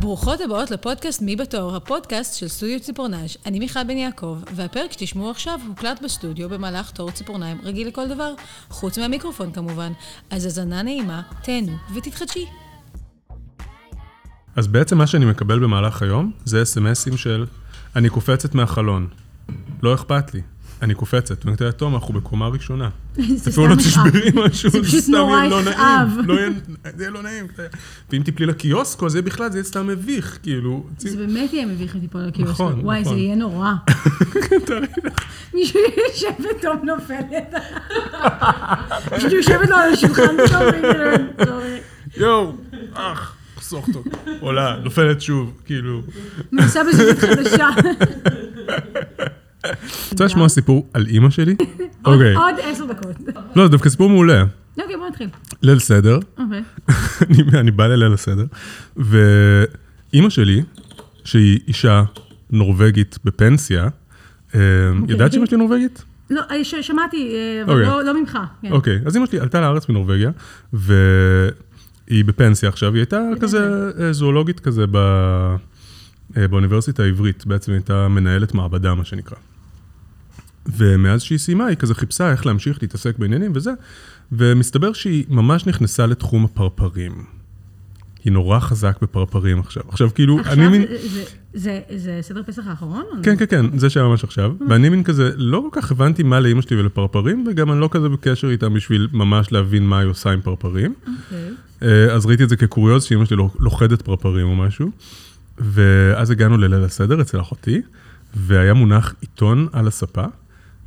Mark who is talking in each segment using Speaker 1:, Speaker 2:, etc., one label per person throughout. Speaker 1: ברוכות הבאות לפודקאסט מי בתור, הפודקאסט של סטודיו ציפורנש. אני מיכל בן יעקב, והפרק שתשמעו עכשיו הוקלט בסטודיו במהלך תור ציפורניים רגיל לכל דבר, חוץ מהמיקרופון כמובן. אז האזנה נעימה, תהנו ותתחדשי.
Speaker 2: אז בעצם מה שאני מקבל במהלך היום זה אס.אם.אסים של אני קופצת מהחלון, לא אכפת לי, אני קופצת, ואני אומרת, טוב, אנחנו בקומה ראשונה.
Speaker 3: זה
Speaker 2: אפילו לא
Speaker 3: סתם יכאב.
Speaker 2: תשברי משהו,
Speaker 3: זה פשוט
Speaker 2: סתם יהיה
Speaker 3: נורא
Speaker 2: לא
Speaker 3: יכאב.
Speaker 2: נעים, לא יהיה- זה יהיה לא נעים. ואם תיפלי לקיוסק, או זה בכלל, זה יהיה סתם מביך, כאילו. צי-
Speaker 3: זה באמת יהיה מביך לטיפול על קיוסק.
Speaker 2: נכון,
Speaker 3: וואי, זה
Speaker 2: נכון.
Speaker 3: יהיה נורא.
Speaker 2: תארי לך.
Speaker 3: מישהו יושב פתאום נופלת. מישהו יושבת לו על השולחן פתאום. והיא
Speaker 2: יואו, אח, חסוך אותו. עולה, נופלת שוב, כאילו.
Speaker 3: מנסה בזוגיות חדשה.
Speaker 2: רוצה לשמוע סיפור על אימא שלי? אוקיי.
Speaker 3: עוד עשר דקות.
Speaker 2: לא, זה דווקא סיפור מעולה.
Speaker 3: אוקיי, בוא נתחיל.
Speaker 2: ליל סדר.
Speaker 3: אוקיי.
Speaker 2: אני, אני בא לליל הסדר, ואימא שלי, שהיא אישה נורבגית בפנסיה, אה, ידעת שאימא שלי נורבגית?
Speaker 3: לא, אה, ש- שמעתי, אה, אבל
Speaker 2: אוקיי.
Speaker 3: לא- לא ממך. כן.
Speaker 2: אוקיי, אז אימא שלי עלתה לארץ מנורבגיה, והיא בפנסיה עכשיו, היא הייתה
Speaker 3: כן,
Speaker 2: כזה אה, זואולוגית כזה ב... אה, באוניברסיטה העברית, בעצם היא הייתה מנהלת מעבדה, מה שנקרא. ומאז שהיא סיימה, היא כזה חיפשה איך להמשיך להתעסק בעניינים וזה, ומסתבר שהיא ממש נכנסה לתחום הפרפרים. היא נורא חזק בפרפרים עכשיו. עכשיו, כאילו,
Speaker 3: עכשיו,
Speaker 2: אני מין...
Speaker 3: זה- זה- זה- זה סדר פסח האחרון? או לא?
Speaker 2: כן, כן, כן, זה שהיה ממש עכשיו, ואני מין כזה, לא כל כך הבנתי מה לאימא שלי ולפרפרים, וגם אני לא כזה בקשר איתם בשביל ממש להבין מה היא עושה עם פרפרים.
Speaker 3: אוקיי.
Speaker 2: אה, אז ראיתי את זה כקוריוז, שאימא שלי לוכדת פרפרים או משהו. ואז הגענו לליל הסדר אצל אחותי, והיה מונח עיתון על הספה,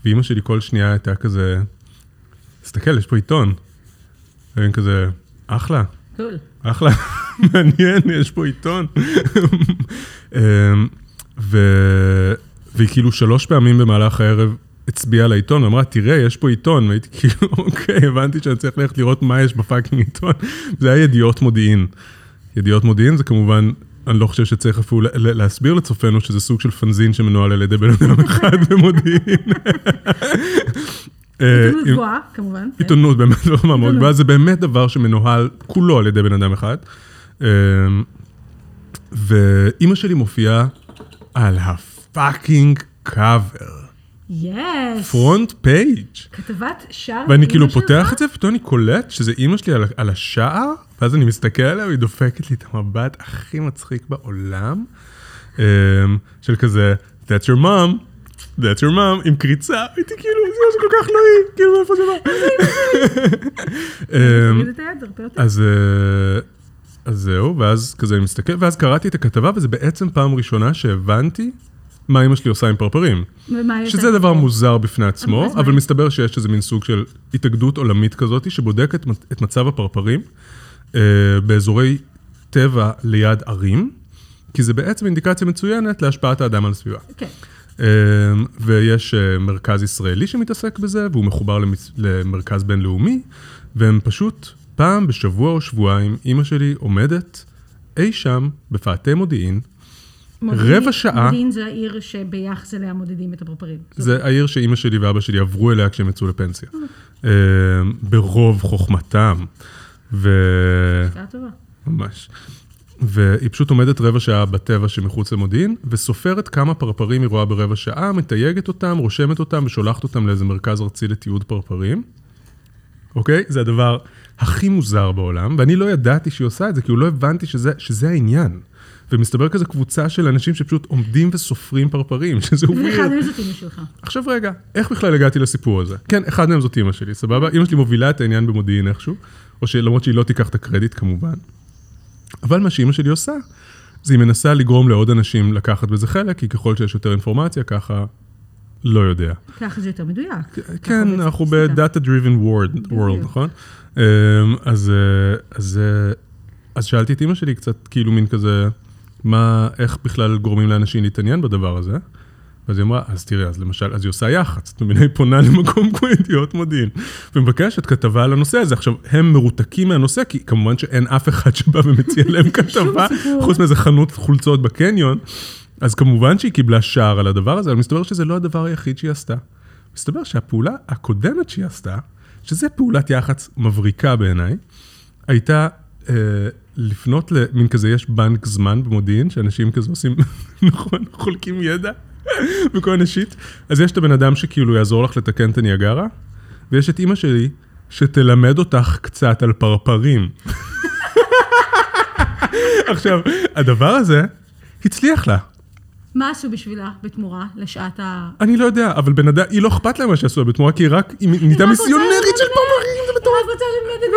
Speaker 2: ואימא שלי כל שנייה הייתה כזה, תסתכל, יש פה עיתון. ואני כזה, אחלה,
Speaker 3: קול.
Speaker 2: אחלה, מעניין, יש פה עיתון. אמ, ו... והיא כאילו שלוש פעמים במהלך הערב הצביעה על העיתון, ואמרה, תראה, יש פה עיתון. והייתי כאילו, אוקיי, הבנתי שאני צריך ללכת לראות מה יש בפאקינג עיתון. זה היה ידיעות מודיעין. ידיעות מודיעין זה כמובן, אני לא חושב שצריך אפילו לה- להסביר לצופינו שזה סוג של פנזין שמנוהל על ידי בן אדם אחד במודיעין. אה,
Speaker 3: עיתונות
Speaker 2: עם-
Speaker 3: גבוהה, כמובן. כן.
Speaker 2: עיתונות באמת לא רמה מאוד גבוהה, זה באמת דבר שמנוהל כולו על ידי בן אדם אחד. אמ, ואימא שלי מופיעה על הפאקינג קאבר,
Speaker 3: יס.
Speaker 2: פרונט פייג'.
Speaker 3: כתבת שער.
Speaker 2: ואני
Speaker 3: אימא
Speaker 2: כאילו
Speaker 3: שלך?
Speaker 2: פותח את זה, ופתאום אני קולט שזה אימא שלי על, על השער, ואז אני מסתכל עליה, והיא דופקת לי את המבט הכי מצחיק בעולם, אמ, של כזה, That's your mom, That's your mom, עם קריצה, הייתי כאילו, זה מה שכל כך לא היא, כאילו, מאיפה זה בא? אמ,
Speaker 3: תוריד את היד, הרבה יותר.
Speaker 2: אז, אה, אז זהו, ואז כזה אני מסתכל, ואז קראתי את הכתבה, וזה בעצם פעם ראשונה שהבנתי מה אימא שלי עושה עם פרפרים.
Speaker 3: ומה היא
Speaker 2: שזה
Speaker 3: עושה?
Speaker 2: דבר מוזר בפני עצמו,
Speaker 3: אז מה?
Speaker 2: אבל מסתבר שיש איזה מין סוג של התאגדות עולמית כזאת, שבודקת את מצב הפרפרים אה, באזורי טבע ליד ערים, כי זה בעצם אינדיקציה מצוינת להשפעת האדם על הסביבה.
Speaker 3: כן.
Speaker 2: אמ, ויש אה, מרכז ישראלי שמתעסק בזה, והוא מחובר למס- למרכז בינלאומי, והם פשוט פעם בשבוע או שבועיים, אימא שלי עומדת אי שם בפאתי מודיעין.
Speaker 3: מודיעין-
Speaker 2: רבע שעה.
Speaker 3: מודיעין זה העיר שביחס אליה מודדים את הפרפרים.
Speaker 2: זה העיר שאימא שלי ואבא שלי עברו אליה כשהם יצאו לפנסיה. אמ, ברוב חוכמתם. ו...
Speaker 3: שעה טובה.
Speaker 2: ממש. והיא פשוט עומדת רבע שעה בטבע שמחוץ למודיעין, וסופרת כמה פרפרים היא רואה ברבע שעה, מתייגת אותם, רושמת אותם ושולחת אותם לאיזה מרכז ארצי לתיעוד פרפרים. אוקיי? זה הדבר הכי מוזר בעולם, ואני לא ידעתי שהיא עושה את זה, כאילו לא הבנתי שזה, שזה העניין. ומסתבר כזה קבוצה של אנשים שפשוט עומדים וסופרים פרפרים, שזה
Speaker 3: ואחד
Speaker 2: ווירד.
Speaker 3: מהם זאת אימא שלך.
Speaker 2: עכשיו רגע, איך בכלל הגעתי לסיפור הזה? כן, אחד מהם זאת אימא שלי, סבבה? אימא שלי מובילה את העניין במודיעין איכשהו, או שלמרות שהיא לא תיקח את הקרדיט כמובן. אבל מה שאימא שלי עושה, זה היא מנסה לגרום לעוד אנשים לקחת בזה חלק, כי ככל שיש יותר אינפורמציה, ככה לא יודע.
Speaker 3: ככה זה יותר מדויק.
Speaker 2: כן,
Speaker 3: בעצם
Speaker 2: אנחנו
Speaker 3: סטטיסטיקה.
Speaker 2: ב-Data Driven World, world
Speaker 3: בדיוק.
Speaker 2: נכון? אמ, אז, אה, אז, אה, אז שאלתי את אימא שלי קצת, כאילו מין כזה, מה, איך בכלל גורמים לאנשים להתעניין בדבר הזה? אז היא אמרה, אז תראה, אז למשל, אז היא עושה יח"צ, זאת אומרת, היא פונה למקום כמו ידיעות מודיעין, ומבקשת כתבה על הנושא הזה. עכשיו, הם מרותקים מהנושא, כי כמובן שאין אף אחד שבא ומציע להם כתבה,
Speaker 3: סיפור.
Speaker 2: חוץ מאיזה חנות חולצות בקניון. אז כמובן שהיא קיבלה שער על הדבר הזה, אבל מסתבר שזה לא הדבר היחיד שהיא עשתה. מסתבר שהפעולה הקודמת שהיא עשתה, שזה פעולת יח"צ מבריקה בעיניי, הייתה אה, לפנות למין כזה, יש בנק זמן במודיעין, שאנשים כזה עושים, נכון, חולקים ידע וכל מיני שיט. אז יש את הבן אדם שכאילו יעזור לך לתקן את הניאגרה, ויש את אימא שלי שתלמד אותך קצת על פרפרים. עכשיו, הדבר הזה הצליח לה.
Speaker 3: מה עשו בשבילה בתמורה לשעת ה...
Speaker 2: אני לא יודע, אבל בן אדם, היא לא אכפת להם מה שעשו לה בתמורה, כי היא רק, היא נהייתה
Speaker 3: רק רוצה
Speaker 2: מיסיונרית של
Speaker 3: ללמד.
Speaker 2: פרפרים, זה
Speaker 3: אני
Speaker 2: מטורף.
Speaker 3: רק רוצה ללמד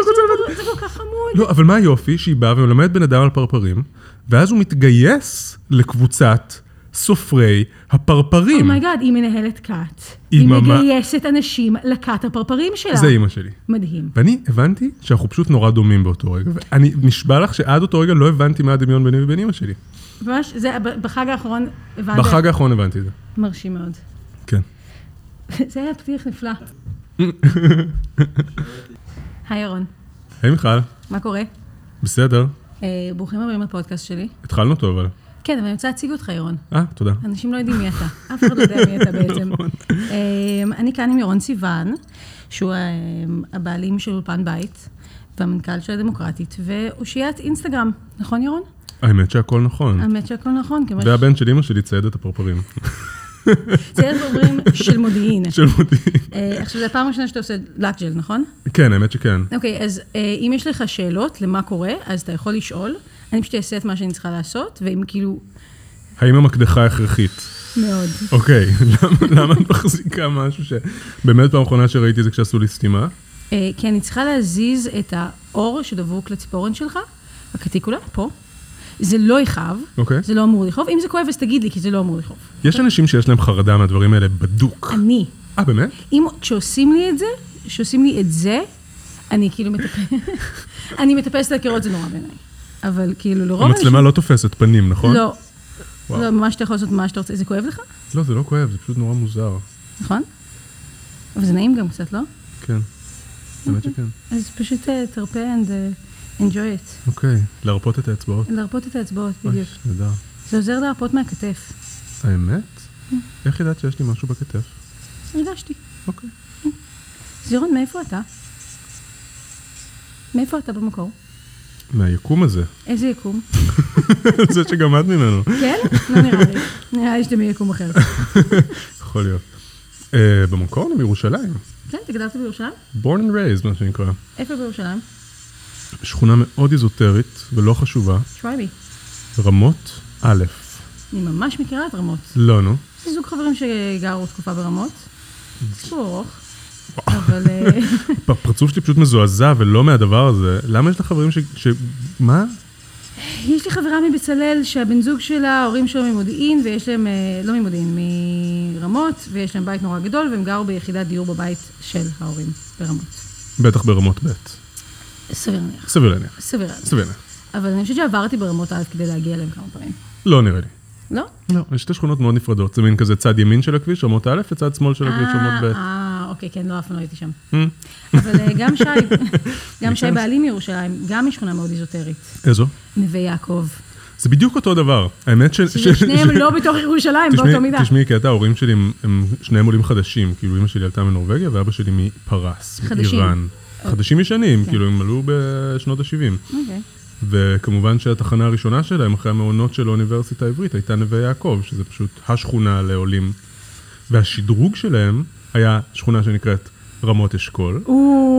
Speaker 3: את זה, זה כל כך חמוד.
Speaker 2: לא, אבל מה היופי? שהיא באה ומלמדת בן אדם על פרפרים, ואז הוא מתגייס לקבוצת סופרי הפרפרים.
Speaker 3: אומייגאד, היא מנהלת כת.
Speaker 2: היא
Speaker 3: היא
Speaker 2: ממש-
Speaker 3: מגייסת אנשים לכת הפרפרים שלה.
Speaker 2: זה אימא שלי.
Speaker 3: מדהים.
Speaker 2: ואני הבנתי שאנחנו פשוט נורא דומים באותו רגע, ואני נשבע לך שעד אותו רגע לא הבנתי מה הדמיון ביני ובין אימא שלי.
Speaker 3: ממש, זה ב- בחג האחרון הבנת.
Speaker 2: בחג האחרון הבנתי את זה.
Speaker 3: מרשים מאוד.
Speaker 2: כן.
Speaker 3: זה היה פתיח נפלא. היי ירון,
Speaker 2: היי מיכל,
Speaker 3: מה קורה?
Speaker 2: בסדר,
Speaker 3: אה, ברוכים הבאים לפודקאסט שלי.
Speaker 2: התחלנו טוב אבל.
Speaker 3: כן, אבל אני רוצה להציג אותך, ירון.
Speaker 2: אה, תודה.
Speaker 3: אנשים לא יודעים מי אתה, אף אחד לא יודע מי
Speaker 2: נכון.
Speaker 3: אתה בעצם. אמ, אני כאן עם ירון סיוון, שהוא אמ, הבעלים של אולפן בית, והמנכ"ל של הדמוקרטית, ואושיית אינסטגרם, נכון ירון?
Speaker 2: האמת שהכל נכון.
Speaker 3: האמת שהכל נכון, כמו
Speaker 2: אוקיי. והבן של אימא שלי צייד את הפרפרים.
Speaker 3: שציירת ואומרים של מודיעין.
Speaker 2: של מודיעין.
Speaker 3: אה, עכשיו, זו הפעם הראשונה שאתה עושה לאקג'ל, נכון?
Speaker 2: כן, האמת שכן.
Speaker 3: אוקיי, אז אה, אם יש לך שאלות למה קורה, אז אתה יכול לשאול. אני פשוט אעשה את מה שאני צריכה לעשות, ואם כאילו,
Speaker 2: האם המקדחה הכרחית?
Speaker 3: מאוד.
Speaker 2: אוקיי, למה- למה את מחזיקה משהו ש... באמת פעם אחרונה שראיתי זה כשעשו לי סתימה?
Speaker 3: אה, כי אני צריכה להזיז את האור שדבוק לציפורן שלך, הקטיקולה, פה. זה לא יכאב,
Speaker 2: אוקיי.
Speaker 3: זה לא אמור לכאוב. אם זה כואב, אז תגיד לי, כי זה לא אמור לכאוב.
Speaker 2: יש אנשים שיש להם חרדה מהדברים האלה בדוק.
Speaker 3: אני,
Speaker 2: אה, באמת?
Speaker 3: אם כשעושים לי את זה, כשעושים לי את זה, אני כאילו מטפסת, אני מטפסת על קירות, זה נורא בעיניי. אבל כאילו, לרוב
Speaker 2: המצלמה לא תופסת פנים, נכון?
Speaker 3: לא.
Speaker 2: וואו.
Speaker 3: לא, ממש אתה יכול לעשות מה שאתה רוצה. זה כואב לך?
Speaker 2: לא, זה לא כואב, זה פשוט נורא מוזר.
Speaker 3: נכון? אבל זה נעים גם קצת, לא?
Speaker 2: כן. באמת שכן.
Speaker 3: אז פשוט אה, תרפה and אה, enjoy it.
Speaker 2: אוקיי, להרפות את האצבעות.
Speaker 3: להרפות את האצבעות, בדיוק.
Speaker 2: אוי, נהדר.
Speaker 3: זה עוזר להרפות מהכתף.
Speaker 2: האמת? איך ידעת שיש לי משהו בכתף?
Speaker 3: הרגשתי.
Speaker 2: אוקיי.
Speaker 3: אז ירון, מאיפה אתה? מאיפה אתה במקור?
Speaker 2: מהיקום הזה.
Speaker 3: איזה יקום?
Speaker 2: זה שגם את ממנו.
Speaker 3: כן? לא נראה לי. נראה לי שאתה מיקום אחר.
Speaker 2: יכול להיות. אה, במקור אני מירושלים.
Speaker 3: כן, אתה גדלת בירושלים?
Speaker 2: born and raised, מה שנקרא.
Speaker 3: איפה בירושלים?
Speaker 2: שכונה מאוד איזוטרית ולא חשובה.
Speaker 3: try me.
Speaker 2: רמות א'.
Speaker 3: אני ממש מכירה את רמות.
Speaker 2: לא, נו.
Speaker 3: יש לי זוג חברים שגרו תקופה ברמות.
Speaker 2: Mm.
Speaker 3: סיפור ארוך. אבל... אה,
Speaker 2: הפרצוף שלי פשוט מזועזע ולא מהדבר הזה. למה יש לך חברים ש... ש... מה?
Speaker 3: יש לי חברה מבצלאל שהבן זוג שלה, ההורים שלו ממודיעין, ויש להם, אה, לא ממודיעין, מרמות, ויש להם בית נורא גדול, והם גרו ביחידת דיור בבית של ההורים ברמות.
Speaker 2: בטח ברמות ב'.
Speaker 3: סביר להניח.
Speaker 2: סביר להניח.
Speaker 3: סביר להניח.
Speaker 2: סביר להניח.
Speaker 3: אבל אני חושבת שעברתי ברמות א' כדי להגיע אליהם כמה פעמים.
Speaker 2: לא נראה לי.
Speaker 3: לא?
Speaker 2: לא. יש שתי שכונות מאוד נפרדות. זה מין כזה צד ימין של הכביש, רמות א', וצד שמאל של הכביש, רמות ב'.
Speaker 3: אה, אוקיי, כן, לא, אף פעם לא הייתי שם. אבל אה, גם שי, גם שי
Speaker 2: sense.
Speaker 3: בעלי מירושלים, גם משכונה מאוד איזוטרית.
Speaker 2: איזו?
Speaker 3: נווה יעקב.
Speaker 2: זה בדיוק אותו דבר. האמת ש... ש-
Speaker 3: ששניהם
Speaker 2: ש-
Speaker 3: לא בתוך ירושלים
Speaker 2: תשמעי-
Speaker 3: באותו מידה.
Speaker 2: תשמעי, כי אתה, ההורים שלי הם- הם שניהם עולים חדשים. כאילו, אמא שלי עלתה מנורבגיה ואבא שלי מפרס,
Speaker 3: חדשים.
Speaker 2: מאיראן. חדשים ישנים, כאילו, הם עלו בשנות ה-70.
Speaker 3: אוקיי.
Speaker 2: וכמובן שהתחנה הראשונה שלהם, אחרי המעונות של האוניברסיטה העברית, הייתה נווה יעקב, שזה פשוט השכונה לעולים. והשדרוג שלהם היה שכונה שנקראת רמות אשכול,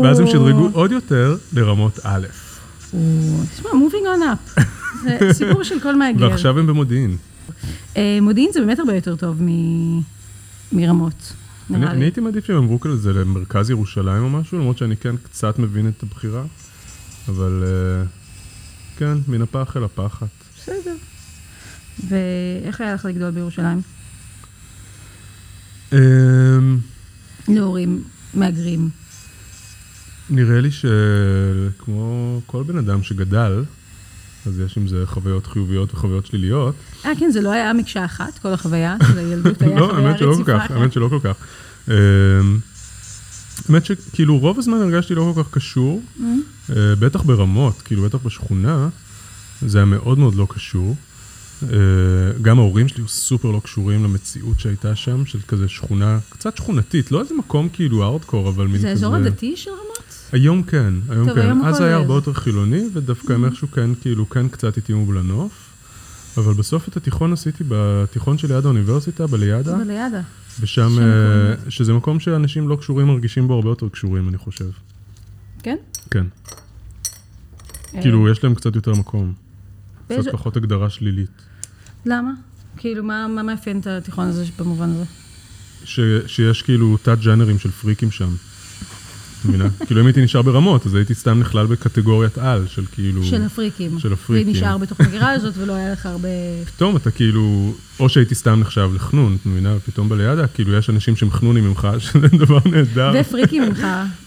Speaker 2: ואז הם שדרגו עוד יותר לרמות א',
Speaker 3: תשמע, moving on up. זה סיפור של כל מהגר.
Speaker 2: ועכשיו הם במודיעין.
Speaker 3: אה, מודיעין זה באמת הרבה יותר טוב מ- מרמות,
Speaker 2: אני
Speaker 3: נראה
Speaker 2: אני
Speaker 3: לי.
Speaker 2: הייתי מעדיף שהם עברו כזה למרכז ירושלים או משהו, למרות שאני כן קצת מבין את הבחירה, אבל אה, כן, מן הפח אל הפחת.
Speaker 3: בסדר. ואיך היה לך לגדול בירושלים?
Speaker 2: אמ,
Speaker 3: להורים מהגרים.
Speaker 2: נראה לי שכמו כל בן אדם שגדל, אז יש עם זה חוויות חיוביות וחוויות שליליות.
Speaker 3: אה, כן, זה לא היה מקשה אחת, כל החוויה של הילדות היה
Speaker 2: לא,
Speaker 3: חוויה
Speaker 2: האמת שלא כל
Speaker 3: רציפה. כן.
Speaker 2: כך, האמת שלא כל כך. אמ, האמת שכאילו רוב הזמן הרגשתי לא כל כך קשור, אה, בטח ברמות, כאילו בטח בשכונה, זה היה מאוד מאוד לא קשור. אה, גם ההורים שלי היו סופר לא קשורים למציאות שהייתה שם, של כזה שכונה, קצת שכונתית, לא איזה מקום כאילו ארדקור, אבל מין
Speaker 3: זה
Speaker 2: כזה...
Speaker 3: האזור הדתי של רמות?
Speaker 2: היום כן, היום
Speaker 3: טוב,
Speaker 2: כן.
Speaker 3: היום
Speaker 2: אז
Speaker 3: הכל Mm-hmm.
Speaker 2: היה
Speaker 3: לב.
Speaker 2: הרבה יותר חילוני, ודווקא הם איכשהו כן, כאילו, כן קצת התאימו לנוף. אבל בסוף את התיכון עשיתי בתיכון שליד האוניברסיטה, בליאדה,
Speaker 3: ולידה.
Speaker 2: ושם,
Speaker 3: שם
Speaker 2: אה, שזה מקום שאנשים לא קשורים מרגישים בו הרבה יותר קשורים, אני חושב.
Speaker 3: כן? אה,
Speaker 2: כן. כאילו, יש להם קצת יותר מקום.
Speaker 3: באיזה-
Speaker 2: קצת פחות הגדרה שלילית.
Speaker 3: למה? כאילו, מה מה מאפיין את התיכון הזה במובן הזה?
Speaker 2: ש, שיש כאילו תת-ג'אנרים של פריקים שם. מבינה? כאילו, אם הייתי נשאר ברמות, אז הייתי סתם נכלל בקטגוריית על של כאילו...
Speaker 3: של הפריקים.
Speaker 2: של הפריקים.
Speaker 3: ונשאר בתוך המגירה הזאת ולא היה לך הרבה...
Speaker 2: פתאום אתה כאילו, או שהייתי סתם נחשב לחנון, את מבינה? ופתאום בלידה, כאילו, יש אנשים שהם חנונים ממך, שזה דבר נהדר.
Speaker 3: ופריקים ממך.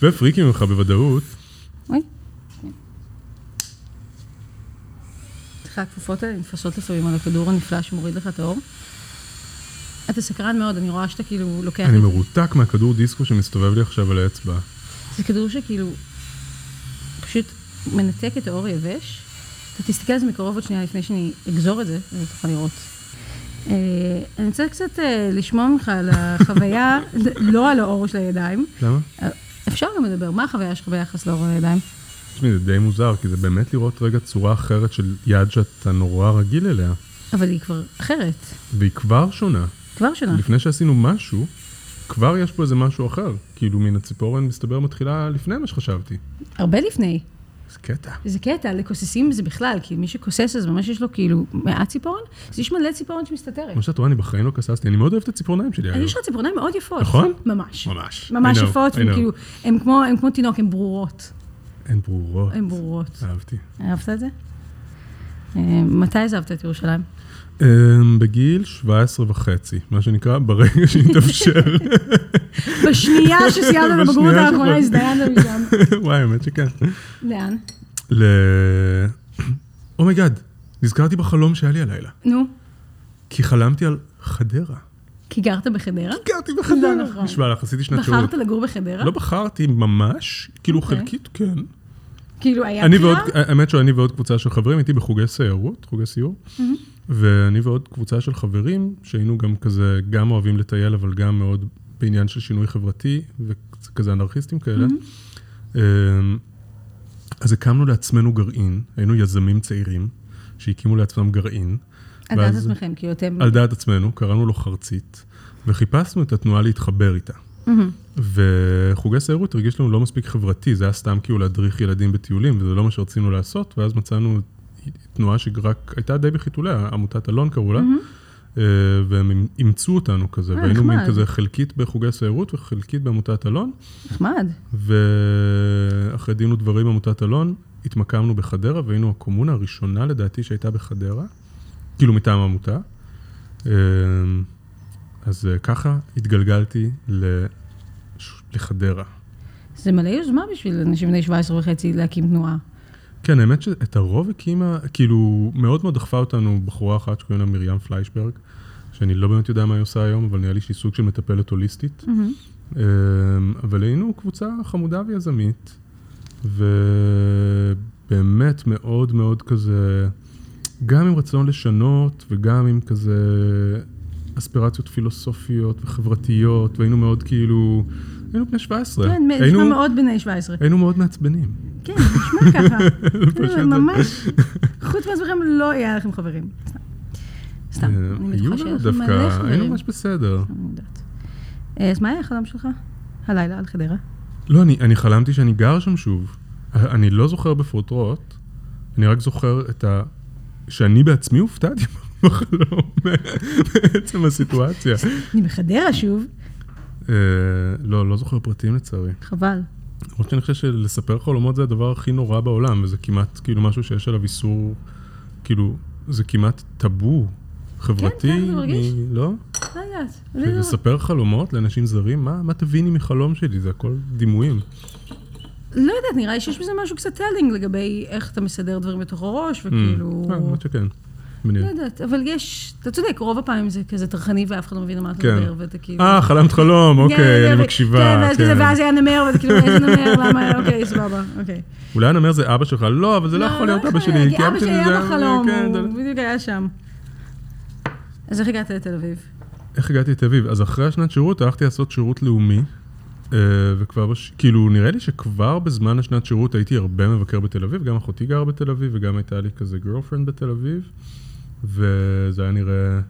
Speaker 2: ופריקים ממך בוודאות.
Speaker 3: אוי. סליחה, הכפופות האלה נתפסות לפעמים על הכדור הנפלא שמוריד לך את האור. אתה סקרן מאוד, אני רואה שאתה כאילו לוקח...
Speaker 2: אני
Speaker 3: את זה.
Speaker 2: מרותק מהכדור דיסקו שמסתובב לי עכשיו על האצבע.
Speaker 3: זה כדור שכאילו פשוט מנתק את האור היבש. אתה תסתכל על זה מקרוב עוד שנייה לפני שאני אגזור את זה, ותוכל לראות. אה, אני רוצה קצת אה, לשמוע ממך על החוויה, לא על האור של הידיים.
Speaker 2: למה?
Speaker 3: אה, אפשר גם לדבר, מה החוויה שלך ביחס לאור על הידיים?
Speaker 2: תשמעי, זה די מוזר, כי זה באמת לראות רגע צורה אחרת של יד שאתה נורא רגיל אליה,
Speaker 3: אבל היא כבר אחרת,
Speaker 2: והיא כבר שונה.
Speaker 3: כבר שונה.
Speaker 2: לפני שעשינו משהו, כבר יש פה איזה משהו אחר. כאילו, מן הציפורן מסתבר מתחילה לפני מה שחשבתי.
Speaker 3: הרבה לפני.
Speaker 2: זה קטע.
Speaker 3: זה קטע, לכוססים זה בכלל, כי מי שכוסס אז ממש יש לו כאילו מעט ציפורן, אז יש מלא ציפורן שמסתתרת.
Speaker 2: כמו שאת רואה, אני בחיים לא כססתי, אני מאוד אוהב את הציפורניים שלי
Speaker 3: אני
Speaker 2: היום.
Speaker 3: יש לך ציפורניים מאוד יפות.
Speaker 2: נכון?
Speaker 3: ממש.
Speaker 2: ממש.
Speaker 3: ממש
Speaker 2: I know,
Speaker 3: יפות,
Speaker 2: I know.
Speaker 3: והן כאילו, הן כמו, הן כמו תינוק, הן ברורות.
Speaker 2: הן ברורות.
Speaker 3: הן ברורות.
Speaker 2: אהבתי.
Speaker 3: אהבת את זה? אה, מתי עזבת את ירושלים?
Speaker 2: אמ, בגיל 17 וחצי, מה שנקרא, ברגע שהתאפשר.
Speaker 3: בשנייה שסיימת את הבגרות
Speaker 2: בשנייה
Speaker 3: האחרונה
Speaker 2: שכבר-
Speaker 3: הזדיינת משם.
Speaker 2: וואי, האמת שכן.
Speaker 3: לאן?
Speaker 2: ל... אומייגאד, נזכרתי בחלום שהיה לי הלילה.
Speaker 3: נו,
Speaker 2: כי חלמתי על חדרה.
Speaker 3: כי גרת בחדרה?
Speaker 2: גרתי בחדרה.
Speaker 3: לא נכון.
Speaker 2: נשבע לך, עשיתי שנת שירות.
Speaker 3: בחרת לגור בחדרה?
Speaker 2: לא בחרתי ממש, כאילו
Speaker 3: אוקיי.
Speaker 2: חלקית, כן.
Speaker 3: כאילו, היה
Speaker 2: אני ועוד,
Speaker 3: בחירה?
Speaker 2: האמת שאני ועוד קבוצה של חברים, הייתי בחוגי סיירות, חוגי סיור, ואני ועוד קבוצה של חברים, שהיינו גם כזה, גם אוהבים לטייל, אבל גם מאוד בעניין של שינוי חברתי, וכזה אנרכיסטים כאלה. אמ, אז הקמנו לעצמנו גרעין, היינו יזמים צעירים, שהקימו לעצמם גרעין.
Speaker 3: על דעת
Speaker 2: ואז-
Speaker 3: עצמכם, כאילו אתם...
Speaker 2: על דעת עצמנו, קראנו לו חרצית, וחיפשנו את התנועה להתחבר איתה.
Speaker 3: מהמם.
Speaker 2: וחוגי סיירות הרגיש לנו לא מספיק חברתי, זה היה סתם כאילו להדריך ילדים בטיולים, וזה לא מה שרצינו לעשות, ואז מצאנו תנועה שרק הייתה די בחיתוליה, עמותת אלון קראו לה, אה, והם אימצו אותנו כזה,
Speaker 3: Mm-hmm. אה,
Speaker 2: והיינו מין
Speaker 3: נחמד.
Speaker 2: כזה חלקית בחוגי סיירות וחלקית בעמותת אלון,
Speaker 3: נחמד.
Speaker 2: ואחרי דין ודברים עמותת אלון, התמקמנו בחדרה, והיינו הקומונה הראשונה לדעתי שהייתה בחדרה, כאילו מטעם העמותה. אמ, אז אה, ככה התגלגלתי ל- ש- לחדרה.
Speaker 3: זה מלא יוזמה בשביל אנשים בני 17 וחצי להקים תנועה.
Speaker 2: כן, האמת שאת הרוב הקימה, כאילו, מאוד מאוד דחפה אותנו בחורה אחת שקוראים לה מרים פליישברג, שאני לא באמת יודע מה היא עושה היום, אבל נראה לי שהיא סוג של מטפלת הוליסטית. אמ, אבל היינו קבוצה חמודה ויזמית, ובאמת מאוד מאוד כזה, גם עם רצון לשנות וגם עם כזה אספירציות פילוסופיות וחברתיות, והיינו מאוד כאילו, היינו בני 17.
Speaker 3: כן, מ-
Speaker 2: היינו-
Speaker 3: נשמע מאוד בני 17.
Speaker 2: היינו מאוד מעצבנים.
Speaker 3: כן, נשמע ככה.
Speaker 2: פשוט-
Speaker 3: כן, ממש, חוץ מעצמכם לא יהיה לכם חברים. סתם,
Speaker 2: אה,
Speaker 3: אני
Speaker 2: היו
Speaker 3: בטוחה שיהיה
Speaker 2: לנו
Speaker 3: לכם מלא
Speaker 2: דווקא, היינו
Speaker 3: חברים.
Speaker 2: ממש בסדר.
Speaker 3: אני יודעת. אה, אז מה היה החלום שלך? הלילה על חדרה?
Speaker 2: לא, אני, אני חלמתי שאני גר שם שוב. אני לא זוכר בפרוטרוט, אני רק זוכר את ה... שאני בעצמי הופתעתי בחלום, בעצם הסיטואציה.
Speaker 3: אני בחדרה שוב.
Speaker 2: אה, לא, לא זוכר פרטים לצערי.
Speaker 3: חבל.
Speaker 2: למרות שאני חושב שלספר חלומות זה הדבר הכי נורא בעולם, וזה כמעט כאילו משהו שיש עליו איסור, כאילו, זה כמעט טאבו חברתי.
Speaker 3: כן, זה מרגיש.
Speaker 2: מ- לא?
Speaker 3: לא יודעת. לא יודעת.
Speaker 2: לספר חלומות לאנשים זרים, מה, מה תביני מחלום שלי? זה הכל דימויים.
Speaker 3: לא יודעת, נראה לי שיש בזה משהו קצת טלינג לגבי איך אתה מסדר דברים בתוך הראש, וכאילו...
Speaker 2: אה, האמת שכן. מניע.
Speaker 3: לא יודעת, אבל יש, אתה צודק, רוב הפעמים זה כזה טרחני ואף אחד לא מבין על מה אתה
Speaker 2: כן.
Speaker 3: מדבר, ואתה כאילו...
Speaker 2: אה, חלמת חלום,
Speaker 3: כן,
Speaker 2: אוקיי, אני
Speaker 3: ו-
Speaker 2: מקשיבה.
Speaker 3: כן, ואז כזה,
Speaker 2: כן.
Speaker 3: ואז היה נמר, ואתה כאילו, איזה נמר, למה, אוקיי, סבבה, אוקיי.
Speaker 2: אולי אני אומר זה אבא שלך, לא, אבל זה לא יכול להיות אבא
Speaker 3: יכול
Speaker 2: שלי.
Speaker 3: כי אבא
Speaker 2: קיימתי
Speaker 3: שלי היה
Speaker 2: מזה-
Speaker 3: בחלום,
Speaker 2: כן, זה-
Speaker 3: הוא בדיוק היה שם. אז איך הגעת לתל אביב?
Speaker 2: איך הגעתי לתל אביב? אז אחרי השנת שירות הלכתי לעשות שירות לאומי אה, וכבר, בש... כאילו, נראה לי שכבר בזמן השנת שירות הייתי הרבה מבקר בתל אביב, גם אחותי גרה בתל אביב וגם הייתה לי כזה גרלפרנד בתל אביב, וזה היה נראה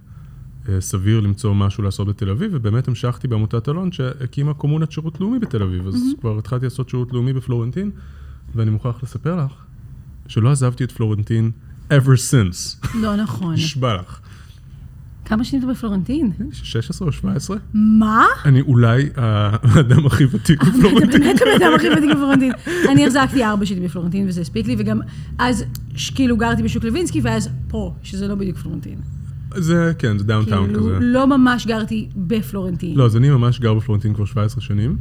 Speaker 2: אה, סביר למצוא משהו לעשות בתל אביב, ובאמת המשכתי בעמותת אלון שהקימה קומונת שירות לאומי בתל אביב, אז mm-hmm. כבר התחלתי לעשות שירות לאומי בפלורנטין, ואני מוכרח לספר לך שלא עזבתי את פלורנטין ever since,
Speaker 3: לא נכון.
Speaker 2: נשבע לך.
Speaker 3: כמה שנית בפלורנטין?
Speaker 2: כן. 16 או 17?
Speaker 3: מה?
Speaker 2: אני אולי האדם הכי ותיק בפלורנטין.
Speaker 3: אתה באמת הבן אדם הכי ותיק בפלורנטין. אני החזקתי ארבע שלי בפלורנטין, וזה הספיק לי, וגם אז ש- כאילו גרתי בשוק לוינסקי, ואז פה, שזה לא בדיוק פלורנטין.
Speaker 2: זה, כן, זה דאונטאון
Speaker 3: כאילו,
Speaker 2: כזה.
Speaker 3: לא ממש גרתי בפלורנטין.
Speaker 2: לא, אז אני ממש גר בפלורנטין כבר 17 שנים,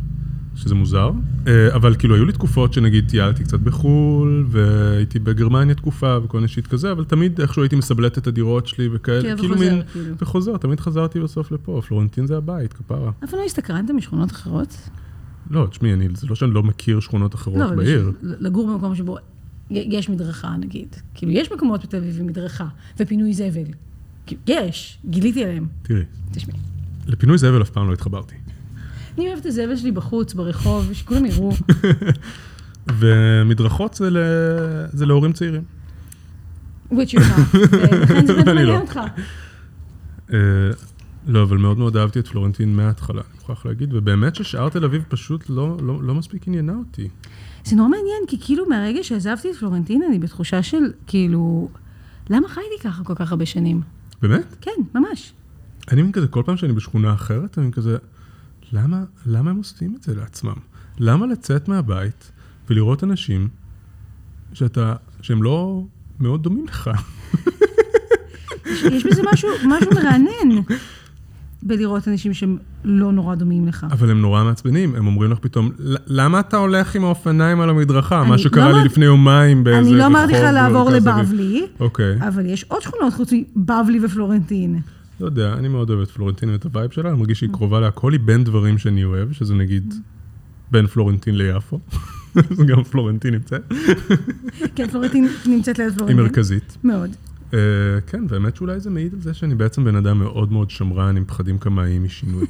Speaker 2: שזה מוזר, אה, אבל כאילו היו לי תקופות שנגיד טיילתי קצת בחו"ל, והייתי בגרמניה תקופה וכל מיני שיט כזה, אבל תמיד איכשהו הייתי מסבלט את הדירות שלי וכאלה,
Speaker 3: כן,
Speaker 2: כאילו
Speaker 3: וחוזר,
Speaker 2: מין,
Speaker 3: כאילו.
Speaker 2: וחוזר, תמיד חזרתי בסוף לפה, פלורנטין זה הבית, כפרה.
Speaker 3: אף פעם לא הסתקרנת משכונות אחרות?
Speaker 2: לא, תשמעי, אני- זה לא שאני לא מכיר שכונות
Speaker 3: לא,
Speaker 2: אחרות
Speaker 3: אבל
Speaker 2: בעיר.
Speaker 3: בשביל לגור במקום שבו י- יש מדרכה, נגיד. כאילו, יש מקומות בתל אביב עם מדרכה, ופינוי זבל. כאילו, יש, גיליתי עליהם.
Speaker 2: תראי,
Speaker 3: תשמעי.
Speaker 2: לפינוי זבל אף פעם לא התחברתי.
Speaker 3: אני אוהבת את הזבל שלי בחוץ, ברחוב, שכולם יראו.
Speaker 2: ומדרכות זה ל- זה להורים צעירים.
Speaker 3: which you not. ולכן זה באמת
Speaker 2: אני לא.
Speaker 3: מעניין אותך.
Speaker 2: אה, לא, אבל מאוד מאוד אהבתי את פלורנטין מההתחלה, אני מוכרח להגיד, ובאמת ששאר תל אביב פשוט לא, לא, לא מספיק עניינה אותי.
Speaker 3: זה נורא מעניין, כי כאילו מהרגע שעזבתי את פלורנטין, אני בתחושה של, כאילו, למה חייתי ככה כל כך הרבה שנים?
Speaker 2: באמת?
Speaker 3: כן, ממש.
Speaker 2: אני מין כזה, כל פעם שאני בשכונה אחרת, אני כזה, למה, למה הם עושים את זה לעצמם? למה לצאת מהבית ולראות אנשים שאתה, שהם לא מאוד דומים לך?
Speaker 3: יש- יש בזה משהו, משהו מרענן בלראות אנשים שהם לא נורא דומים לך.
Speaker 2: אבל הם נורא מעצבנים, הם אומרים לך פתאום, "ל- למה אתה הולך עם האופניים על המדרכה?
Speaker 3: אני
Speaker 2: מה
Speaker 3: לא
Speaker 2: שקרה לי
Speaker 3: אמרתי-
Speaker 2: לפני יומיים באיזה רחוב.
Speaker 3: אני לא אמרתי לך לעבור
Speaker 2: במרכז תל אביב."
Speaker 3: לבבלי,
Speaker 2: אוקיי.
Speaker 3: אבל יש עוד שכונות חוץ מבבלי ופלורנטין.
Speaker 2: לא יודע, אני מאוד אוהב את פלורנטין ואת הווייב שלה, אני מרגיש שהיא קרובה להכל, היא בין דברים שאני אוהב, שזה נגיד בין פלורנטין ליפו, אז גם פלורנטין נמצאת,
Speaker 3: כן, פלורנטין נמצאת ליד
Speaker 2: היא
Speaker 3: פלורנטין.
Speaker 2: מרכזית.
Speaker 3: מאוד.
Speaker 2: אה, כן, והאמת שאולי זה מעיד על זה שאני בעצם בן אדם מאוד מאוד שמרן עם פחדים קמאיים משינוי.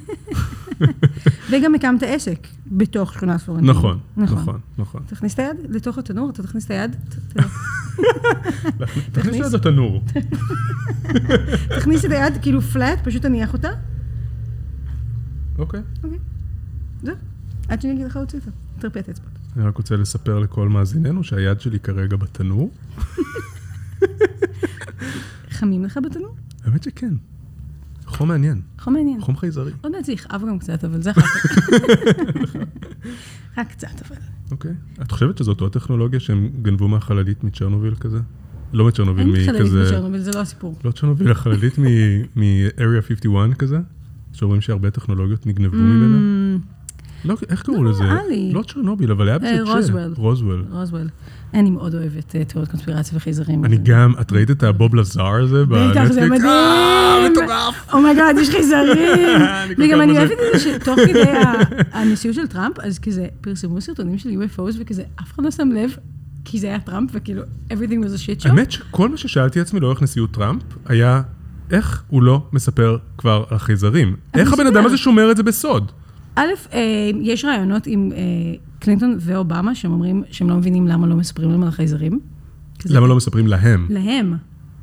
Speaker 3: וגם הקמת עסק בתוך שכונת פלורנטין.
Speaker 2: נכון, נכון, נכון.
Speaker 3: תכניס את היד לתוך התנור, אתה תכניס את היד, ת- ת-
Speaker 2: תכניס לזה תנור.
Speaker 3: תכניס את היד כאילו פלאט, פשוט תניח אותה,
Speaker 2: אוקיי.
Speaker 3: זהו. עד שאני אגיד לך להוציא אותה. תרפא את האצבעות.
Speaker 2: אני רק רוצה לספר לכל מאזיננו שהיד שלי כרגע בתנור.
Speaker 3: חמים לך בתנור?
Speaker 2: האמת שכן. חום מעניין,
Speaker 3: חום מעניין.
Speaker 2: חום חייזרי.
Speaker 3: עוד מעט לא זה יכאב גם קצת, אבל זה אחר כך. רק קצת, אבל.
Speaker 2: אוקיי. את חושבת שזאת אותה טכנולוגיה שהם גנבו מהחללית מצ'רנוביל כזה? לא מצ'רנוביל,
Speaker 3: אין
Speaker 2: מכזה...
Speaker 3: מתחללית בצ'רנוביל, זה לא הסיפור.
Speaker 2: לא צ'רנוביל, החללית מ- מ-Area 51 כזה, שאומרים שהרבה טכנולוגיות נגנבו ממנה. לא, איך קראו
Speaker 3: Mm. לא,
Speaker 2: לזה?
Speaker 3: נראה לי.
Speaker 2: לא צ'רנוביל, אבל היה
Speaker 3: אה,
Speaker 2: פשוט ש...
Speaker 3: רוזוול.
Speaker 2: רוזוול.
Speaker 3: רוזוול. אני מאוד אוהבת אה, תיאוריות קונספירציה וחייזרים.
Speaker 2: אני
Speaker 3: זה-
Speaker 2: גם, את ראית את הבוב לזאר הזה בנטפליקס?
Speaker 3: בטח, זה מדהים.
Speaker 2: אה, מטורף.
Speaker 3: אומייגאד, יש חייזרים.
Speaker 2: אני כל
Speaker 3: אה, וגם
Speaker 2: כך
Speaker 3: אני
Speaker 2: מזה.
Speaker 3: אוהבת את זה שתוך כדי ה- הנשיאות של טראמפ, אז כזה פרסמו סרטונים של UFOs וכזה, אף אחד לא שם לב, כי זה היה טראמפ, וכאילו, everything was a shit show.
Speaker 2: האמת שכל מה ששאלתי עצמי לאורך נשיאות טראמפ, היה איך הוא לא מספר כבר על החייזרים.
Speaker 3: אני
Speaker 2: איך הבן אדם
Speaker 3: מספר.
Speaker 2: הזה שומר את זה בסוד?
Speaker 3: א', אה, יש רעיונות עם אה, קלינטון ואובמה, שהם אומרים שהם לא מבינים למה לא מספרים להם על החייזרים. כזה,
Speaker 2: למה לא מספרים להם?
Speaker 3: להם.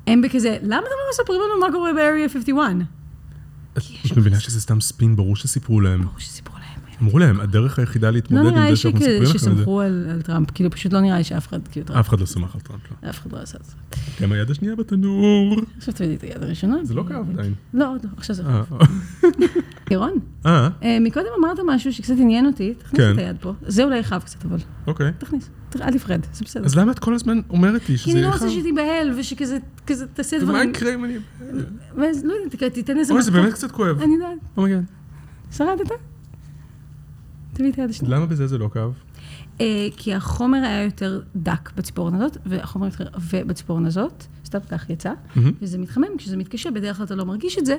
Speaker 3: הם בכזה, למה אתם לא מספרים לנו מה קורה ב-Area 51?
Speaker 2: את את מבינה שזה סתם ספין, ברור שסיפרו להם.
Speaker 3: ברור שסיפרו להם.
Speaker 2: אמרו להם, הדרך היחידה
Speaker 3: לא
Speaker 2: להתמודד
Speaker 3: נראה
Speaker 2: עם
Speaker 3: לי
Speaker 2: זה שאנחנו מספרים
Speaker 3: שכזה-
Speaker 2: לכם את זה.
Speaker 3: שסמכו על על טראמפ, כאילו פשוט לא נראה לי שאף אחד, כאילו טראמפ,
Speaker 2: אף אחד לא סמך על טראמפ, לא.
Speaker 3: אף אחד לא עשה את זה.
Speaker 2: גם היד השנייה בתנור.
Speaker 3: עכשיו תביא את היד הראשונה.
Speaker 2: זה לא כאב עדיין.
Speaker 3: לא, עוד לא, עכשיו זה...
Speaker 2: אה,
Speaker 3: ירון,
Speaker 2: אה,
Speaker 3: אה, מקודם אמרת משהו שקצת עניין אותי, תכניס
Speaker 2: כן.
Speaker 3: את היד פה. זה אולי יכאב קצת, אבל
Speaker 2: אוקיי.
Speaker 3: תכניס, ת- אל תפחד, זה בסדר.
Speaker 2: אז למה את כל הזמן אומרת
Speaker 3: כי
Speaker 2: לי שזה
Speaker 3: אני לא
Speaker 2: יהיה
Speaker 3: רוצה
Speaker 2: חם?
Speaker 3: שתיבהל וכשכזה כזה תעשה
Speaker 2: מה
Speaker 3: דברים.
Speaker 2: יקרה אם אני...
Speaker 3: ואז לא יודעת, תק- תיתן איזה...
Speaker 2: אוי, זה
Speaker 3: מכות.
Speaker 2: באמת קצת כואב. Oh
Speaker 3: אני לא יודעת.
Speaker 2: אומייגאד.
Speaker 3: שרדת? תביא את היד השנייה.
Speaker 2: למה בזה זה לא כאב?
Speaker 3: אה, כי החומר היה יותר דק בציפורן הזאת, והחומר יותר עבה בציפורן הזאת, סתם כך יצא,
Speaker 2: מהמם.
Speaker 3: וזה מתחמם, כשזה מתקשה, בדרך כלל אתה לא מרגיש את זה,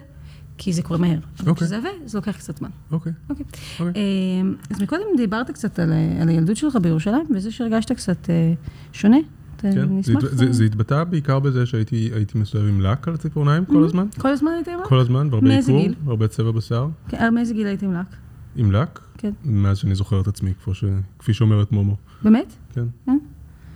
Speaker 3: כי זה קורה מהר. אבל
Speaker 2: אוקיי.
Speaker 3: כשזה עבה, זה לוקח קצת זמן.
Speaker 2: אוקיי.
Speaker 3: אוקיי.
Speaker 2: אוקיי.
Speaker 3: אה, אז מקודם דיברת קצת על, ה- על הילדות שלך בירושלים, וזה שהרגשת קצת אה, שונה. אתה
Speaker 2: כן. זה
Speaker 3: נשמח?
Speaker 2: הת- זה- זה התבטא בעיקר בזה שהייתי הייתי מסתובב עם לק על הציפורניים כל הזמן.
Speaker 3: כל הזמן הייתם לק?
Speaker 2: כל הזמן, והרבה
Speaker 3: Mm-hmm. מאיזה
Speaker 2: עיקור,
Speaker 3: גיל?
Speaker 2: והרבה צבע בשיער.
Speaker 3: כן, מאיזה גיל הייתם לק?
Speaker 2: עם לק,
Speaker 3: כן.
Speaker 2: מאז שאני זוכר את עצמי, כמו ש- כפי שאומרת מומו.
Speaker 3: באמת?
Speaker 2: כן.
Speaker 3: אה?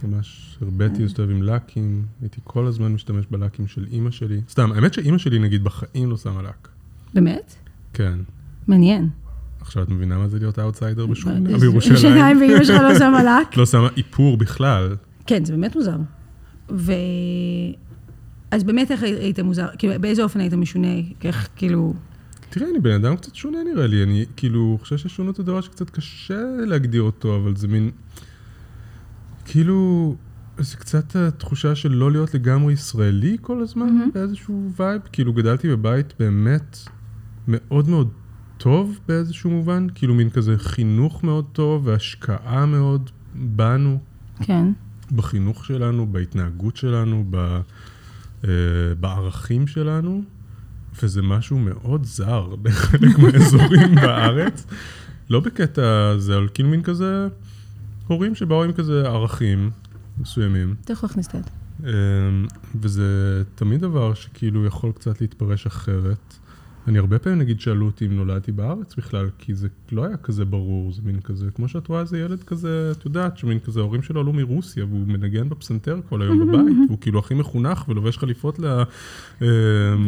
Speaker 2: ממש הרביתי להסתובב עם לקים, הייתי כל הזמן משתמש בלקים של אימא שלי. סתם, האמת שאימא שלי נגיד בחיים לא שמה לק.
Speaker 3: באמת?
Speaker 2: כן.
Speaker 3: מעניין.
Speaker 2: עכשיו את מבינה מה זה להיות אאוטסיידר בשכונה
Speaker 3: שיניים
Speaker 2: לא בירושלים?
Speaker 3: ואימא שלך לא שמה לק.
Speaker 2: את לא שמה איפור בכלל.
Speaker 3: כן, זה באמת מוזר. ו... אז באמת איך היית מוזר? כאילו, באיזה אופן היית משונה? איך, כאילו...
Speaker 2: תראה, אני בן אדם קצת שונה נראה לי, אני כאילו חושב ששונות זה דבר שקצת קשה להגדיר אותו, אבל זה מין... כאילו, זה קצת התחושה של לא להיות לגמרי ישראלי כל הזמן, mm-hmm. באיזשהו וייב. כאילו, גדלתי בבית באמת מאוד מאוד טוב באיזשהו מובן, כאילו מין כזה חינוך מאוד טוב והשקעה מאוד בנו,
Speaker 3: כן.
Speaker 2: בחינוך שלנו, בהתנהגות שלנו, ב, אה, בערכים שלנו, וזה משהו מאוד זר בחלק מהאזורים בארץ. לא בקטע זה, אבל כאילו מין כזה, הורים שבאו עם כזה ערכים מסוימים,
Speaker 3: אתה יכול להכניס את היד.
Speaker 2: אה, וזה תמיד דבר שכאילו יכול קצת להתפרש אחרת. אני הרבה פעמים, נגיד, שאלו אותי אם נולדתי בארץ בכלל, כי זה לא היה כזה ברור, זה מין כזה, כמו שאת רואה איזה ילד כזה, את יודעת, שמין כזה, ההורים שלו עלו מרוסיה, והוא מנגן בפסנתר כל היום בבית, והוא כאילו הכי מחונך ולובש חליפות ל- אה,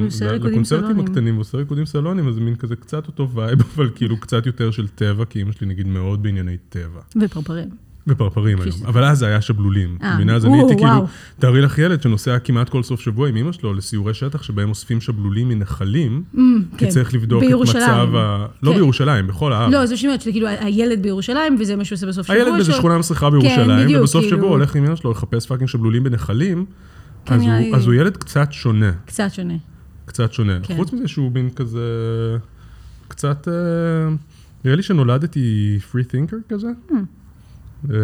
Speaker 3: עושה
Speaker 2: ל-
Speaker 3: ריקודים
Speaker 2: לקונצרטים
Speaker 3: סלונים.
Speaker 2: הקטנים, ועושה ריקודים סלונים, אז זה מין כזה קצת אותו וייב, אבל כאילו קצת יותר של טבע, כי אמא שלי, נגיד, מאוד בענייני טבע.
Speaker 3: ופרפרים.
Speaker 2: בפרפרים
Speaker 3: כפי
Speaker 2: היום,
Speaker 3: שזה.
Speaker 2: אבל אז זה היה שבלולים.
Speaker 3: אה,
Speaker 2: את מבינה? אז
Speaker 3: או,
Speaker 2: אני הייתי כאילו,
Speaker 3: וואו.
Speaker 2: תארי לך ילד שנוסע כמעט כל סוף שבוע עם אמא שלו לסיורי שטח שבהם אוספים שבלולים מנחלים, כי
Speaker 3: כן.
Speaker 2: צריך לבדוק את
Speaker 3: בירושלים.
Speaker 2: מצב ה... לא
Speaker 3: כן.
Speaker 2: בירושלים, בכל הארץ.
Speaker 3: לא, זה שאני אומרת, שזה כאילו הילד בירושלים, וזה מה שהוא עושה בסוף שבוע.
Speaker 2: הילד באיזה
Speaker 3: שלו.
Speaker 2: שכונה מסריחה בירושלים,
Speaker 3: בדיוק,
Speaker 2: ובסוף
Speaker 3: כאילו.
Speaker 2: שבוע הולך עם אמא שלו לחפש פאקינג שבלולים בנחלים,
Speaker 3: כן,
Speaker 2: אז
Speaker 3: נראה
Speaker 2: הוא-
Speaker 3: לי-
Speaker 2: אז הוא ילד קצת שונה,
Speaker 3: קצת שונה.
Speaker 2: קצת שונה.
Speaker 3: כן.
Speaker 2: חוץ מזה שהוא מין כזה... קצת... אה, נראה לי שנולדתי free thinker כזה, אה,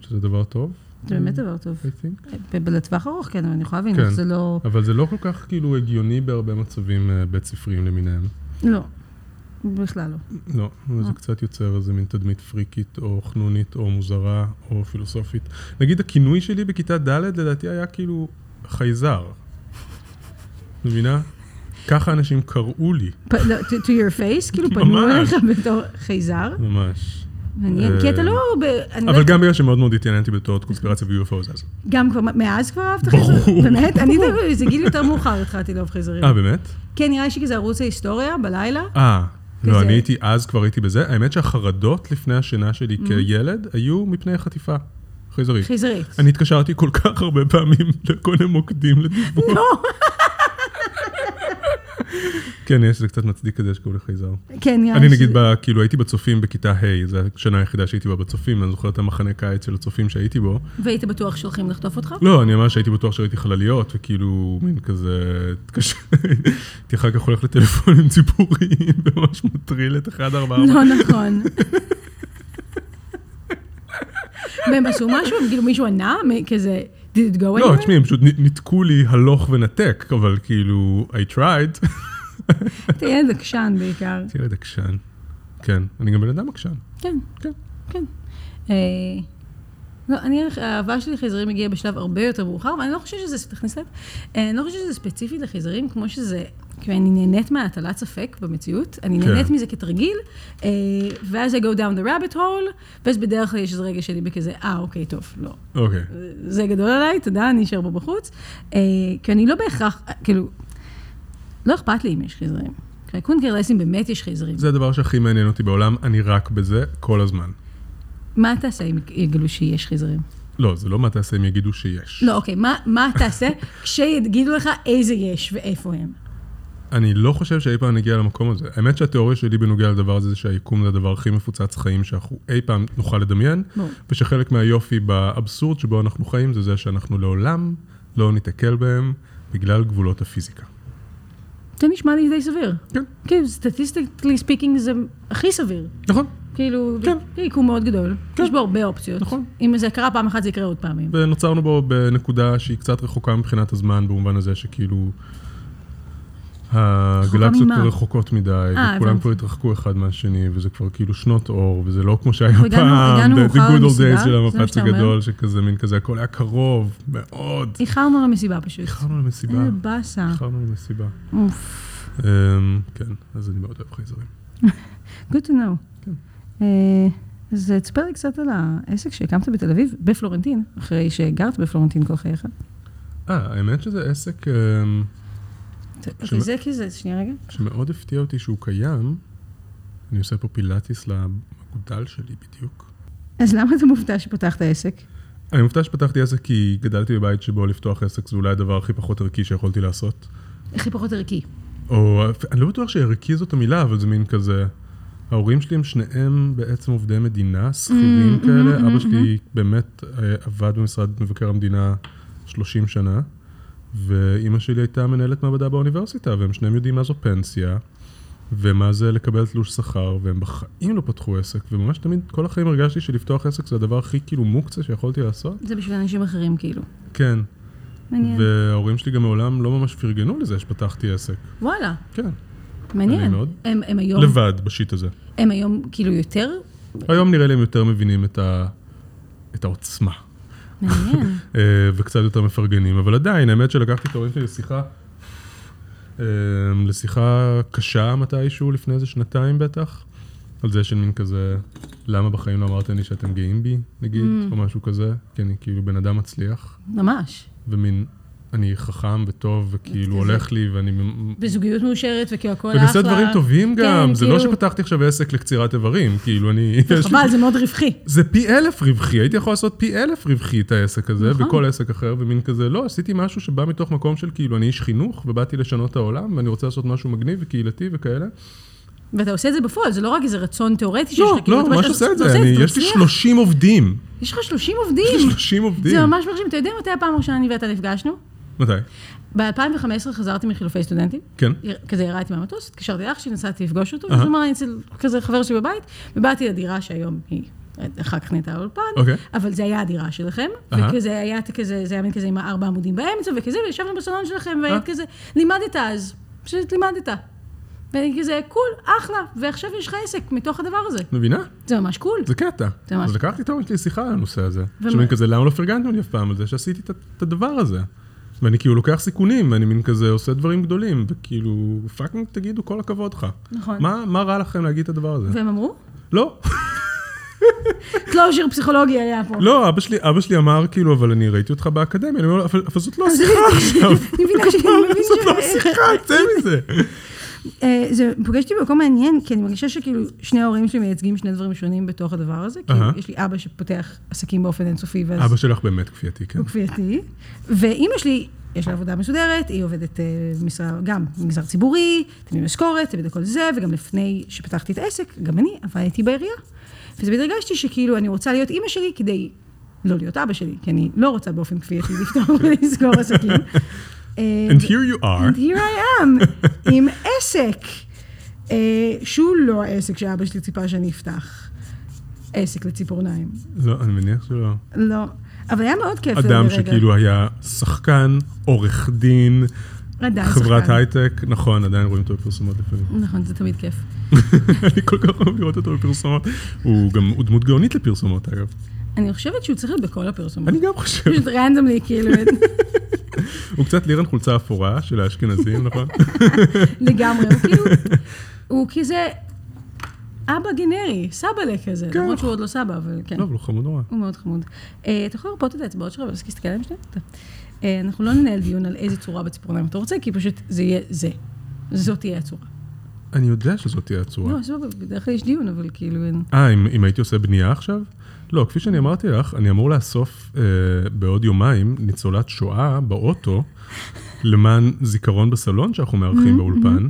Speaker 2: שזה דבר טוב,
Speaker 3: זה באמת דבר טוב.
Speaker 2: I think.
Speaker 3: ב- ב- לטווח ארוך, כן, אבל אני יכולה להבין,
Speaker 2: כן.
Speaker 3: איך זה לא...
Speaker 2: אבל זה לא כל כך כאילו הגיוני בהרבה מצבים אה, בית ספריים למיניהם.
Speaker 3: לא. בכלל לא.
Speaker 2: לא, זה קצת יוצר איזה מין תדמית פריקית, או חנונית, או מוזרה, או פילוסופית. נגיד הכינוי שלי בכיתה ד' לדעתי היה כאילו חייזר. מבינה? ככה אנשים קראו לי,
Speaker 3: פ- לא, to to your face, כאילו פנו
Speaker 2: ממש.
Speaker 3: אליך בתור חייזר.
Speaker 2: ממש.
Speaker 3: מעניין, כי אתה לא... ב- אני לא
Speaker 2: אבל גם בגלל שמאוד מאוד התעניינתי בתיאוריות קונספירציה ו-UFO אז.
Speaker 3: גם כבר, מאז כבר אהבת
Speaker 2: ברור.
Speaker 3: חייזרים? באמת? אני דווקא, איזה גיל יותר מאוחר התחלתי לאהוב חייזרים.
Speaker 2: אה, באמת?
Speaker 3: כן, נראה לי שכזה ערוץ ההיסטוריה בלילה.
Speaker 2: אה, לא,
Speaker 3: כזה.
Speaker 2: אני הייתי, אז כבר הייתי בזה. האמת שהחרדות לפני השינה שלי כילד היו מפני חטיפה חייזרית.
Speaker 3: חייזרית.
Speaker 2: אני התקשרתי כל כך הרבה פעמים לכל מיני מוקדים לדיווח.
Speaker 3: לא.
Speaker 2: כן, יש, זה קצת מצדיק את זה שקראו לי חייזר.
Speaker 3: כן, נראה לי
Speaker 2: אני נגיד,
Speaker 3: שזה-
Speaker 2: ב- כאילו, הייתי בצופים בכיתה ה', זו השנה היחידה שהייתי בה בצופים, אני זוכר את המחנה קיץ של הצופים שהייתי בו.
Speaker 3: והיית בטוח שהולכים לחטוף אותך?
Speaker 2: לא, אני ממש הייתי בטוח שראיתי חלליות, וכאילו, מין כזה... התקשר- הייתי אחר כך הולך לטלפונים ציבוריים, וממש מטריל את 144.
Speaker 3: לא נכון. והם עשו משהו? כאילו מישהו ענה? מ- כזה, did it go anywhere?
Speaker 2: לא, תשמעי, הם פשוט נ- ניתקו לי הלוך ונתק, אבל כאילו, I tried.
Speaker 3: אתה ילד עקשן בעיקר.
Speaker 2: הייתי ילד עקשן. כן, אני גם בן אדם עקשן.
Speaker 3: כן,
Speaker 2: כן.
Speaker 3: כן. אה, לא, אני, האהבה שלי לחייזרים הגיעה בשלב הרבה יותר מאוחר, ואני לא חושבת שזה, תכניס לב, אה, אני לא חושבת שזה ספציפית לחייזרים, כמו שזה, כאילו אני נהנית מהטלת ספק במציאות, אני
Speaker 2: כן.
Speaker 3: נהנית מזה כתרגיל, אה, ואז I go down the rabbit hole, ואז בדרך כלל יש איזה רגע שלי בכזה, אה, אוקיי, טוב, לא,
Speaker 2: אוקיי.
Speaker 3: זה גדול עליי, תודה, אני אשאר פה בחוץ. אה, כי אני לא בהכרח, אה, כאילו, לא אכפת לי אם יש חייזרים. קונקר לסים באמת יש חייזרים.
Speaker 2: זה הדבר שהכי מעניין אותי בעולם, אני רק בזה כל הזמן.
Speaker 3: מה תעשה אם יגלו שיש חייזרים?
Speaker 2: לא, זה לא מה תעשה אם יגידו שיש.
Speaker 3: לא, אוקיי, מה, מה תעשה כשיגידו לך איזה יש ואיפה הם?
Speaker 2: אני לא חושב שאי פעם נגיע למקום הזה. האמת שהתיאוריה שלי בנוגע לדבר הזה, זה שהיקום זה הדבר הכי מפוצץ חיים שאנחנו אי פעם נוכל לדמיין,
Speaker 3: ברור.
Speaker 2: ושחלק מהיופי באבסורד שבו אנחנו חיים זה זה שאנחנו לעולם לא ניתקל בהם בגלל גבולות הפיזיקה.
Speaker 3: זה נשמע לי די סביר.
Speaker 2: כן.
Speaker 3: כאילו, סטטיסטיקלי ספיקינג זה הכי סביר.
Speaker 2: נכון.
Speaker 3: כאילו,
Speaker 2: כן.
Speaker 3: זה יקום מאוד גדול.
Speaker 2: כן.
Speaker 3: יש בו הרבה אופציות.
Speaker 2: נכון.
Speaker 3: אם זה קרה פעם אחת, זה יקרה עוד פעמים.
Speaker 2: ונוצרנו בו בנקודה שהיא קצת רחוקה מבחינת הזמן, במובן הזה שכאילו... הגלקסיות
Speaker 3: ממה?
Speaker 2: רחוקות מדי,
Speaker 3: אה,
Speaker 2: וכולם
Speaker 3: הבנתי.
Speaker 2: כבר התרחקו אחד מהשני, וזה כבר כאילו שנות אור, וזה לא כמו שהיה
Speaker 3: אנחנו הגענו-
Speaker 2: פעם,
Speaker 3: הגענו
Speaker 2: the- the
Speaker 3: מאוחר
Speaker 2: good old
Speaker 3: למסיבה,
Speaker 2: days של
Speaker 3: זה מה
Speaker 2: המפץ
Speaker 3: שאתה אומר?
Speaker 2: הגדול, שכזה מין כזה, הכל היה קרוב, מאוד.
Speaker 3: איחרנו למסיבה פשוט.
Speaker 2: איחרנו למסיבה,
Speaker 3: איזה באסה.
Speaker 2: איחרנו למסיבה.
Speaker 3: אוף.
Speaker 2: אמ, כן, אז אני מאוד אוהב חייזרים.
Speaker 3: Good to know.
Speaker 2: כן.
Speaker 3: אה, אז תספר לי קצת על העסק שהקמת בתל אביב, בפלורנטין, אחרי שגרת בפלורנטין כל חייך.
Speaker 2: אה, האמת שזה עסק אה, שמ-
Speaker 3: אוקיי, זה כי זה, שנייה רגע.
Speaker 2: שמאוד הפתיע אותי שהוא קיים. אני עושה פה פילאטיס למגודל שלי בדיוק. כן.
Speaker 3: אז למה אתה מופתע שפתחת עסק?
Speaker 2: אני מופתע שפתחתי עסק כי גדלתי בבית שבו לפתוח עסק זה אולי הדבר הכי פחות ערכי שיכולתי לעשות.
Speaker 3: הכי פחות ערכי.
Speaker 2: או, אני לא בטוח שערכי זאת המילה, אבל זה מין כזה... ההורים שלי הם שניהם בעצם עובדי מדינה, שכירים
Speaker 3: Mm, mhm,
Speaker 2: כאלה.
Speaker 3: mhm,
Speaker 2: אבא שלי באמת אה, עבד במשרד מבקר המדינה 30 שנה, ואימא שלי הייתה מנהלת מעבדה באוניברסיטה, והם שניהם יודעים מה זו פנסיה, ומה זה לקבל תלוש שכר, והם בחיים לא פתחו עסק, וממש תמיד, כל החיים הרגשתי שלפתוח עסק זה הדבר הכי כאילו מוקצה שיכולתי לעשות.
Speaker 3: זה בשביל אנשים אחרים, כאילו.
Speaker 2: כן,
Speaker 3: מעניין.
Speaker 2: וההורים שלי גם מעולם לא ממש פרגנו לזה שפתחתי עסק.
Speaker 3: וואלה,
Speaker 2: כן,
Speaker 3: מעניין.
Speaker 2: מעניין מאוד.
Speaker 3: הם, הם היום,
Speaker 2: לבד בשיט הזה.
Speaker 3: הם היום כאילו יותר?
Speaker 2: היום נראה לי הם יותר מבינים את, ה... את העוצמה,
Speaker 3: מעניין.
Speaker 2: אה, וקצת יותר מפרגנים, אבל עדיין, האמת שלקחתי את ההורים שלי לשיחה, אה, לשיחה קשה מתישהו, לפני איזה שנתיים בטח, על זה של מין כזה, למה בחיים לא אמרתם לי שאתם גאים בי, נגיד, או משהו כזה, כי אני כאילו בן אדם מצליח,
Speaker 3: ממש.
Speaker 2: ומין, אני חכם וטוב, וכאילו הולך לי, ואני... מ-
Speaker 3: בזוגיות מאושרת, וכאילו הכל
Speaker 2: ואני
Speaker 3: אחלה.
Speaker 2: עושה דברים טובים
Speaker 3: כן,
Speaker 2: גם, זה לא
Speaker 3: כאילו-
Speaker 2: שפתחתי עכשיו עסק לקצירת איברים, כאילו אני... יש לי-
Speaker 3: חבל, זה מאוד רווחי.
Speaker 2: זה פי אלף רווחי, הייתי יכול לעשות פי אלף רווחי את העסק הזה,
Speaker 3: נכון.
Speaker 2: נכון. וכל עסק אחר, ומין כזה, לא, עשיתי משהו שבא מתוך מקום של כאילו, אני איש חינוך, ובאתי לשנות את העולם, ואני רוצה לעשות משהו מגניב וקהילתי
Speaker 3: לא,
Speaker 2: וכאלה.
Speaker 3: ואתה עושה את זה בפועל, זה לא רק איזה רצון תיאורטי שיש
Speaker 2: לא,
Speaker 3: לך, כאילו,
Speaker 2: לא,
Speaker 3: אתה
Speaker 2: ממש
Speaker 3: ממש
Speaker 2: עושה את
Speaker 3: אתה
Speaker 2: זה, אני,
Speaker 3: אתה
Speaker 2: יש לי
Speaker 3: מצליח.
Speaker 2: 30 עובדים.
Speaker 3: יש לך 30 עובדים.
Speaker 2: 30 עובדים.
Speaker 3: זה ממש מרשים. אתה יודע מתי הפעם הראשונה אני ואתה נפגשנו?
Speaker 2: מתי?
Speaker 3: ב-2015 חזרתי מחילופי סטודנטים.
Speaker 2: כן.
Speaker 3: כזה ירדתי מהמטוס, התקשרתי לאח שלי, נסעתי לפגוש אותו,
Speaker 2: אהה.
Speaker 3: ואז הוא אמר, אני אצל כזה חבר שלי בבית, ובאתי לדירה שהיום היא, אחר כך נהייתה האולפן,
Speaker 2: אוקיי.
Speaker 3: אבל זה היה הדירה שלכם,
Speaker 2: אהה.
Speaker 3: וכזה היה את כזה, זה היה מין כזה עם הארבע עמודים באמצע, וכזה, וישבנו בסלון שלכם, והיית כזה, לימדת אז, פשוט לימדת. ואני כזה, קול, אחלה, ועכשיו יש לך עסק מתוך הדבר הזה.
Speaker 2: מבינה?
Speaker 3: זה ממש קול.
Speaker 2: זה קטע.
Speaker 3: זה ממש
Speaker 2: אז לקחתי את ההורים שלי שיחה על הנושא הזה.
Speaker 3: ומה?
Speaker 2: שמין כזה, למה לא פרגנתם לי אף פעם על זה שעשיתי את ה- את הדבר הזה? ואני כאילו לוקח סיכונים, ואני מין כזה עושה דברים גדולים, וכאילו, פאקינג תגידו כל הכבוד לך.
Speaker 3: נכון.
Speaker 2: מה, מה רע לכם להגיד את הדבר הזה?
Speaker 3: והם אמרו,
Speaker 2: לא,
Speaker 3: קלוז'ר פסיכולוגי היה פה.
Speaker 2: לא, אבא שלי, אבא שלי אמר, כאילו, אבל אני ראיתי אותך באקדמיה, אני אומר לו, אבל, אבל זאת לא שיחה עכשיו.
Speaker 3: אני מבינה שאני מבין
Speaker 2: זאת לא
Speaker 3: ש-
Speaker 2: שיחה, צא מזה.
Speaker 3: אה, זה פוגש אותי במקום מעניין, כי אני מרגישה שכאילו שני ההורים שלי מייצגים שני דברים שונים בתוך הדבר הזה. כאילו,
Speaker 2: אהה.
Speaker 3: יש לי אבא שפותח עסקים באופן אינסופי, ואז
Speaker 2: אבא שלך באמת כפייתי, כן.
Speaker 3: הוא כפייתי. ואימא שלי, יש לה עבודה מסודרת, היא עובדת אה, במשרה, גם במגזר ציבורי, תמיד משכורת, תמיד הכל זה, וגם לפני שפתחתי את העסק, גם אני עבדתי בעירייה. ותמיד הרגשתי שכאילו אני רוצה להיות אימא שלי כדי לא להיות אבא שלי, כי אני לא רוצה באופן כפייתי לפתור ולסגור עסקים. אה,
Speaker 2: And here you
Speaker 3: And
Speaker 2: are.
Speaker 3: here I am, עם עסק, אה, שהוא לא העסק שאבא שלי ציפה שאני אפתח. עסק לציפורניים.
Speaker 2: לא, אני מניח שלא.
Speaker 3: לא. אבל היה מאוד כיף.
Speaker 2: אדם
Speaker 3: לרגע.
Speaker 2: שכאילו היה שחקן, עורך דין,
Speaker 3: עדיין
Speaker 2: חברת
Speaker 3: שחקן.
Speaker 2: הייטק, נכון, עדיין רואים אותו בפרסומות לפעמים.
Speaker 3: נכון, זה תמיד כיף.
Speaker 2: אני כל כך אוהב לראות אותו בפרסומות. הוא גם, הוא דמות גאונית לפרסומות, אגב.
Speaker 3: אני חושבת שהוא צריך להיות בכל הפרסומות.
Speaker 2: אני גם חושב.
Speaker 3: פשוט רנדומלי, כאילו,
Speaker 2: הוא קצת לירן חולצה אפורה של האשכנזים, נכון?
Speaker 3: לגמרי. הוא כאילו, הוא כזה אבא גנרי, סבאלה כזה.
Speaker 2: כן.
Speaker 3: למרות שהוא עוד לא סבא, אבל כן.
Speaker 2: לא, אבל הוא חמוד נורא.
Speaker 3: הוא מאוד חמוד. אה, אתה יכול לרפות את האצבעות שלך ואז להסתכל עליהם שנייה? טוב. אה, אנחנו לא ננהל דיון על איזה צורה בציפורניים אתה רוצה, כי פשוט זה יהיה זה. זאת תהיה הצורה.
Speaker 2: אני יודע שזאת תהיה הצורה.
Speaker 3: לא, סבבה, בדרך כלל יש דיון, אבל כאילו אין...
Speaker 2: אה, אם, אם הייתי עושה בנייה עכשיו? לא, כפי שאני אמרתי לך, אני אמור לאסוף אה, בעוד יומיים ניצולת שואה באוטו, למען זיכרון בסלון שאנחנו
Speaker 3: Mm-hmm,
Speaker 2: מארחים באולפן.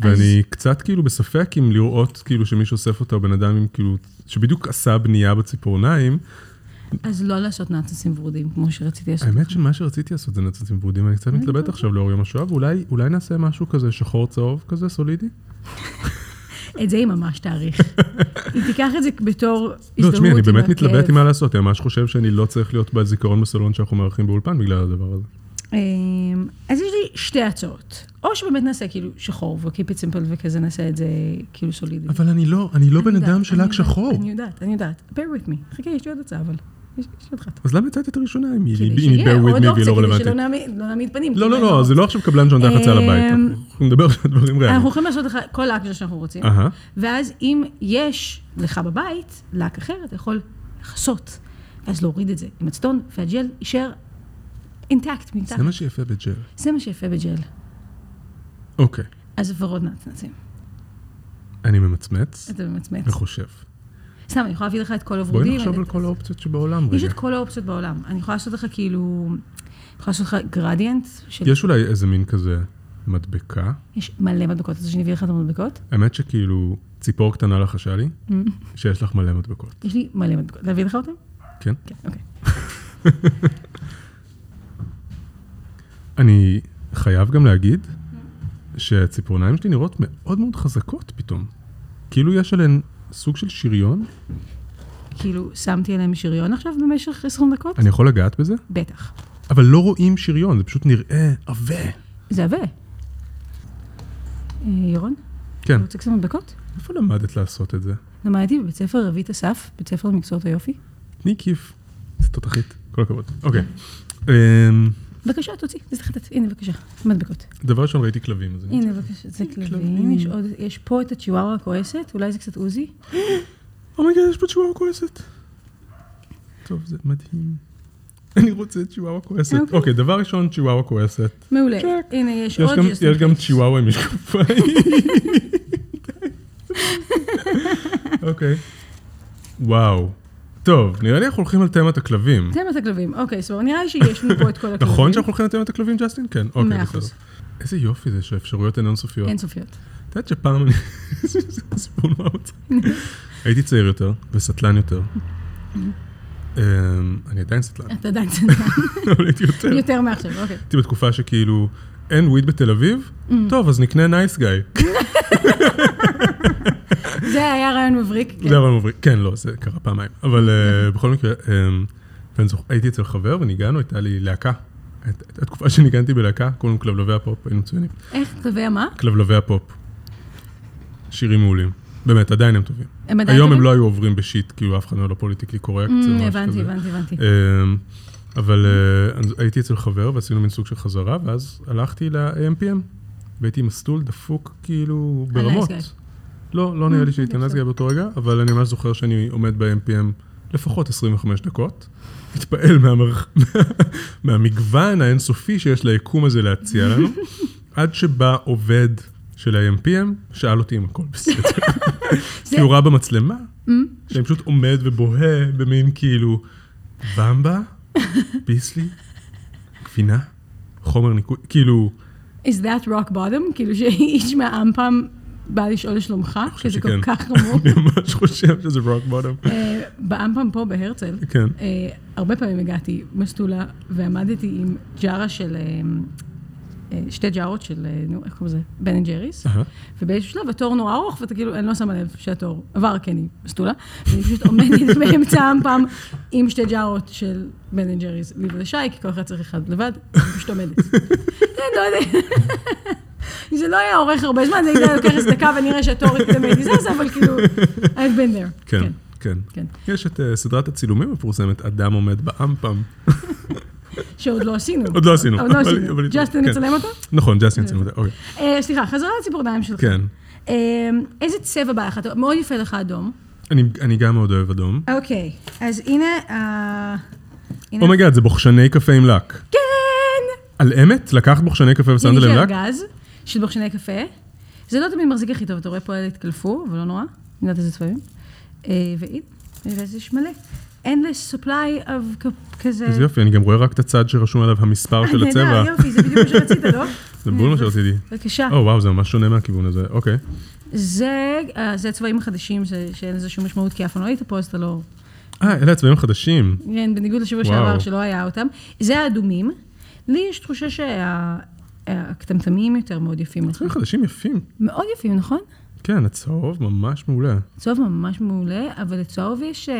Speaker 2: ואני קצת כאילו בספק אם לראות כאילו שמי שאוסף אותה הוא בן אדם עם כאילו, שבדיוק עשה בנייה בציפורניים.
Speaker 3: אז לא לעשות נאצסים ורודים, כמו שרציתי לעשות.
Speaker 2: האמת שמה שרציתי לעשות זה נצצים ורודים, אני קצת
Speaker 3: לא
Speaker 2: מתלבט עכשיו לאור יום השואה, ואולי אולי נעשה משהו כזה שחור צהוב כזה סולידי? לא,
Speaker 3: את זה היא ממש תעריך. היא תיקח את זה בתור הזדהות
Speaker 2: לא, תשמעי, אני
Speaker 3: עם
Speaker 2: באמת מתלבט
Speaker 3: הכאב.
Speaker 2: עם מה לעשות, אני ממש חושב שאני לא צריך להיות בזיכרון בסלון שאנחנו מארחים באולפן בגלל הדבר הזה.
Speaker 3: אמ, אז יש לי שתי הצעות. או שבאמת נעשה כאילו שחור ו-keep it simple וכזה נעשה את זה כאילו סולידי.
Speaker 2: אבל אני לא, אני לא בן
Speaker 3: אני יודעת,
Speaker 2: אדם של
Speaker 3: אני
Speaker 2: אק
Speaker 3: יודעת,
Speaker 2: שחור.
Speaker 3: אני יודעת, אני יודעת. bear with me. חכה, יש לי עוד הצעה, אבל. יש יש אותך.
Speaker 2: אז למה הצעת את הראשונה אם היא
Speaker 3: כדי
Speaker 2: אם היא
Speaker 3: שיהיה
Speaker 2: bear with
Speaker 3: עוד
Speaker 2: me והיא
Speaker 3: אופציה,
Speaker 2: לא
Speaker 3: כדי שלא
Speaker 2: רלוונטית?
Speaker 3: נעמיד- לא נעמיד פנים.
Speaker 2: לא,
Speaker 3: כאילו,
Speaker 2: לא, לא, כן. זה לא עכשיו קבלן שנותן לך
Speaker 3: אה,
Speaker 2: הצעה לבית. אנחנו נדבר עכשיו על דברים
Speaker 3: אנחנו
Speaker 2: ריאליים.
Speaker 3: יכולים לעשות לך כל לק שאנחנו רוצים.
Speaker 2: אהה.
Speaker 3: ואז אם יש לך בבית לק אחר, אתה יכול לחסות, ואז להוריד את זה עם הצטון, והג'ל יישאר אינטקט מתחת.
Speaker 2: זה מה שיפה בג'ל.
Speaker 3: זה מה שיפה בג'ל.
Speaker 2: אוקיי,
Speaker 3: אז ורוד נצנצים.
Speaker 2: אני ממצמץ
Speaker 3: אתה ממצמץ.
Speaker 2: וחושב.
Speaker 3: סתם, אני יכולה להביא לך את כל
Speaker 2: נכון. בואי
Speaker 3: הוורודים.
Speaker 2: נחשוב
Speaker 3: אני-
Speaker 2: על כל האופציות שבעולם
Speaker 3: יש את
Speaker 2: רגע.
Speaker 3: כל האופציות בעולם. אני יכולה לעשות לך כאילו... אני יכולה לעשות לך גרדיאנט. של-
Speaker 2: יש אולי איזה מין כזה מדבקה.
Speaker 3: יש מלא מדבקות, אז שאני אביא לך את המדבקות.
Speaker 2: האמת שכאילו, ציפור קטנה לחשה לי, שיש לך מלא מדבקות,
Speaker 3: יש לי מלא מדבקות. להביא לך אותן?
Speaker 2: כן?
Speaker 3: כן, אוקיי.
Speaker 2: אני חייב גם להגיד שהציפורניים שלי נראות מאוד מאוד חזקות פתאום. כאילו יש עליהן סוג של שריון.
Speaker 3: כאילו, שמתי עליהם שריון עכשיו במשך 20 דקות?
Speaker 2: אני יכול לגעת בזה?
Speaker 3: בטח.
Speaker 2: אבל לא רואים שריון, זה פשוט נראה עבה.
Speaker 3: זה עבה. אה, ירון,
Speaker 2: כן.
Speaker 3: אתה רוצה קצת מדבקות?
Speaker 2: איפה למדת לעשות את זה?
Speaker 3: למדתי בבית ספר רבית אסף, בית ספר למקצועות היופי.
Speaker 2: תני כיף. זה תותחית. כל הכבוד. אוקיי. אמ,
Speaker 3: בבקשה, תוציא, זה חטאת. הנה, בבקשה, מדבקות.
Speaker 2: דבר ראשון, ראיתי כלבים. אז אני-
Speaker 3: הנה, בבקשה, זה
Speaker 2: כלבים.
Speaker 3: כלבים. יש עוד, יש פה את הצ'יווארה הכועסת, אולי זה קצת עוזי.
Speaker 2: אומייגה, יש פה צ'ווארה כועסת. טוב, זה מדהים. אני רוצה צ'ווארה כועסת.
Speaker 3: אוקיי.
Speaker 2: אוקיי, דבר ראשון, צ'ווארה כועסת.
Speaker 3: מעולה.
Speaker 2: צ'ק.
Speaker 3: הנה, יש
Speaker 2: יש
Speaker 3: עוד
Speaker 2: גם-
Speaker 3: just in
Speaker 2: יש גם
Speaker 3: case.
Speaker 2: צ'יוואווה עם משקפיים. אוקיי. וואו. טוב, נראה לי אנחנו הולכים על תמת הכלבים.
Speaker 3: תן את הכלבים. אוקיי, סבבה, נראה לי שיש לנו פה את כל הכלבים.
Speaker 2: נכון שאנחנו הולכים על תמת הכלבים, ג'סטין? כן. אוקיי,
Speaker 3: מאה
Speaker 2: בסדר.
Speaker 3: אחוז. כן.
Speaker 2: איזה יופי זה שהאפשרויות הן אינסופיות.
Speaker 3: אינסופיות.
Speaker 2: את יודעת שפעם אני... זה סיפור נורא מצחיק. הייתי צעיר יותר וסטלן יותר. אמ, אני עדיין סטלן,
Speaker 3: אתה עדיין צודק.
Speaker 2: אבל הייתי יותר.
Speaker 3: יותר מעכשיו, אוקיי.
Speaker 2: הייתי בתקופה שכאילו, אין וויד בתל אביב? טוב, אז נקנה נייס גיא.
Speaker 3: זה היה רעיון מבריק. כן. אוקיי.
Speaker 2: זה אבל מבריק, כן, לא, זה קרה פעמיים. אבל אה, בכל מקרה, אה, ואני זוכר, הייתי אצל חבר וניגענו, הייתה לי להקה. הת- התקופה שניגנתי בלהקה, קוראים כלבלבי הפופ, היינו מצוינים.
Speaker 3: איך, תובע מה?
Speaker 2: כלבלבי הפופ. שירים מעולים. באמת, עדיין הם טובים.
Speaker 3: הם עדיין
Speaker 2: היום הם
Speaker 3: טובים?
Speaker 2: לא היו עוברים בשיט, כאילו אף אחד לא פוליטיקלי קורקט.
Speaker 3: אמ,
Speaker 2: זה ממש
Speaker 3: הבנתי,
Speaker 2: כזה.
Speaker 3: הבנתי, הבנתי.
Speaker 2: אמ, אבל אה, אז הייתי אצל חבר ועשינו מין סוג של חזרה, ואז הלכתי ל-AMPM, והייתי מסלול דפוק כאילו
Speaker 3: על
Speaker 2: ברמות.
Speaker 3: נייס
Speaker 2: לא, לא נראה לי שהייתי
Speaker 3: בסדר.
Speaker 2: נסגי באותו רגע, אבל אני ממש זוכר שאני עומד ב-AMPM לפחות 25 דקות, מתפעל מהמרח- מהמגוון האינסופי שיש ליקום הזה להציע לנו, עד שבא עובד של ה-AMPM, שאל אותי אם הכל בסדר. כי הוא ראה במצלמה,
Speaker 3: Mm?
Speaker 2: שאני פשוט עומד ובוהה במין כאילו, במבה, ביסלי, גבינה, חומר ניקוי, כאילו,
Speaker 3: Is that rock bottom? כאילו שאיש מהעם פעם בא לשאול לשלומך,
Speaker 2: חושב
Speaker 3: שזה כל
Speaker 2: שכן.
Speaker 3: כך חמור.
Speaker 2: אני ממש חושב שזה רוק בוטום.
Speaker 3: אה, בעם פעם פה בהרצל,
Speaker 2: כן.
Speaker 3: אה, הרבה פעמים הגעתי מסטולה ועמדתי עם ג'ארה של, אה, אה, שתי ג'ארות של, אה, נו, איך קוראים לזה? בן אנד ג'ריס.
Speaker 2: אהה.
Speaker 3: ובאיזשהו שלב התור נורא ארוך, ואתה כאילו, אני לא שמה לב שהתור עבר, כי אני מסטולה. אני פשוט עומדת באמצע העם פעם עם שתי ג'ארות של בן אנד ג'ריס, לי ולשי, כי כל אחד צריך אחד לבד, אני פשוט עומדת. כן, לא יודע. זה לא היה אורך הרבה זמן, זה היה לוקח איזה דקה ונראה שהתור התדמד לי זה, אבל כאילו, I've been there.
Speaker 2: כן, כן.
Speaker 3: כן.
Speaker 2: יש את אה, סדרת הצילומים המפורסמת, אדם עומד באמפם.
Speaker 3: שעוד לא עשינו.
Speaker 2: עוד לא עשינו.
Speaker 3: עוד לא
Speaker 2: אבל-
Speaker 3: עשינו.
Speaker 2: אבל-
Speaker 3: ג'סטין
Speaker 2: כן.
Speaker 3: נצלם אותו?
Speaker 2: נכון, ג'סטין צילם אותה, אוקיי.
Speaker 3: אה, סליחה, חזרה לציפורניים שלך.
Speaker 2: כן.
Speaker 3: אה, איזה צבע בא לך? אתה- מאוד יפה לך אדום.
Speaker 2: אני- אני גם מאוד אוהב אדום.
Speaker 3: אוקיי, אז הנה... אה, הנה-
Speaker 2: אומייגאד, Oh זה בוכשני קפה עם לק.
Speaker 3: כן!
Speaker 2: על אמת? לקחת בוכשני קפה ושמת
Speaker 3: הנה יש לי
Speaker 2: עליהם לק?
Speaker 3: ארגז של בוכשני קפה. זה לא תמיד מחזיק הכי טוב, אתה רואה פה אלה התקלפו, אבל לא נורא. אני יודעת איזה צבעים. אה, והנה, וזה יש מלא. Endless supply of כ- כזה...
Speaker 2: איזה יופי, אני גם רואה רק את הצד שרשום עליו המספר
Speaker 3: אה,
Speaker 2: של
Speaker 3: נהדר,
Speaker 2: הצבע.
Speaker 3: יופי, זה בדיוק מה שרצית, לא?
Speaker 2: זה בול מה שרציתי.
Speaker 3: בבקשה.
Speaker 2: או וואו, זה ממש שונה מהכיוון הזה, אוקיי.
Speaker 3: זה, אה, זה הצבעים החדשים, זה, שאין לזה שום משמעות, כי אף פעם לא היית פה, אז אתה לא...
Speaker 2: אה, אלה הצבעים החדשים.
Speaker 3: כן, בניגוד לשבוע
Speaker 2: וואו.
Speaker 3: שעבר, שלא היה אותם. זה האדומים. לי יש תחושה שהקטמטמים יותר מאוד יפים לך.
Speaker 2: הצבעים חדשים יפים.
Speaker 3: מאוד יפים, נכון?
Speaker 2: כן, הצהוב ממש מעולה.
Speaker 3: צהוב ממש מעולה, אבל לצהוב יש... אה,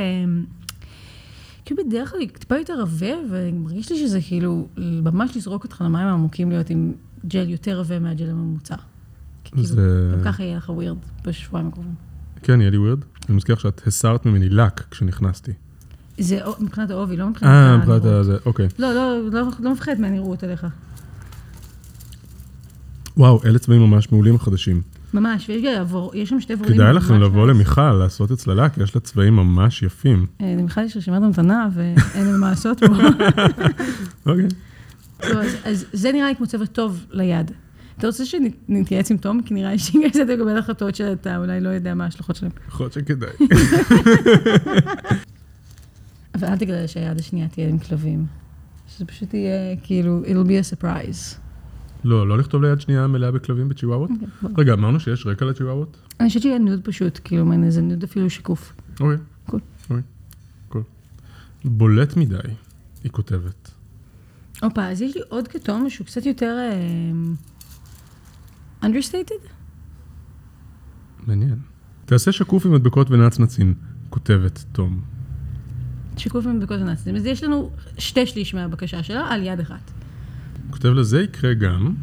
Speaker 3: כאילו בדרך כלל היא טיפה יותר עבה, ומרגיש לי שזה כאילו ממש לזרוק אותך למים העמוקים להיות עם ג'ל יותר עבה מהג'ל הממוצע. כי כאילו,
Speaker 2: זה-
Speaker 3: גם ככה יהיה לך ווירד בשבועיים הקרובים. אה,
Speaker 2: כן, יהיה לי ווירד. אני מזכיר לך שאת הסרת ממני לק כשנכנסתי.
Speaker 3: זה או- מבחינת העובי, לא מבחינת
Speaker 2: אה, מבחינת
Speaker 3: הנראות.
Speaker 2: הזה, אוקיי.
Speaker 3: לא, לא, לא, לא מפחדת מהנראות עליך.
Speaker 2: וואו, אלה צבעים ממש מעולים החדשים.
Speaker 3: ממש, ויש גם עבור, יש שם שתי ורורים.
Speaker 2: כדאי לכם
Speaker 3: ממש
Speaker 2: לבוא
Speaker 3: ממש.
Speaker 2: למיכל לעשות אצללה, כי יש לה צבעים ממש יפים.
Speaker 3: אה, למיכל יש רשימת המתנה ואין לנו מה לעשות פה.
Speaker 2: אוקיי.
Speaker 3: לא, אז- אז זה נראה לי כמו צוות טוב ליד. אתה רוצה שנתייעץ עם תום? כי נראה לי שאם אתה מקבל החלטות שאתה אולי לא יודע מה ההשלכות שלהן.
Speaker 2: יכול להיות שכדאי.
Speaker 3: אבל אל תגלה שהיד השנייה תהיה עם כלבים. שזה פשוט יהיה כאילו, it'll be a surprise.
Speaker 2: לא, לא לכתוב ליד שנייה מלאה בכלבים בצ'יוואוות?
Speaker 3: אוקיי, בוא.
Speaker 2: רגע, אמרנו שיש רקע לצ'יוואוות?
Speaker 3: אני חושבת שיהיה נוד פשוט, כאילו, מעין איזה נוד אפילו שקוף.
Speaker 2: אוקיי.
Speaker 3: קול.
Speaker 2: אוקיי. קול. בולט מדי, היא כותבת.
Speaker 3: הופה, אז יש לי עוד כתום שהוא קצת יותר אמ, understated?
Speaker 2: מעניין. תעשה שקוף עם מדבקות ונצנצים, כותבת תום.
Speaker 3: שקוף עם בדיקות הנאצים. אז יש לנו שתי שליש מהבקשה שלה על יד אחת.
Speaker 2: כותב לה, זה יקרה גם.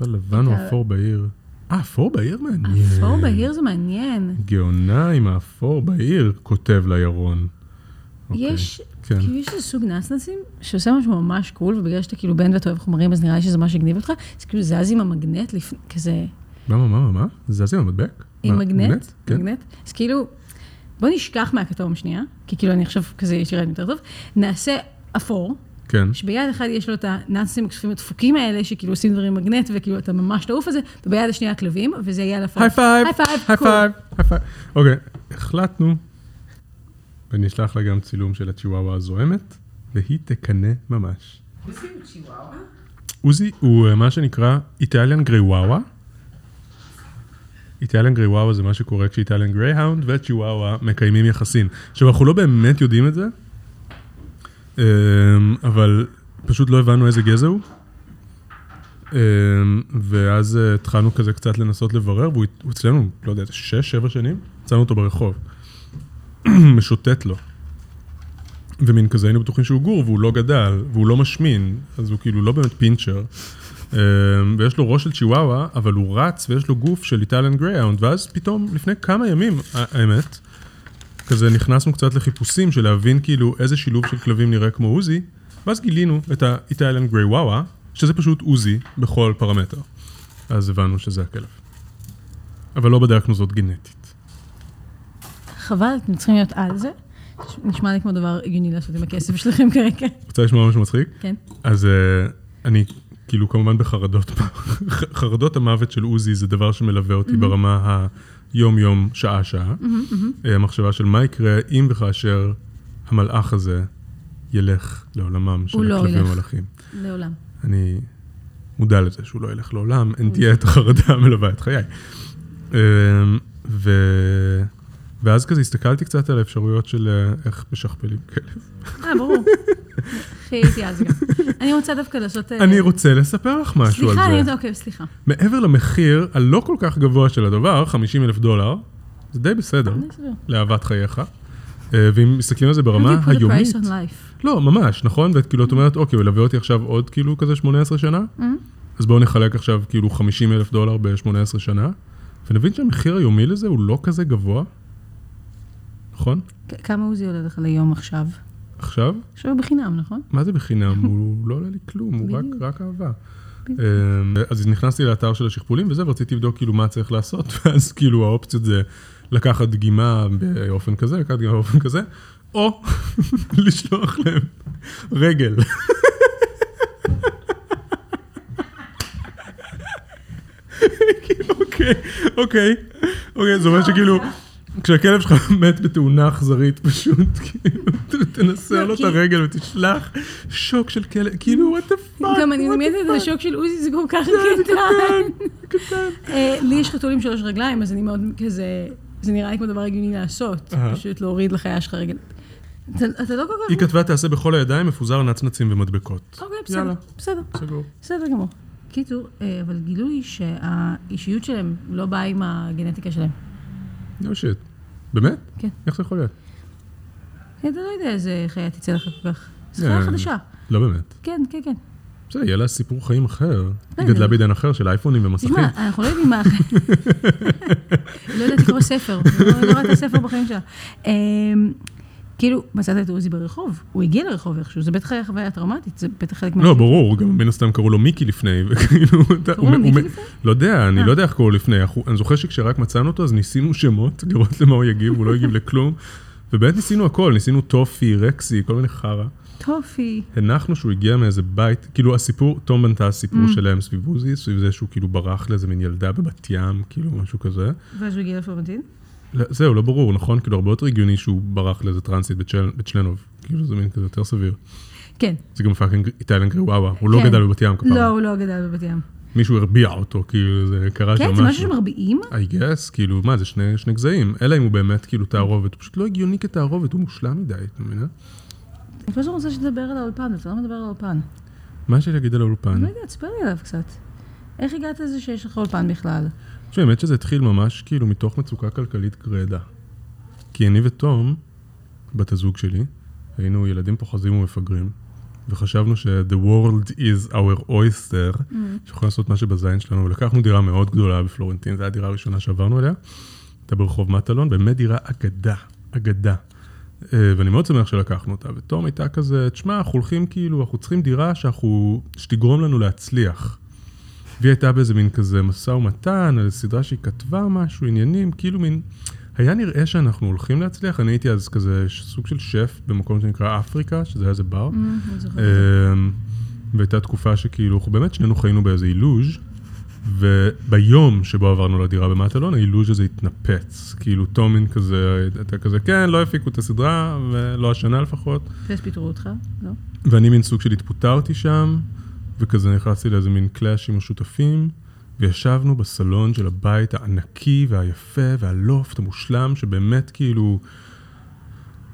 Speaker 2: אבל לבן או
Speaker 3: אתה-
Speaker 2: אפור בעיר. אה, אפור בעיר מעניין.
Speaker 3: אפור בהיר זה מעניין.
Speaker 2: גאונה עם האפור בעיר, כותב לה ירון. אוקיי.
Speaker 3: יש,
Speaker 2: כן.
Speaker 3: כאילו יש איזה סוג נצנצים שעושה משהו ממש קול, ובגלל שאתה כאילו בן ואתה אוהב חומרים, אז נראה לי שזה מה שהגניב אותך. זה כאילו זז עם המגנט לפני, כזה,
Speaker 2: מה, מה, מה, מה? זז עם המדבק?
Speaker 3: עם
Speaker 2: מה,
Speaker 3: מגנט,
Speaker 2: כן.
Speaker 3: מגנט. אז כאילו, בוא נשכח מהכתום שנייה, כי כאילו אני עכשיו כזה, יש לי רעיון יותר טוב. נעשה אפור,
Speaker 2: כן.
Speaker 3: שביד אחת יש לו את הנאצים הכספים הדפוקים האלה, שכאילו עושים דברים עם מגנט, וכאילו אתה ממש תעוף על זה, וביד השנייה הכלבים, וזה יהיה על הפור.
Speaker 2: היי פייב,
Speaker 3: היי פייב,
Speaker 2: היי
Speaker 3: קול.
Speaker 2: פייב, היי פייב. אוקיי, החלטנו. ונשלח לה גם צילום של הצ'יוואווה הזוהמת, והיא תקנא ממש. עוזי הוא אה, מה שנקרא איטליאן גריוואווה. איטליאן גריוואווה זה מה שקורה כשאיטליאן גרייהאונד וצ'יוואווה מקיימים יחסים. עכשיו, אנחנו לא באמת יודעים את זה, אמ, אבל פשוט לא הבנו איזה גזע הוא. אמ, ואז אה, התחלנו כזה קצת לנסות לברר, והוא הוא אצלנו, לא יודע, שש, שבע שנים, מצאנו אותו ברחוב. משוטט לו. ומין כזה היינו בטוחים שהוא גור, והוא לא גדל, והוא לא משמין, אז הוא כאילו לא באמת פינצ'ר. אמ, ויש לו ראש של צ'יוואווה, אבל הוא רץ ויש לו גוף של איטליאן גרייאונד, ואז פתאום, לפני כמה ימים, ה- האמת, כזה נכנסנו קצת לחיפושים של להבין כאילו איזה שילוב של כלבים נראה כמו עוזי, ואז גילינו את האיטליאן גרייוואווה, שזה פשוט עוזי בכל פרמטר. אז הבנו שזה הכלב. אבל לא בדקנו זאת גנטית.
Speaker 3: חבל, אתם צריכים להיות על זה. נשמע לי כמו דבר הגיוני לעשות עם הכסף שלכם כרגע.
Speaker 2: רוצה לשמוע משהו מצחיק?
Speaker 3: כן.
Speaker 2: אז אה, אני כאילו כמובן בחרדות, חרדות המוות של עוזי זה דבר שמלווה אותי ברמה היום-יום, שעה-שעה. אה, המחשבה של מה יקרה אם וכאשר המלאך הזה ילך לעולמם
Speaker 3: הוא
Speaker 2: של
Speaker 3: לא
Speaker 2: הכלבים
Speaker 3: ילך.
Speaker 2: המלאכים.
Speaker 3: לעולם.
Speaker 2: אני מודע לזה שהוא לא ילך לעולם, אין תהיה את החרדה המלווה את חיי. אמ, ו... ואז כזה הסתכלתי קצת על האפשרויות של אה, איך משכפלים כלב.
Speaker 3: אה, ברור. אחי, הייתי אז גם. אני רוצה דווקא לעשות... אה,
Speaker 2: אני רוצה לספר לך משהו על
Speaker 3: סליחה, אני
Speaker 2: זה.
Speaker 3: רוצה... אוקיי, סליחה.
Speaker 2: מעבר למחיר הלא כל כך גבוה של הדבר, 50 אלף דולר, זה די בסדר,
Speaker 3: אני אסביר.
Speaker 2: לאהבת חייך. אה, ואם מסתכלים על זה ברמה
Speaker 3: How do you put a
Speaker 2: היומית,
Speaker 3: price on life?
Speaker 2: לא, ממש, נכון? ואת כאילו, את אומרת, אוקיי, הוא ילווה אותי עכשיו עוד כאילו כזה 18 שנה,
Speaker 3: Mm-hmm.
Speaker 2: אז בואו נחלק עכשיו כאילו 50 אלף דולר ב-18 שנה, ונבין שהמחיר היומי לזה הוא לא כזה גבוה, נכון?
Speaker 3: כ- כמה עוזי עולה לך ליום עכשיו?
Speaker 2: עכשיו,
Speaker 3: עכשיו הוא בחינם, נכון?
Speaker 2: מה זה בחינם? הוא לא עולה לי כלום, הוא רק,
Speaker 3: בדיוק.
Speaker 2: רק אהבה. אמ, אז נכנסתי לאתר של השכפולים וזה, ורציתי לבדוק כאילו מה צריך לעשות, ואז כאילו האופציות זה לקחת דגימה באופן כזה, לקחת דגימה באופן כזה, או לשלוח להם רגל. כאילו, אוקיי, אוקיי, אוקיי, זה אומר שכאילו, כשהכלב שלך מת בתאונה אכזרית, פשוט כאילו, תנסה
Speaker 3: לא,
Speaker 2: לו את
Speaker 3: כי-
Speaker 2: הרגל ותשלח שוק של כלב, כאילו, וואט דה פאק.
Speaker 3: גם אני מדמיינת את השוק של עוזי, זה כל כך קטן. אה, לי יש חתולים שלוש רגליים, אז אני מאוד כזה... זה נראה לי כמו דבר הגיוני לעשות.
Speaker 2: אהה.
Speaker 3: פשוט להוריד לחיה שלך רגל. אתה אתה לא כל כך...
Speaker 2: היא כתבה תעשה בכל הידיים מפוזר נצנצים ומדבקות.
Speaker 3: אוקיי,
Speaker 2: יאללה.
Speaker 3: בסדר, בסדר.
Speaker 2: סגור.
Speaker 3: בסדר גמור. קיצור, אה, אבל גילו לי שהאישיות שלהם לא באה עם הגנטיקה שלהם.
Speaker 2: נו שיט. באמת?
Speaker 3: כן.
Speaker 2: איך זה יכול להיות?
Speaker 3: כן, אתה לא יודע איזה חיה תצא לך כל כך. זו
Speaker 2: כן.
Speaker 3: חיה חדשה.
Speaker 2: לא באמת.
Speaker 3: כן, כן, כן.
Speaker 2: בסדר, יהיה לה סיפור חיים אחר.
Speaker 3: כן,
Speaker 2: היא גדלה
Speaker 3: אני-
Speaker 2: בעידן אחר של אייפונים ומסכים.
Speaker 3: תשמע, אנחנו לא יודעים מה... היא לא יודעת לקרוא ספר. לא לא ראתה ספר בחיים שלה. אמ, כאילו, מצאת את עוזי ברחוב, הוא הגיע לרחוב איכשהו, זה בטח היה חוויה טראומטית, זה בטח חלק
Speaker 2: לא, ברור, גם מן הסתם קראו לו מיקי לפני, וכאילו... אתה-
Speaker 3: קראו לו
Speaker 2: הוא- הוא-
Speaker 3: מיקי לפני?
Speaker 2: לא יודע, אני
Speaker 3: אה.
Speaker 2: לא יודע איך קראו לו לפני. אנחנו- אני זוכר שכשרק מצאנו אותו, אז ניסינו שמות, לראות למה הוא יגיב, הוא לא יגיב לכלום. ובאמת ניסינו הכל, ניסינו טופי, רקסי, כל מיני חרא.
Speaker 3: טופי.
Speaker 2: הנחנו שהוא הגיע מאיזה בית, כאילו הסיפור, תום בנתה הסיפור
Speaker 3: Mm.
Speaker 2: שלהם סביב עוזי, סביב זה שהוא כאילו ברח לאיזה מין ילדה בבת ים, כאילו משהו כזה.
Speaker 3: ואז הוא הגיע לפלורנטין?
Speaker 2: לא- זהו, לא ברור, נכון? כאילו הרבה יותר הגיוני שהוא ברח לאיזה טרנסית בצ'ל- בצ'לנוב. כאילו זה מין כזה יותר סביר.
Speaker 3: כן.
Speaker 2: זה גם פאקינג איטלנד גרוואווה, הוא לא
Speaker 3: כן.
Speaker 2: גדל בבת ים כפרה.
Speaker 3: לא, הוא לא גדל בבת ים.
Speaker 2: מישהו הרביע אותו, כאילו זה קרה שם
Speaker 3: כן,
Speaker 2: משהו.
Speaker 3: זה משהו שמרביעים?
Speaker 2: I guess, כאילו, מה, זה שני, שני גזעים, אלא אם הוא באמת כאילו תערובת, הוא פשוט לא הגיוני כתערובת, הוא מושלם מדי, את מבינה?
Speaker 3: אני פשוט רוצה שתדבר על האולפן, ואתה לא מדבר על האולפן.
Speaker 2: מה יש לי להגיד על האולפן?
Speaker 3: לא יודע, תספר לי עליו קצת. איך הגעת לזה שיש לך אולפן בכלל?
Speaker 2: תשמע, האמת שזה התחיל ממש כאילו מתוך מצוקה כלכלית גרידא. כי אני ותום, בת הזוג שלי, היינו ילדים פוחזים ומפגרים, וחשבנו ש-The world is our oyster, שיכולים לעשות מה שבזין שלנו, ולקחנו דירה מאוד גדולה בפלורנטין, זו הייתה הדירה הראשונה שעברנו אליה, הייתה ברחוב מטלון, באמת דירה אגדה, אגדה. אה, ואני מאוד שמח שלקחנו אותה, ותום הייתה כזה, תשמע, אנחנו הולכים כאילו, אנחנו צריכים דירה שאנחנו, שתגרום לנו להצליח. והיא הייתה באיזה מין כזה משא ומתן, על סדרה שהיא כתבה משהו, עניינים, כאילו מין... היה נראה שאנחנו הולכים להצליח, אני הייתי אז כזה ש- סוג של שף במקום שנקרא אפריקה, שזה היה איזה בר.
Speaker 3: אני זוכרת.
Speaker 2: אמ, והייתה תקופה שכאילו, אנחנו באמת שנינו חיינו באיזה אילוז', וביום שבו עברנו לדירה במטלון, האילוז' הזה התנפץ. כאילו, תומין כזה, הייתה כזה, כן, לא הפיקו את הסדרה, ולא השנה לפחות.
Speaker 3: ואז פיטרו אותך? לא?
Speaker 2: ואני מין סוג של התפוטרתי שם, וכזה נכנסתי לאיזה מין קלאש עם השותפים, וישבנו בסלון של הבית הענקי והיפה והלופט המושלם, שבאמת כאילו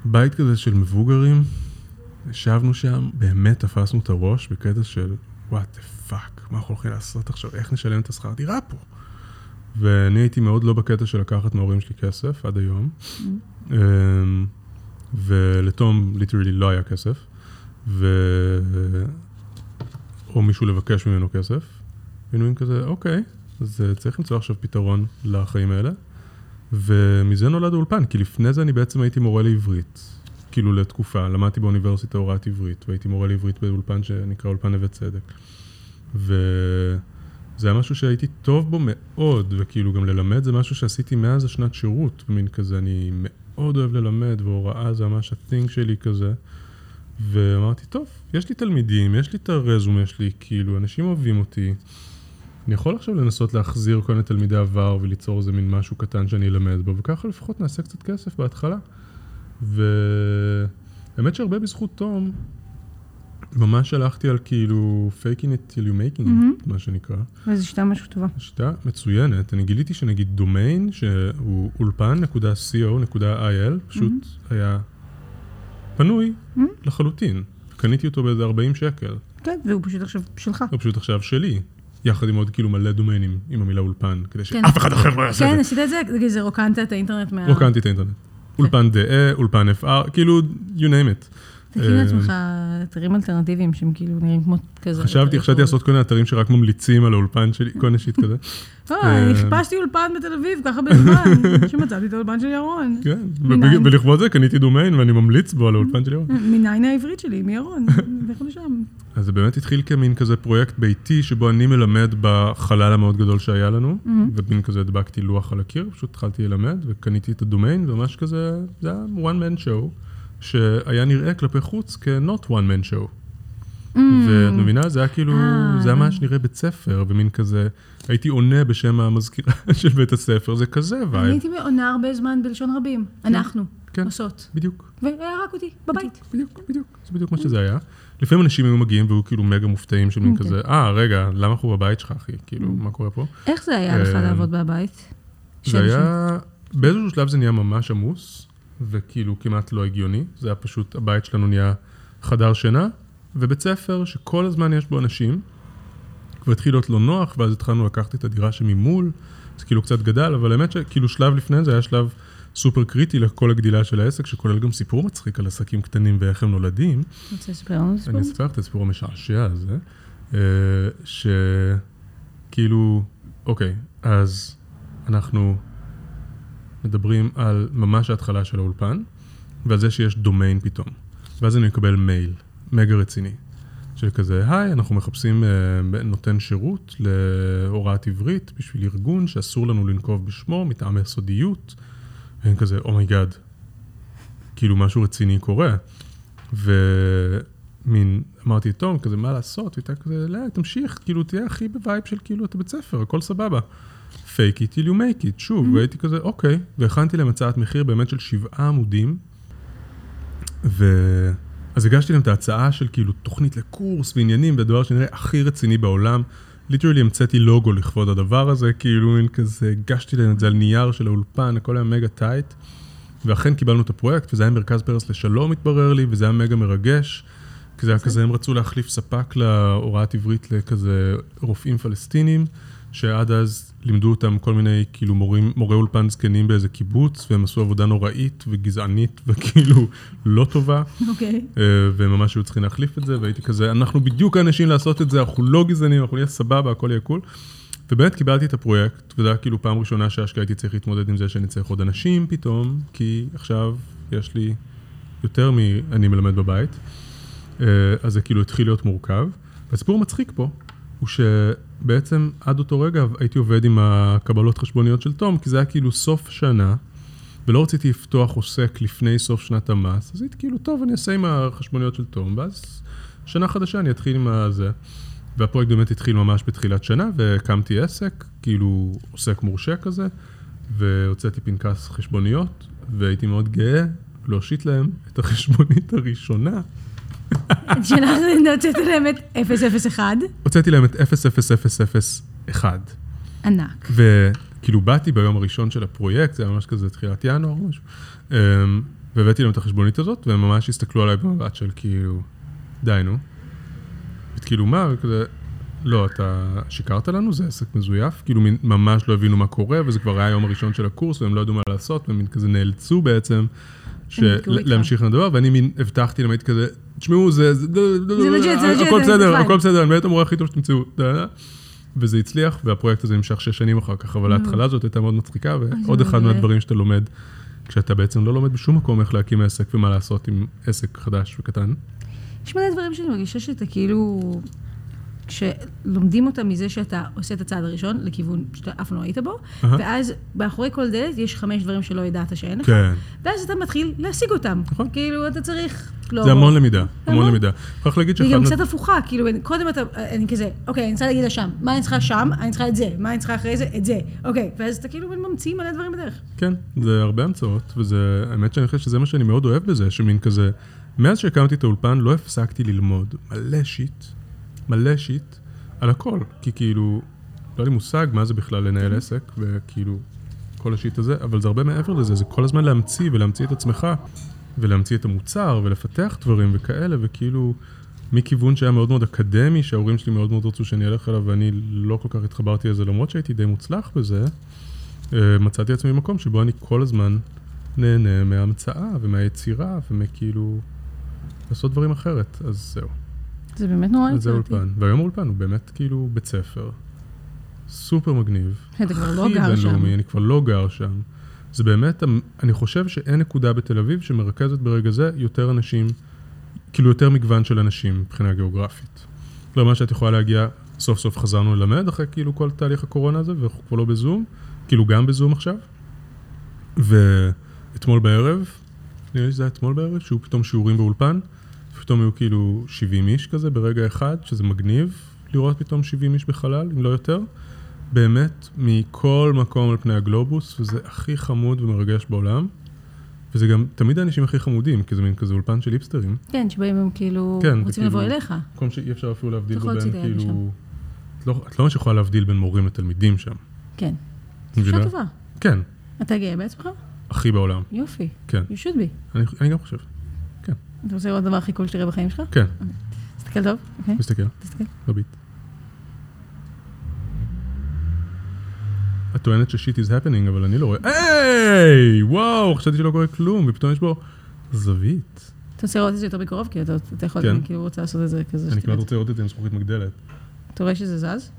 Speaker 2: בית כזה של מבוגרים. ישבנו שם, באמת תפסנו את הראש בקטע של וואט דה פאק, מה אנחנו הולכים לעשות עכשיו, איך נשלם את השכר דירה פה? ואני הייתי מאוד לא בקטע של לקחת מההורים שלי כסף עד היום,
Speaker 3: Mm-hmm.
Speaker 2: אמ, ולתום ליטרלי לא היה כסף. ו... או מישהו לבקש ממנו כסף, היינו עם כזה, אוקיי, אז אה, צריך למצוא עכשיו פתרון לחיים האלה. ומזה נולד האולפן, כי לפני זה אני בעצם הייתי מורה לעברית, כאילו לתקופה, למדתי באוניברסיטה הוראת עברית, והייתי מורה לעברית באולפן שנקרא אולפן נווה צדק. וזה היה משהו שהייתי טוב בו מאוד, וכאילו גם ללמד זה משהו שעשיתי מאז השנת שירות, מין כזה, אני מאוד אוהב ללמד, והוראה זה ממש הטינג שלי כזה. ואמרתי, טוב, יש לי תלמידים, יש לי את הרזום, יש לי, כאילו, אנשים אוהבים אותי. אני יכול עכשיו לנסות להחזיר כל מיני תלמידי עבר וליצור איזה מין משהו קטן שאני אלמד בו, וככה לפחות נעשה קצת כסף בהתחלה. והאמת שהרבה בזכות תום, ממש הלכתי על כאילו faking it till you making it,
Speaker 3: Mhm.
Speaker 2: מה שנקרא.
Speaker 3: וזו שיטה ממש טובה.
Speaker 2: שיטה מצוינת. אני גיליתי שנגיד דומיין, שהוא אולפן.co.il, פשוט היה פנוי
Speaker 3: מהמם.
Speaker 2: לחלוטין. קניתי אותו באיזה 40 שקל.
Speaker 3: כן, והוא פשוט עכשיו שלך. כן,
Speaker 2: הוא פשוט עכשיו שלי, יחד עם עוד כאילו מלא דומיינים עם המילה אולפן, כדי
Speaker 3: כן.
Speaker 2: שאף אחד אחר לא יעשה
Speaker 3: כן,
Speaker 2: את
Speaker 3: עשית את זה, זה כזה רוקנת את האינטרנט מה...
Speaker 2: זה. רוקנתי את האינטרנט. אולפן דאה, אולפן FR, כאילו, you name it.
Speaker 3: תכין לעצמך
Speaker 2: אה,
Speaker 3: אתרים אלטרנטיביים שהם כאילו נראים כמו כזה. אה,
Speaker 2: חשבתי, חשבתי לעשות כל מיני אתרים שרק ממליצים על האולפן שלי, כל מיני שיט כזה.
Speaker 3: אה,
Speaker 2: אה,
Speaker 3: חיפשתי אולפן בתל אביב, ככה בזמן, שמצאתי את האולפן של ירון.
Speaker 2: כן,
Speaker 3: מניין?
Speaker 2: וב- ולכבוד זה קניתי דומיין ואני ממליץ בו על האולפן שלי.
Speaker 3: מניין העברית שלי, מירון, לכו לשם.
Speaker 2: אז זה באמת התחיל כמין כזה פרויקט ביתי, שבו אני מלמד בחלל המאוד גדול שהיה לנו,
Speaker 3: מהמם.
Speaker 2: ומין כזה הדבקתי לוח על הקיר, פשוט התחלתי ללמד, וקניתי את הדומיין, וממש כזה, זה היה one man show, שהיה נראה כלפי חוץ כ-not one man show. ואת מבינה? זה היה כאילו,
Speaker 3: אה.
Speaker 2: זה היה מה שנראה בית ספר, ומין כזה, הייתי עונה בשם המזכירה של בית הספר, זה כזה
Speaker 3: אני
Speaker 2: וייב.
Speaker 3: הייתי עונה הרבה זמן בלשון רבים, אנחנו
Speaker 2: כן.
Speaker 3: עושות.
Speaker 2: בדיוק,
Speaker 3: והיה רק אותי, בבית.
Speaker 2: בדיוק, בדיוק, זה בדיוק מה שזה היה. לפעמים אנשים היו מגיעים והיו כאילו מגה מופתעים של מין
Speaker 3: אוקיי.
Speaker 2: כזה, אה, רגע, למה אנחנו בבית שלך, אחי? כאילו, מה קורה פה?
Speaker 3: איך זה היה לך
Speaker 2: אה,
Speaker 3: לעבוד בבית?
Speaker 2: זה
Speaker 3: שם,
Speaker 2: היה, באיזשהו שלב זה נהיה ממש עמוס, וכאילו כמעט לא הגיוני. זה היה פשוט, הבית שלנו נהיה חדר שינה, ובית ספר שכל הזמן יש בו אנשים, והתחיל להיות לא נוח, ואז התחלנו לקחת את הדירה שממול, זה כאילו קצת גדל, אבל האמת שכאילו שלב לפני זה היה שלב סופר קריטי לכל הגדילה של העסק, שכולל גם סיפור מצחיק על עסקים קטנים ואיך הם נולדים.
Speaker 3: שם. רוצה לספר לנו סיפור?
Speaker 2: אני אספר לך את הסיפור המשעשע הזה, אה, שכאילו, אוקיי, אז אנחנו מדברים על ממש ההתחלה של האולפן, ועל זה שיש דומיין פתאום. ואז אני מקבל מייל, מגה רציני, של כזה, היי, אנחנו מחפשים אה, נותן שירות להוראת עברית בשביל ארגון שאסור לנו לנקוב בשמו, מטעמי סודיות. ואני כזה, אומייגאד, כאילו משהו רציני קורה. ומין, אמרתי, תום, כזה, מה לעשות? והייתה כזה, לא, תמשיך, כאילו, תהיה הכי בווייב של כאילו, אתה בית ספר, הכל סבבה. fake it till you make it, שוב, והייתי כזה, אוקיי, והכנתי להם הצעת מחיר באמת של שבעה עמודים, ו... אז הגשתי להם את ההצעה של כאילו תוכנית לקורס ועניינים, והדבר שנראה הכי רציני בעולם. ליטרלי המצאתי לוגו לכבוד הדבר הזה, כאילו מין כזה, הגשתי להם את זה על נייר של האולפן, הכל היה מגה טייט. ואכן קיבלנו את הפרויקט, וזה היה מרכז פרס לשלום, התברר לי, וזה היה מגה מרגש. כי זה היה כזה, הם רצו להחליף ספק להוראת עברית לכזה רופאים פלסטינים, שעד אז לימדו אותם כל מיני, כאילו, מורים, מורי אולפן זקנים באיזה קיבוץ, והם עשו עבודה נוראית וגזענית וכאילו לא טובה,
Speaker 3: אוקיי.
Speaker 2: אה, והם ממש היו צריכים להחליף את זה, והייתי כזה, אנחנו בדיוק האנשים לעשות את זה, אנחנו לא גזענים, אנחנו נהיה סבבה, הכל יהיה קול. ובאמת קיבלתי את הפרויקט, וזה היה כאילו פעם ראשונה שאשכרה הייתי צריך להתמודד עם זה שאני צריך עוד אנשים פתאום, כי עכשיו יש לי יותר מ"אני מלמד בבית", אה, אז זה כאילו התחיל להיות מורכב. והסיפור המצחיק פה, הוא שבעצם עד אותו רגע הייתי עובד עם הקבלות חשבוניות של תום, כי זה היה כאילו סוף שנה, ולא רציתי לפתוח עוסק לפני סוף שנת המס, אז הייתי כאילו, טוב, אני אעשה עם החשבוניות של תום, ואז שנה חדשה אני אתחיל עם הזה. והפרויקט באמת התחיל ממש בתחילת שנה, והקמתי עסק, כאילו עוסק מורשה כזה, והוצאתי פנקס חשבוניות, והייתי מאוד גאה להושיט להם את החשבונית הראשונה.
Speaker 3: שלך זה נוצאת להם את 001,
Speaker 2: הוצאתי להם את 00001.
Speaker 3: ענק.
Speaker 2: וכאילו באתי ביום הראשון של הפרויקט, זה היה ממש כזה תחילת ינואר או משהו, אמ, והבאתי להם את החשבונית הזאת, והם ממש הסתכלו עליי במבט של כאילו, די נו. וכאילו מה, וכזה, לא, אתה שיקרת לנו, זה עסק מזויף, כאילו מין- ממש לא הבינו מה קורה, וזה כבר היה היום הראשון של הקורס, והם לא ידעו מה לעשות, והם מין כזה נאלצו בעצם. של-
Speaker 3: נתקעו איתך.
Speaker 2: להמשיך עם הדבר, ואני מין הבטחתי להם, הייתי כזה, תשמעו, זה, זה,
Speaker 3: legit, זה legit,
Speaker 2: הכל
Speaker 3: זה
Speaker 2: בסדר,
Speaker 3: fine."
Speaker 2: הכל בסדר, אני באמת המורה הכי טוב שתמצאו. וזה הצליח, והפרויקט הזה נמשך שש שנים אחר כך, אבל ההתחלה הזאת הייתה מאוד מצחיקה, ועוד אחד
Speaker 3: Mm. מעולה.
Speaker 2: מהדברים שאתה לומד, כשאתה בעצם לא לומד בשום מקום איך להקים עסק ומה לעשות עם עסק חדש וקטן.
Speaker 3: יש מלא דברים שאני מרגישה שאתה כאילו... שלומדים אותם מזה שאתה עושה את הצעד הראשון לכיוון שאתה אף פעם לא היית בו,
Speaker 2: אהה.
Speaker 3: ואז מאחורי כל דלת יש חמש דברים שלא ידעת שאין לך,
Speaker 2: כן.
Speaker 3: ואז אתה מתחיל להשיג אותם.
Speaker 2: נכון.
Speaker 3: כאילו, אתה צריך... לא,
Speaker 2: זה המון למידה, המון
Speaker 3: המון.
Speaker 2: למידה. אני חייב להגיד
Speaker 3: היא
Speaker 2: שאחד
Speaker 3: גם
Speaker 2: מה-
Speaker 3: קצת הפוכה, כאילו, אני- קודם אתה, אני כזה, אוקיי, אני צריכה להגיד לה שם, מה אני צריכה שם, אני צריכה את זה, מה אני צריכה אחרי זה, את זה, אוקיי, ואז אתה כאילו מין ממציא מלא דברים בדרך.
Speaker 2: כן, זה הרבה המצאות, וזה, האמת שאני חושב שזה מה שאני מאוד אוהב בזה, שמין כזה, מאז שהקמתי את האולפן לא הפסקתי ללמוד מלא שיט, מלא שיט, על הכל, כי כאילו, לא היה לי מושג מה זה בכלל לנהל עסק, וכאילו, כל השיט הזה, אבל זה הרבה מעבר לזה, זה כל הזמן להמציא ולהמציא את עצמך, ולהמציא את המוצר, ולפתח דברים וכאלה, וכאילו, מכיוון שהיה מאוד מאוד אקדמי, שההורים שלי מאוד מאוד רצו שאני אלך אליו, ואני לא כל כך התחברתי לזה, למרות שהייתי די מוצלח בזה, אה, מצאתי עצמי במקום שבו אני כל הזמן נהנה מההמצאה ומהיצירה ומכאילו לעשות דברים אחרת. אז זהו,
Speaker 3: זה באמת נורא
Speaker 2: אז זה אולפן. והיום האולפן הוא באמת כאילו בית ספר, סופר מגניב.
Speaker 3: אתה כבר לא
Speaker 2: הכי
Speaker 3: גר שם.
Speaker 2: בינלאומי, אני כבר לא גר שם. זה באמת, המ- אני חושב שאין נקודה בתל אביב שמרכזת ברגע זה יותר אנשים, כאילו יותר מגוון של אנשים מבחינה גיאוגרפית. כלומר שאת יכולה להגיע, סוף סוף חזרנו ללמד אחרי כאילו כל תהליך הקורונה הזה, ואנחנו כבר לא בזום, כאילו גם בזום עכשיו. ואתמול בערב, נראה לי שזה היה אתמול בערב, שהיו פתאום שיעורים באולפן, פתאום היו כאילו 70 איש כזה ברגע אחד, שזה מגניב לראות פתאום 70 איש בחלל, אם לא יותר. באמת, מכל מקום על פני הגלובוס, וזה הכי חמוד ומרגש בעולם. וזה גם תמיד האנשים הכי חמודים, כי זה מין כזה אולפן של היפסטרים.
Speaker 3: כן, שבאים הם כאילו,
Speaker 2: כן,
Speaker 3: רוצים
Speaker 2: וכאילו-
Speaker 3: לבוא אליך.
Speaker 2: מקום שאי אפשר אפילו להבדיל
Speaker 3: צריך
Speaker 2: בו בין
Speaker 3: להוציא את הילד
Speaker 2: כאילו... את לא- את לא ממש יכולה להבדיל בין מורים לתלמידים שם.
Speaker 3: כן.
Speaker 2: מבינה?
Speaker 3: אישה טובה.
Speaker 2: כן,
Speaker 3: אתה גאה בעצמך?
Speaker 2: הכי בעולם.
Speaker 3: יופי.
Speaker 2: כן.
Speaker 3: You should be.
Speaker 2: אני אני גם חושב.
Speaker 3: אתה רוצה לראות דבר הכי קול שתראה בחיים שלך?
Speaker 2: כן,
Speaker 3: תסתכל טוב. אוקיי,
Speaker 2: מסתכל,
Speaker 3: תסתכל.
Speaker 2: מביט. את טוענת ששיט is happening, אבל אני לא רואה. היי! וואו, חשבתי שלא קורה כלום, ופתאום יש בו זווית.
Speaker 3: אתה רוצה לראות את זה יותר מקרוב, כי אתה אתה יכול,
Speaker 2: כן.
Speaker 3: אני כאילו רוצה לעשות את זה כזה. שתראה
Speaker 2: אני כמעט
Speaker 3: את זה.
Speaker 2: רוצה לראות את זה עם זכוכית מגדלת.
Speaker 3: אתה רואה שזה זז?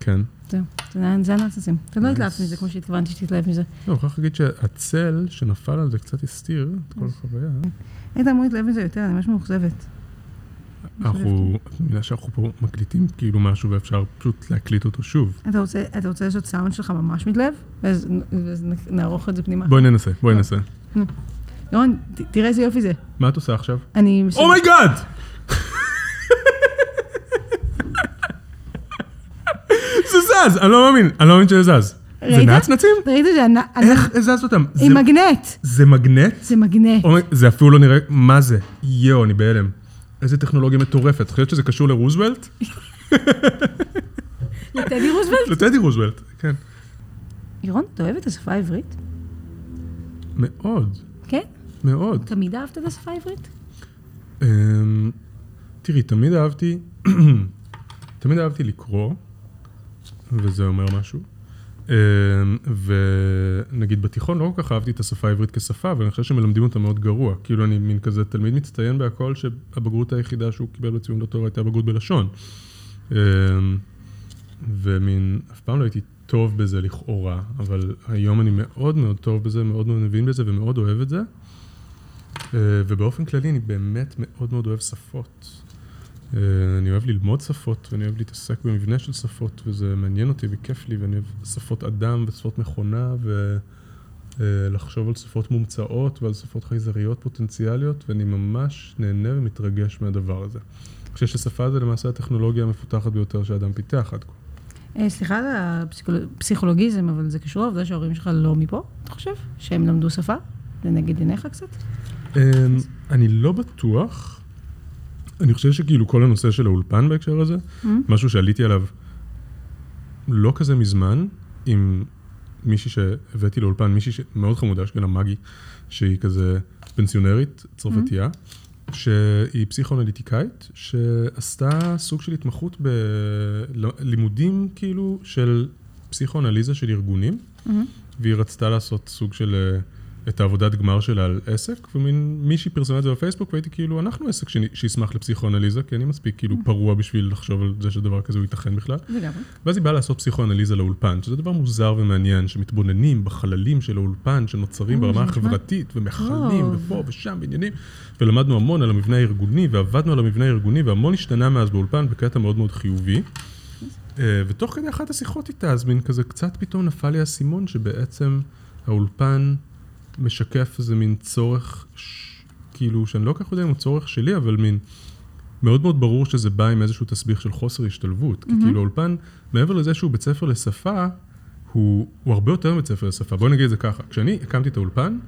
Speaker 2: כן.
Speaker 3: זהו. זה- זה הנאצזים. אתה לא התלהבת מזה כמו שהתכוונתי שתתלהב מזה.
Speaker 2: לא, אני חייב להגיד שהצל שנפל על זה קצת הסתיר את כל החוויה.
Speaker 3: אה, היית אמור להתלהב מזה יותר, אני ממש מאוכזבת.
Speaker 2: אנחנו, את מבינה שאנחנו פה מקליטים כאילו משהו ואפשר פשוט להקליט אותו שוב.
Speaker 3: אתה רוצה, אתה רוצה לעשות סאונד שלך ממש מתלהב? ואז ואז נ- נערוך את זה פנימה.
Speaker 2: בואי ננסה,
Speaker 3: אה.
Speaker 2: בואי ננסה.
Speaker 3: ירון, ת- תראה איזה יופי זה.
Speaker 2: מה את עושה עכשיו? Oh
Speaker 3: אני...
Speaker 2: אומייגאד! זה זז! אני לא מאמין, אני לא מאמין שזה זז. זה
Speaker 3: ראית?
Speaker 2: נצנצים?
Speaker 3: ראית את זה? הנ- הנ-
Speaker 2: איך הזזת אותם?
Speaker 3: עם
Speaker 2: זה-
Speaker 3: מגנט.
Speaker 2: זה מגנט?
Speaker 3: זה מגנט.
Speaker 2: אומי- זה אפילו לא נראה, מה זה? יואו, אני בהלם. איזה טכנולוגיה מטורפת. חושבת שזה קשור לרוזוולט?
Speaker 3: לטדי רוזוולט?
Speaker 2: לטדי רוזוולט, כן.
Speaker 3: ירון, אתה אוהב את השפה העברית?
Speaker 2: מאוד,
Speaker 3: כן?
Speaker 2: מאוד.
Speaker 3: תמיד אהבת את השפה העברית?
Speaker 2: אמ, תראי, תמיד אהבתי, תמיד אהבתי לקרוא, וזה אומר משהו. אמ, ונגיד בתיכון לא כל כך אהבתי את השפה העברית כשפה, אבל אני חושב שמלמדים אותה מאוד גרוע. כאילו אני מין כזה תלמיד מצטיין בהכל, שהבגרות היחידה שהוא קיבל בציון לא טוב הייתה בגרות בלשון. אמ, ומין, אף פעם לא הייתי טוב בזה לכאורה, אבל היום אני מאוד מאוד טוב בזה, מאוד מאוד מבין בזה ומאוד אוהב את זה. אה, ובאופן כללי אני באמת מאוד מאוד אוהב שפות. אה, אני אוהב ללמוד שפות, ואני אוהב להתעסק במבנה של שפות, וזה מעניין אותי וכיף לי, ואני אוהב שפות אדם ושפות מכונה, ולחשוב על שפות מומצאות ועל שפות חייזריות פוטנציאליות, ואני ממש נהנה ומתרגש מהדבר הזה. אני חושב ששפה זה למעשה הטכנולוגיה המפותחת ביותר שאדם פיתח עד כה.
Speaker 3: אה, סליחה על הפסיכולוגיזם, אבל זה קשור לעובדה שההורים שלך לא מפה, אתה חושב? שהם למדו שפה? זה נגד עיניך קצת?
Speaker 2: אמ, אני לא בטוח. אני חושב שכאילו כל הנושא של האולפן בהקשר הזה,
Speaker 3: Mm.
Speaker 2: משהו שעליתי עליו לא כזה מזמן, עם מישהי שהבאתי לאולפן, מישהי שמאוד חמודה, שקוראים לה מגי, שהיא כזה פנסיונרית, צרפתייה, שהיא פסיכואנליטיקאית, שעשתה סוג של התמחות בלימודים כאילו של פסיכואנליזה של ארגונים.
Speaker 3: מהמם.
Speaker 2: והיא רצתה לעשות סוג של... אה, את העבודת גמר שלה על עסק, ומין מישהי פרסמה את זה בפייסבוק, והייתי כאילו, אנחנו עסק שני- שישמח לפסיכואנליזה, כי אני מספיק כאילו פרוע בשביל לחשוב על זה שדבר כזה הוא ייתכן בכלל.
Speaker 3: לגמרי.
Speaker 2: ואז היא באה לעשות פסיכואנליזה לאולפן, שזה דבר מוזר ומעניין, שמתבוננים בחללים של האולפן, שנוצרים
Speaker 3: אה,
Speaker 2: ברמה
Speaker 3: זה נחמד.
Speaker 2: החברתית, ומכלים,
Speaker 3: טוב.
Speaker 2: ופה ושם, בעניינים, ולמדנו המון על המבנה הארגוני, ועבדנו על המבנה הארגוני, והמון השתנה מאז באולפן בקטע מאוד מאוד חיובי. אה, ותוך כדי אחת השיחות איתה, אז מין כזה קצת פתאום נפל לי האסימון, שבעצם האולפן משקף איזה מין צורך, ש... כאילו, שאני לא כל כך יודע אם הוא צורך שלי, אבל מין... מאוד מאוד ברור שזה בא עם איזשהו תסביך של חוסר השתלבות. כי כאילו האולפן, מעבר לזה שהוא בית ספר לשפה, הוא, הוא הרבה יותר מבית ספר לשפה. בואי נגיד את זה ככה, כשאני הקמתי את האולפן,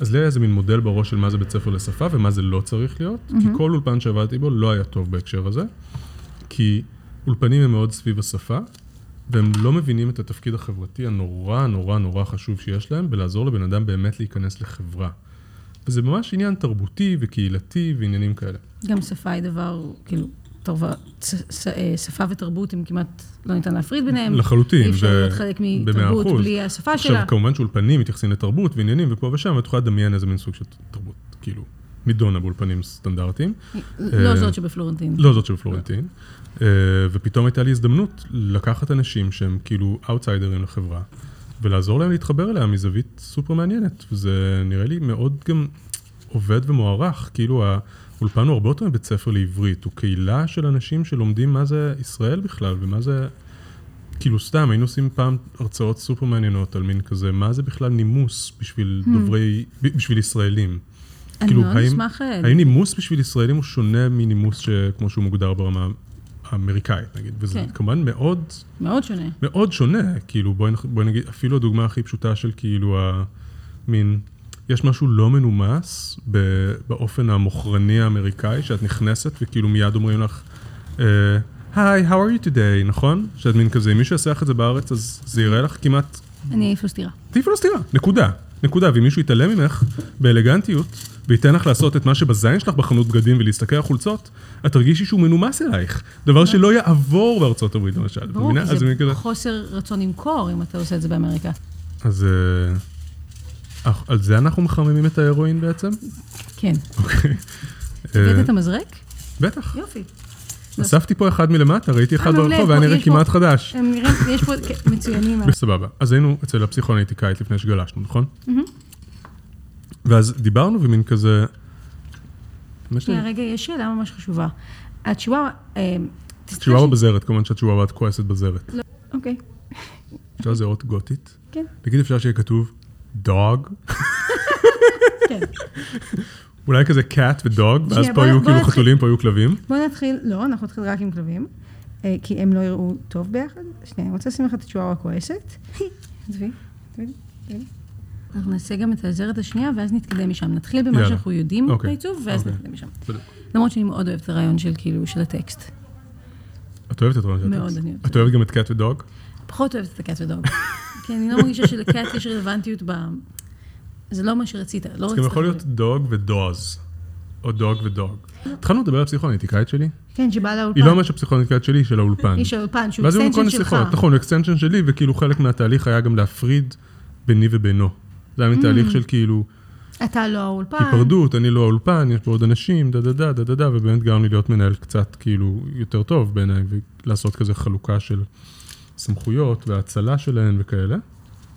Speaker 2: אז לי היה איזה מין מודל בראש של מה זה בית ספר לשפה ומה זה לא צריך להיות, כי כל אולפן שעבדתי בו לא היה טוב בהקשר הזה, כי אולפנים הם מאוד סביב השפה, והם לא מבינים את התפקיד החברתי הנורא נורא נורא חשוב שיש להם, בלעזור לבן אדם באמת להיכנס לחברה. וזה ממש עניין תרבותי וקהילתי ועניינים כאלה.
Speaker 3: גם שפה היא דבר, כאילו, תרבה- ש- ש- אה, שפה ותרבות הם כמעט לא ניתן להפריד ביניהם.
Speaker 2: לחלוטין.
Speaker 3: אי אפשר
Speaker 2: ו-
Speaker 3: להיות חלק
Speaker 2: במאה
Speaker 3: מתרבות
Speaker 2: אחוז.
Speaker 3: בלי השפה שלה.
Speaker 2: עכשיו, כמובן שאולפנים מתייחסים לתרבות ועניינים ופה ושם, ואת יכולה לדמיין איזה מין סוג של תרבות, כאילו, נידונה באולפנים סטנדרטיים.
Speaker 3: לא
Speaker 2: אה,
Speaker 3: זאת שבפלורנטין.
Speaker 2: לא זאת של פלורנטין. אה, ופתאום הייתה לי הזדמנות לקחת אנשים שהם כאילו אאוטסיידרים לחברה, ולעזור להם להתחבר אליה מזווית סופר מעניינת. וזה נראה לי מאוד גם עובד ומוערך, כאילו האולפן הוא הרבה יותר מבית ספר לעברית, הוא קהילה של אנשים שלומדים מה זה ישראל בכלל, ומה זה... כאילו סתם, היינו עושים פעם הרצאות סופר מעניינות על מין כזה, מה זה בכלל נימוס בשביל דוברי, בשביל ישראלים.
Speaker 3: אני
Speaker 2: כאילו,
Speaker 3: מאוד
Speaker 2: האם-
Speaker 3: אשמח... אה,
Speaker 2: האם נימוס בשביל ישראלים הוא שונה מנימוס שכמו שהוא מוגדר ברמה האמריקאית, נגיד? וזה
Speaker 3: כן.
Speaker 2: כמובן מאוד,
Speaker 3: מאוד שונה.
Speaker 2: מאוד שונה. כאילו, בואי נח- בואי נגיד, אפילו הדוגמה הכי פשוטה של כאילו המין, יש משהו לא מנומס ב- באופן המוכרני האמריקאי, שאת נכנסת וכאילו מיד אומרים לך, אה, היי, how are you today, נכון? שאת מין כזה, אם מישהו יעשה לך את זה בארץ, אז זה יראה לך כמעט
Speaker 3: אני אעיף לו סטירה.
Speaker 2: תעיפי לו סטירה, נקודה. נקודה, ואם מישהו יתעלם ממך באלגנטיות, וייתן לך לעשות את מה שבזין שלך בחנות בגדים ולהסתכל על חולצות, את תרגישי שהוא מנומס אלייך. דבר שלא יעבור בארצות הברית למשל. את
Speaker 3: נכון. ברור,
Speaker 2: מבינה?
Speaker 3: כי
Speaker 2: אז
Speaker 3: זה
Speaker 2: אני כזה-
Speaker 3: חוסר רצון למכור אם אתה עושה את זה באמריקה.
Speaker 2: אז אה, אך- על זה אנחנו מחממים את ההרואין בעצם?
Speaker 3: כן.
Speaker 2: אוקיי. אה,
Speaker 3: הבאת את המזרק?
Speaker 2: בטח.
Speaker 3: יופי.
Speaker 2: אספתי פה אחד מלמטה, ראיתי אחד
Speaker 3: לא. אה, מעולה,
Speaker 2: ברחוב,
Speaker 3: פה-
Speaker 2: היה נראה
Speaker 3: יש פה-
Speaker 2: כמעט חדש.
Speaker 3: הם נראים, יש פה כן, מצוינים.
Speaker 2: סבבה. אז היינו אצל הפסיכואנליטיקאית לפני שגלשנו, נכון? ואז דיברנו ומין כזה... באמת
Speaker 3: שנייה, רגע, יש שאלה ממש חשובה. הצ'יוואבה... אה, תסתכל
Speaker 2: צ'יוואבה
Speaker 3: ש-
Speaker 2: בזרת, כמובן שהצ'יוואבה את כועסת בזרת.
Speaker 3: אוקיי,
Speaker 2: אפשר לזהות גותית?
Speaker 3: כן.
Speaker 2: נגיד אפשר שיהיה כתוב dog?
Speaker 3: כן.
Speaker 2: אולי כזה cat ודוג, ואז
Speaker 3: שנייה,
Speaker 2: פה
Speaker 3: בוא-
Speaker 2: היו
Speaker 3: בוא
Speaker 2: כאילו
Speaker 3: נתחיל-
Speaker 2: חתולים, פה היו כלבים.
Speaker 3: בואו נתחיל, לא, אנחנו נתחיל רק עם כלבים, אה, כי הם לא יראו טוב ביחד. שנייה, אני רוצה לשים לך את הצ'יוואבה כועסת. עזבי, עזבי, עזבי. אנחנו נעשה גם את העזרת השנייה, ואז נתקדם משם. נתחיל במה
Speaker 2: יאללה.
Speaker 3: שאנחנו יודעים
Speaker 2: אוקיי,
Speaker 3: בעיצוב, ואז
Speaker 2: אוקיי.
Speaker 3: נתקדם משם.
Speaker 2: בדיוק.
Speaker 3: למרות שאני מאוד אוהבת את הרעיון של כאילו, של הטקסט.
Speaker 2: את אוהבת את רונן
Speaker 3: מאוד, אני אוהבת.
Speaker 2: את אוהבת גם את cat ודוג?
Speaker 3: פחות אוהבת את הקאט ודוג. כי אני לא מרגישה שלקאט יש רלוונטיות ב... זה לא מה שרצית, לא
Speaker 2: אז
Speaker 3: רצית...
Speaker 2: גם יכול להיות דוג ודוז, או דוג ודוג.
Speaker 3: לא.
Speaker 2: התחלנו לדבר על הפסיכואנליטיקאית שלי,
Speaker 3: כן, שבא
Speaker 2: היא לא
Speaker 3: לאולפן.
Speaker 2: ממש הפסיכואנליטיקאית שלי, היא של האולפן.
Speaker 3: איש האולפן, שהוא
Speaker 2: ואז היו לנו כל
Speaker 3: אקסטנשן
Speaker 2: מיני
Speaker 3: שלך.
Speaker 2: שיחות, נכון, הוא אקסטנשן שלי, וכאילו חלק מהתהליך היה גם להפריד ביני ובינו. זה היה
Speaker 3: Mm.
Speaker 2: מין תהליך של כאילו
Speaker 3: אתה לא האולפן.
Speaker 2: היפרדות, אני לא האולפן, יש פה עוד אנשים, דה דה דה דה דה דה, ובאמת גרם לי להיות מנהל קצת כאילו יותר טוב בעיניי, ולעשות כזה חלוקה של סמכויות והאצלה שלהן וכאלה,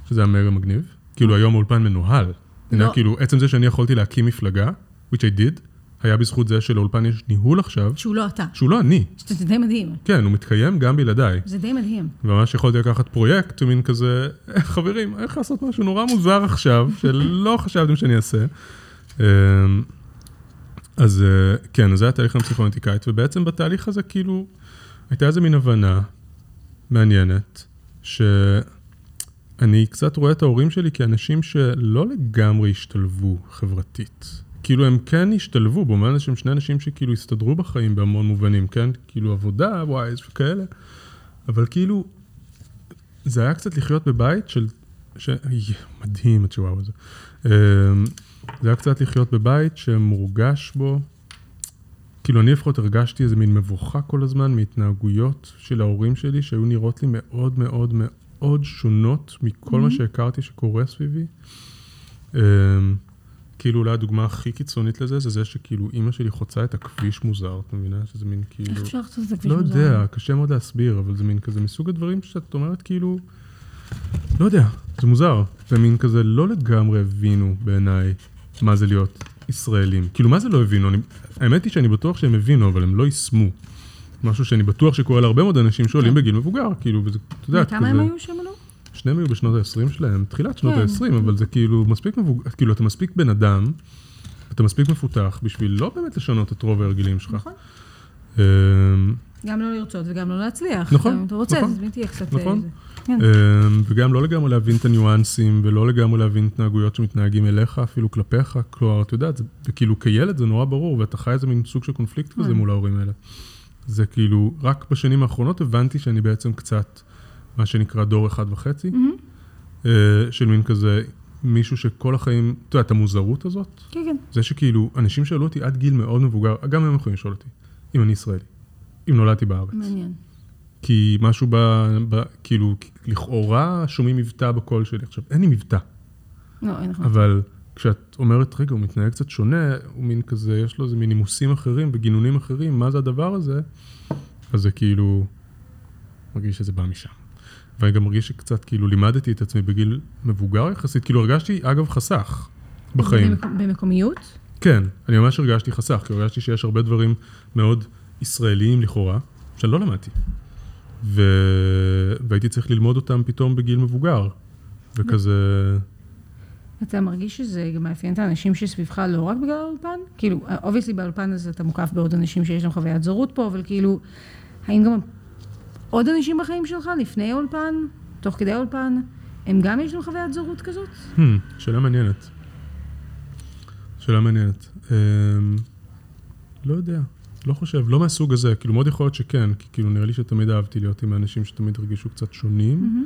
Speaker 2: שזה היה מega מגניב. כאילו היום האולפן מנוהל. זה נראה
Speaker 3: לא.
Speaker 2: כאילו, עצם זה שאני יכולתי להקים מפלגה, which I did, היה בזכות זה שלאולפן יש ניהול עכשיו,
Speaker 3: שהוא לא אתה.
Speaker 2: שהוא לא אני.
Speaker 3: זה די מדהים.
Speaker 2: כן, הוא מתקיים גם בלעדיי.
Speaker 3: זה די מדהים.
Speaker 2: ממש יכולתי לקחת פרויקט, ומין כזה, "אה, חברים, איך לעשות משהו נורא מוזר עכשיו, שלא חשבתם שאני אעשה. אמ, אז אה, כן, אז זה היה תהליך עם הפסיכואנטיקאית, ובעצם בתהליך הזה כאילו, הייתה איזה מין הבנה מעניינת, שאני קצת רואה את ההורים שלי כאנשים שלא לגמרי השתלבו חברתית. כאילו הם כן השתלבו, במובן הזה שהם שני אנשים שכאילו הסתדרו בחיים בהמון מובנים, כן? כאילו עבודה, וואי, יש וכאלה. אבל כאילו, זה היה קצת לחיות בבית של... ש... איי, מדהים הצ'וואו הזה. אמ, זה היה קצת לחיות בבית שמורגש בו, כאילו אני לפחות הרגשתי איזה מין מבוכה כל הזמן מהתנהגויות של ההורים שלי, שהיו נראות לי מאוד מאוד מאוד שונות מכל מה שהכרתי שקורה סביבי. אמ, כאילו אולי הדוגמה הכי קיצונית לזה, זה זה שכאילו אימא שלי חוצה את הכביש מוזר, את מבינה? שזה מין כאילו...
Speaker 3: איך אפשר לעשות את זה כביש
Speaker 2: לא
Speaker 3: מוזר?
Speaker 2: יודע, קשה מאוד להסביר, אבל זה מין כזה מסוג הדברים שאת אומרת כאילו, לא יודע, זה מוזר. זה מין כזה לא לגמרי הבינו בעיניי מה זה להיות ישראלים. כאילו, מה זה לא הבינו? אני, האמת היא שאני בטוח שהם הבינו, אבל הם לא יישמו. משהו שאני בטוח שקורה להרבה מאוד אנשים שעולים
Speaker 3: כן.
Speaker 2: בגיל מבוגר, כאילו, וזה, אתה יודע,
Speaker 3: וכמה הם היו שם לא?
Speaker 2: שניהם היו בשנות ה-20 שלהם, תחילת שנות
Speaker 3: כן.
Speaker 2: ה-20, אבל זה כאילו מספיק מבוגר, כאילו, אתה מספיק בן אדם, אתה מספיק מפותח בשביל לא באמת לשנות את רוב ההרגלים שלך.
Speaker 3: נכון.
Speaker 2: אמ,
Speaker 3: גם לא לרצות וגם לא להצליח.
Speaker 2: נכון,
Speaker 3: גם אם אתה רוצה,
Speaker 2: נכון.
Speaker 3: אז תהיה קצת...
Speaker 2: נכון.
Speaker 3: אה, זה. כן.
Speaker 2: אמ, וגם לא לגמרי להבין את הניואנסים, ולא לגמרי להבין התנהגויות שמתנהגים אליך, אפילו כלפיך. כלומר, את יודעת, זה- זה כאילו כילד זה נורא ברור, ואתה חי איזה מין סוג של קונפליקט כזה
Speaker 3: נכון.
Speaker 2: מול ההורים האלה. זה כאילו, רק בשנים האחרונות הבנתי שאני בעצם קצת, מה שנקרא דור אחד וחצי,
Speaker 3: מהמם.
Speaker 2: אה, של מין כזה, מישהו שכל החיים, אתה יודע, את המוזרות הזאת,
Speaker 3: כן, כן.
Speaker 2: זה שכאילו, אנשים שאלו אותי עד גיל מאוד מבוגר, גם הם יכולים לשאול אותי, אם אני ישראלי, אם נולדתי בארץ.
Speaker 3: מעניין.
Speaker 2: כי משהו ב... ב כאילו, לכאורה שומעים מבטא בקול שלי. עכשיו, אין לי מבטא,
Speaker 3: לא, אין נכון.
Speaker 2: אבל כשאת אומרת, רגע, הוא מתנהג קצת שונה, הוא מין כזה, יש לו איזה מין נימוסים אחרים וגינונים אחרים, מה זה הדבר הזה? אז זה כאילו, מרגיש שזה בא משם. ואני גם מרגיש שקצת כאילו לימדתי את עצמי בגיל מבוגר יחסית, כאילו הרגשתי, אגב, חסך בחיים.
Speaker 3: במקום- במקומיות?
Speaker 2: כן, אני ממש הרגשתי חסך, כי הרגשתי שיש הרבה דברים מאוד ישראליים לכאורה, שאני לא למדתי. ו... והייתי צריך ללמוד אותם פתאום בגיל מבוגר. וכזה,
Speaker 3: אתה מרגיש שזה גם מאפיין את האנשים שסביבך לא רק בגלל האולפן? כאילו, אובייסלי באולפן הזה אתה מוקף בעוד אנשים שיש להם חוויית זרות פה, אבל כאילו, האם גם עוד אנשים בחיים שלך, לפני האולפן, תוך כדי האולפן, הם גם יש להם חוויית זרות כזאת?
Speaker 2: hmm, שאלה מעניינת. שאלה מעניינת. אמ... לא יודע, לא חושב, לא מהסוג הזה, כאילו מאוד יכול להיות שכן, כי כאילו נראה לי שתמיד אהבתי להיות עם האנשים שתמיד הרגישו קצת שונים.
Speaker 3: מהמם.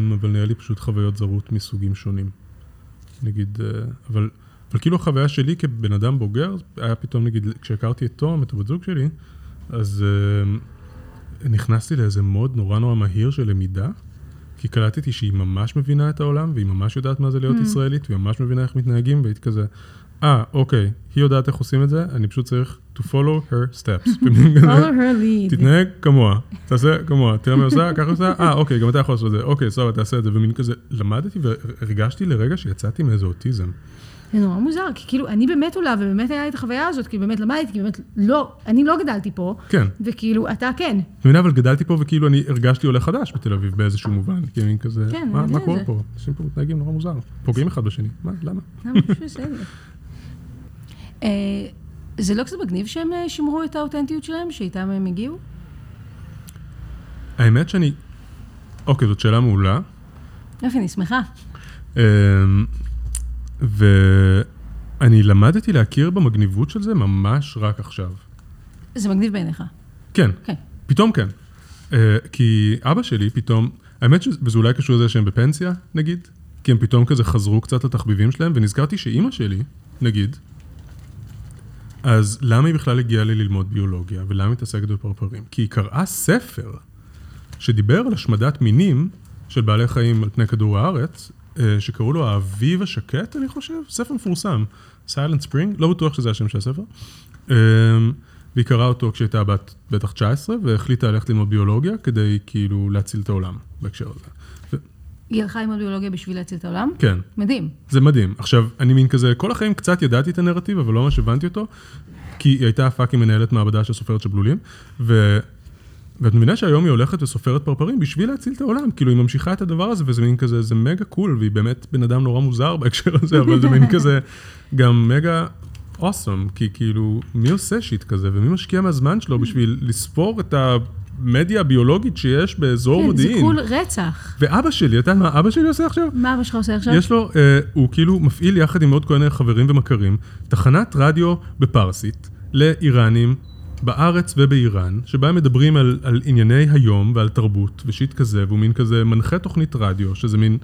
Speaker 2: אמ, אבל נראה לי פשוט חוויות זרות מסוגים שונים. נגיד, אה, אבל, אבל כאילו החוויה שלי כבן אדם בוגר, היה פתאום, נגיד, כשהכרתי את תום, את הבת זוג שלי, אז אמ, נכנסתי לאיזה מוד נורא נורא מהיר של למידה, כי קלטתי שהיא ממש מבינה את העולם, והיא ממש יודעת מה זה להיות ישראלית, והיא ממש מבינה איך מתנהגים, והייתי כזה, אה, אוקיי, היא יודעת איך עושים את זה, אני פשוט צריך to follow her steps. במין כזה,
Speaker 3: follow her lead.
Speaker 2: תתנהג כמוה, תעשה כמוה, תראה מה היא עושה, ככה היא עושה, אה, אוקיי, גם אתה יכול לעשות את זה, אוקיי, סבבה, תעשה את זה, ומין כזה, למדתי והרגשתי לרגע שיצאתי מאיזה אוטיזם.
Speaker 3: זה נורא מוזר, כי כאילו, אני באמת עולה, ובאמת היה לי את החוויה הזאת, כי באמת למדתי, כי באמת לא, אני לא גדלתי פה,
Speaker 2: כן.
Speaker 3: וכאילו, אתה כן.
Speaker 2: את מבינה, אבל גדלתי פה וכאילו אני הרגשתי עולה חדש בתל אביב באיזשהו מובן, כי מין כזה,
Speaker 3: כן, אני
Speaker 2: מה,
Speaker 3: מבינה
Speaker 2: מה
Speaker 3: את
Speaker 2: קורה
Speaker 3: זה.
Speaker 2: פה? אנשים פה מתנהגים נורא מוזר, פוגעים אחד בשני, מה, למה?
Speaker 3: למה פשוט בסדר? אה, זה לא קצת מגניב שהם אה, שימרו את האותנטיות שלהם, שאיתם הם הגיעו?
Speaker 2: האמת שאני, אוקיי, זאת שאלה מעולה.
Speaker 3: יופי, אני שמחה.
Speaker 2: אמ, ואני למדתי להכיר במגניבות של זה ממש רק עכשיו.
Speaker 3: זה מגניב בעיניך.
Speaker 2: כן,
Speaker 3: כן.
Speaker 2: פתאום כן. אה, כי אבא שלי פתאום, האמת שזה וזה אולי קשור לזה שהם בפנסיה, נגיד, כי הם פתאום כזה חזרו קצת לתחביבים שלהם, ונזכרתי שאימא שלי, נגיד, אז למה היא בכלל הגיעה לי ללמוד ביולוגיה, ולמה היא מתעסקת בפרפרים? כי היא קראה ספר שדיבר על השמדת מינים של בעלי חיים על פני כדור הארץ, אה, שקראו לו האביב השקט, אני חושב, ספר מפורסם, Silent Spring, לא בטוח שזה השם של הספר. אה, והיא קראה אותו כשהייתה בת בטח 19, והחליטה ללכת ללמוד ביולוגיה כדי כאילו להציל את העולם בהקשר הזה. ו-
Speaker 3: היא הלכה עם הביולוגיה בשביל להציל את העולם?
Speaker 2: כן.
Speaker 3: מדהים.
Speaker 2: זה מדהים. עכשיו, אני מין כזה, כל החיים קצת ידעתי את הנרטיב, אבל לא ממש הבנתי אותו, כי היא הייתה פאקינג מנהלת מעבדה של סופרת שבלולים, ו... ואת מבינה שהיום היא הולכת וסופרת פרפרים בשביל להציל את העולם, כאילו היא ממשיכה את הדבר הזה, וזה מין כזה, זה מגה קול, והיא באמת בן אדם נורא מוזר בהקשר הזה, אבל זה מין כזה גם מגה אוסום, כי כאילו, מי עושה שיט כזה, ומי משקיע מהזמן שלו בשביל לספור את המדיה הביולוגית שיש באזור
Speaker 3: כן, זה
Speaker 2: מודיעין?
Speaker 3: קול רצח.
Speaker 2: ואבא שלי, את יודעת מה אבא שלי עושה עכשיו?
Speaker 3: מה אבא שלך עושה עכשיו?
Speaker 2: יש לו, אה, הוא כאילו מפעיל יחד עם עוד כל מיני חברים ומכרים, תחנת רדיו בפרסית לאיראנים בארץ ובאיראן, שבה הם מדברים על, על ענייני היום ועל תרבות ושיט כזה, והוא מין כזה מנחה תוכנית רדיו, שזה מין...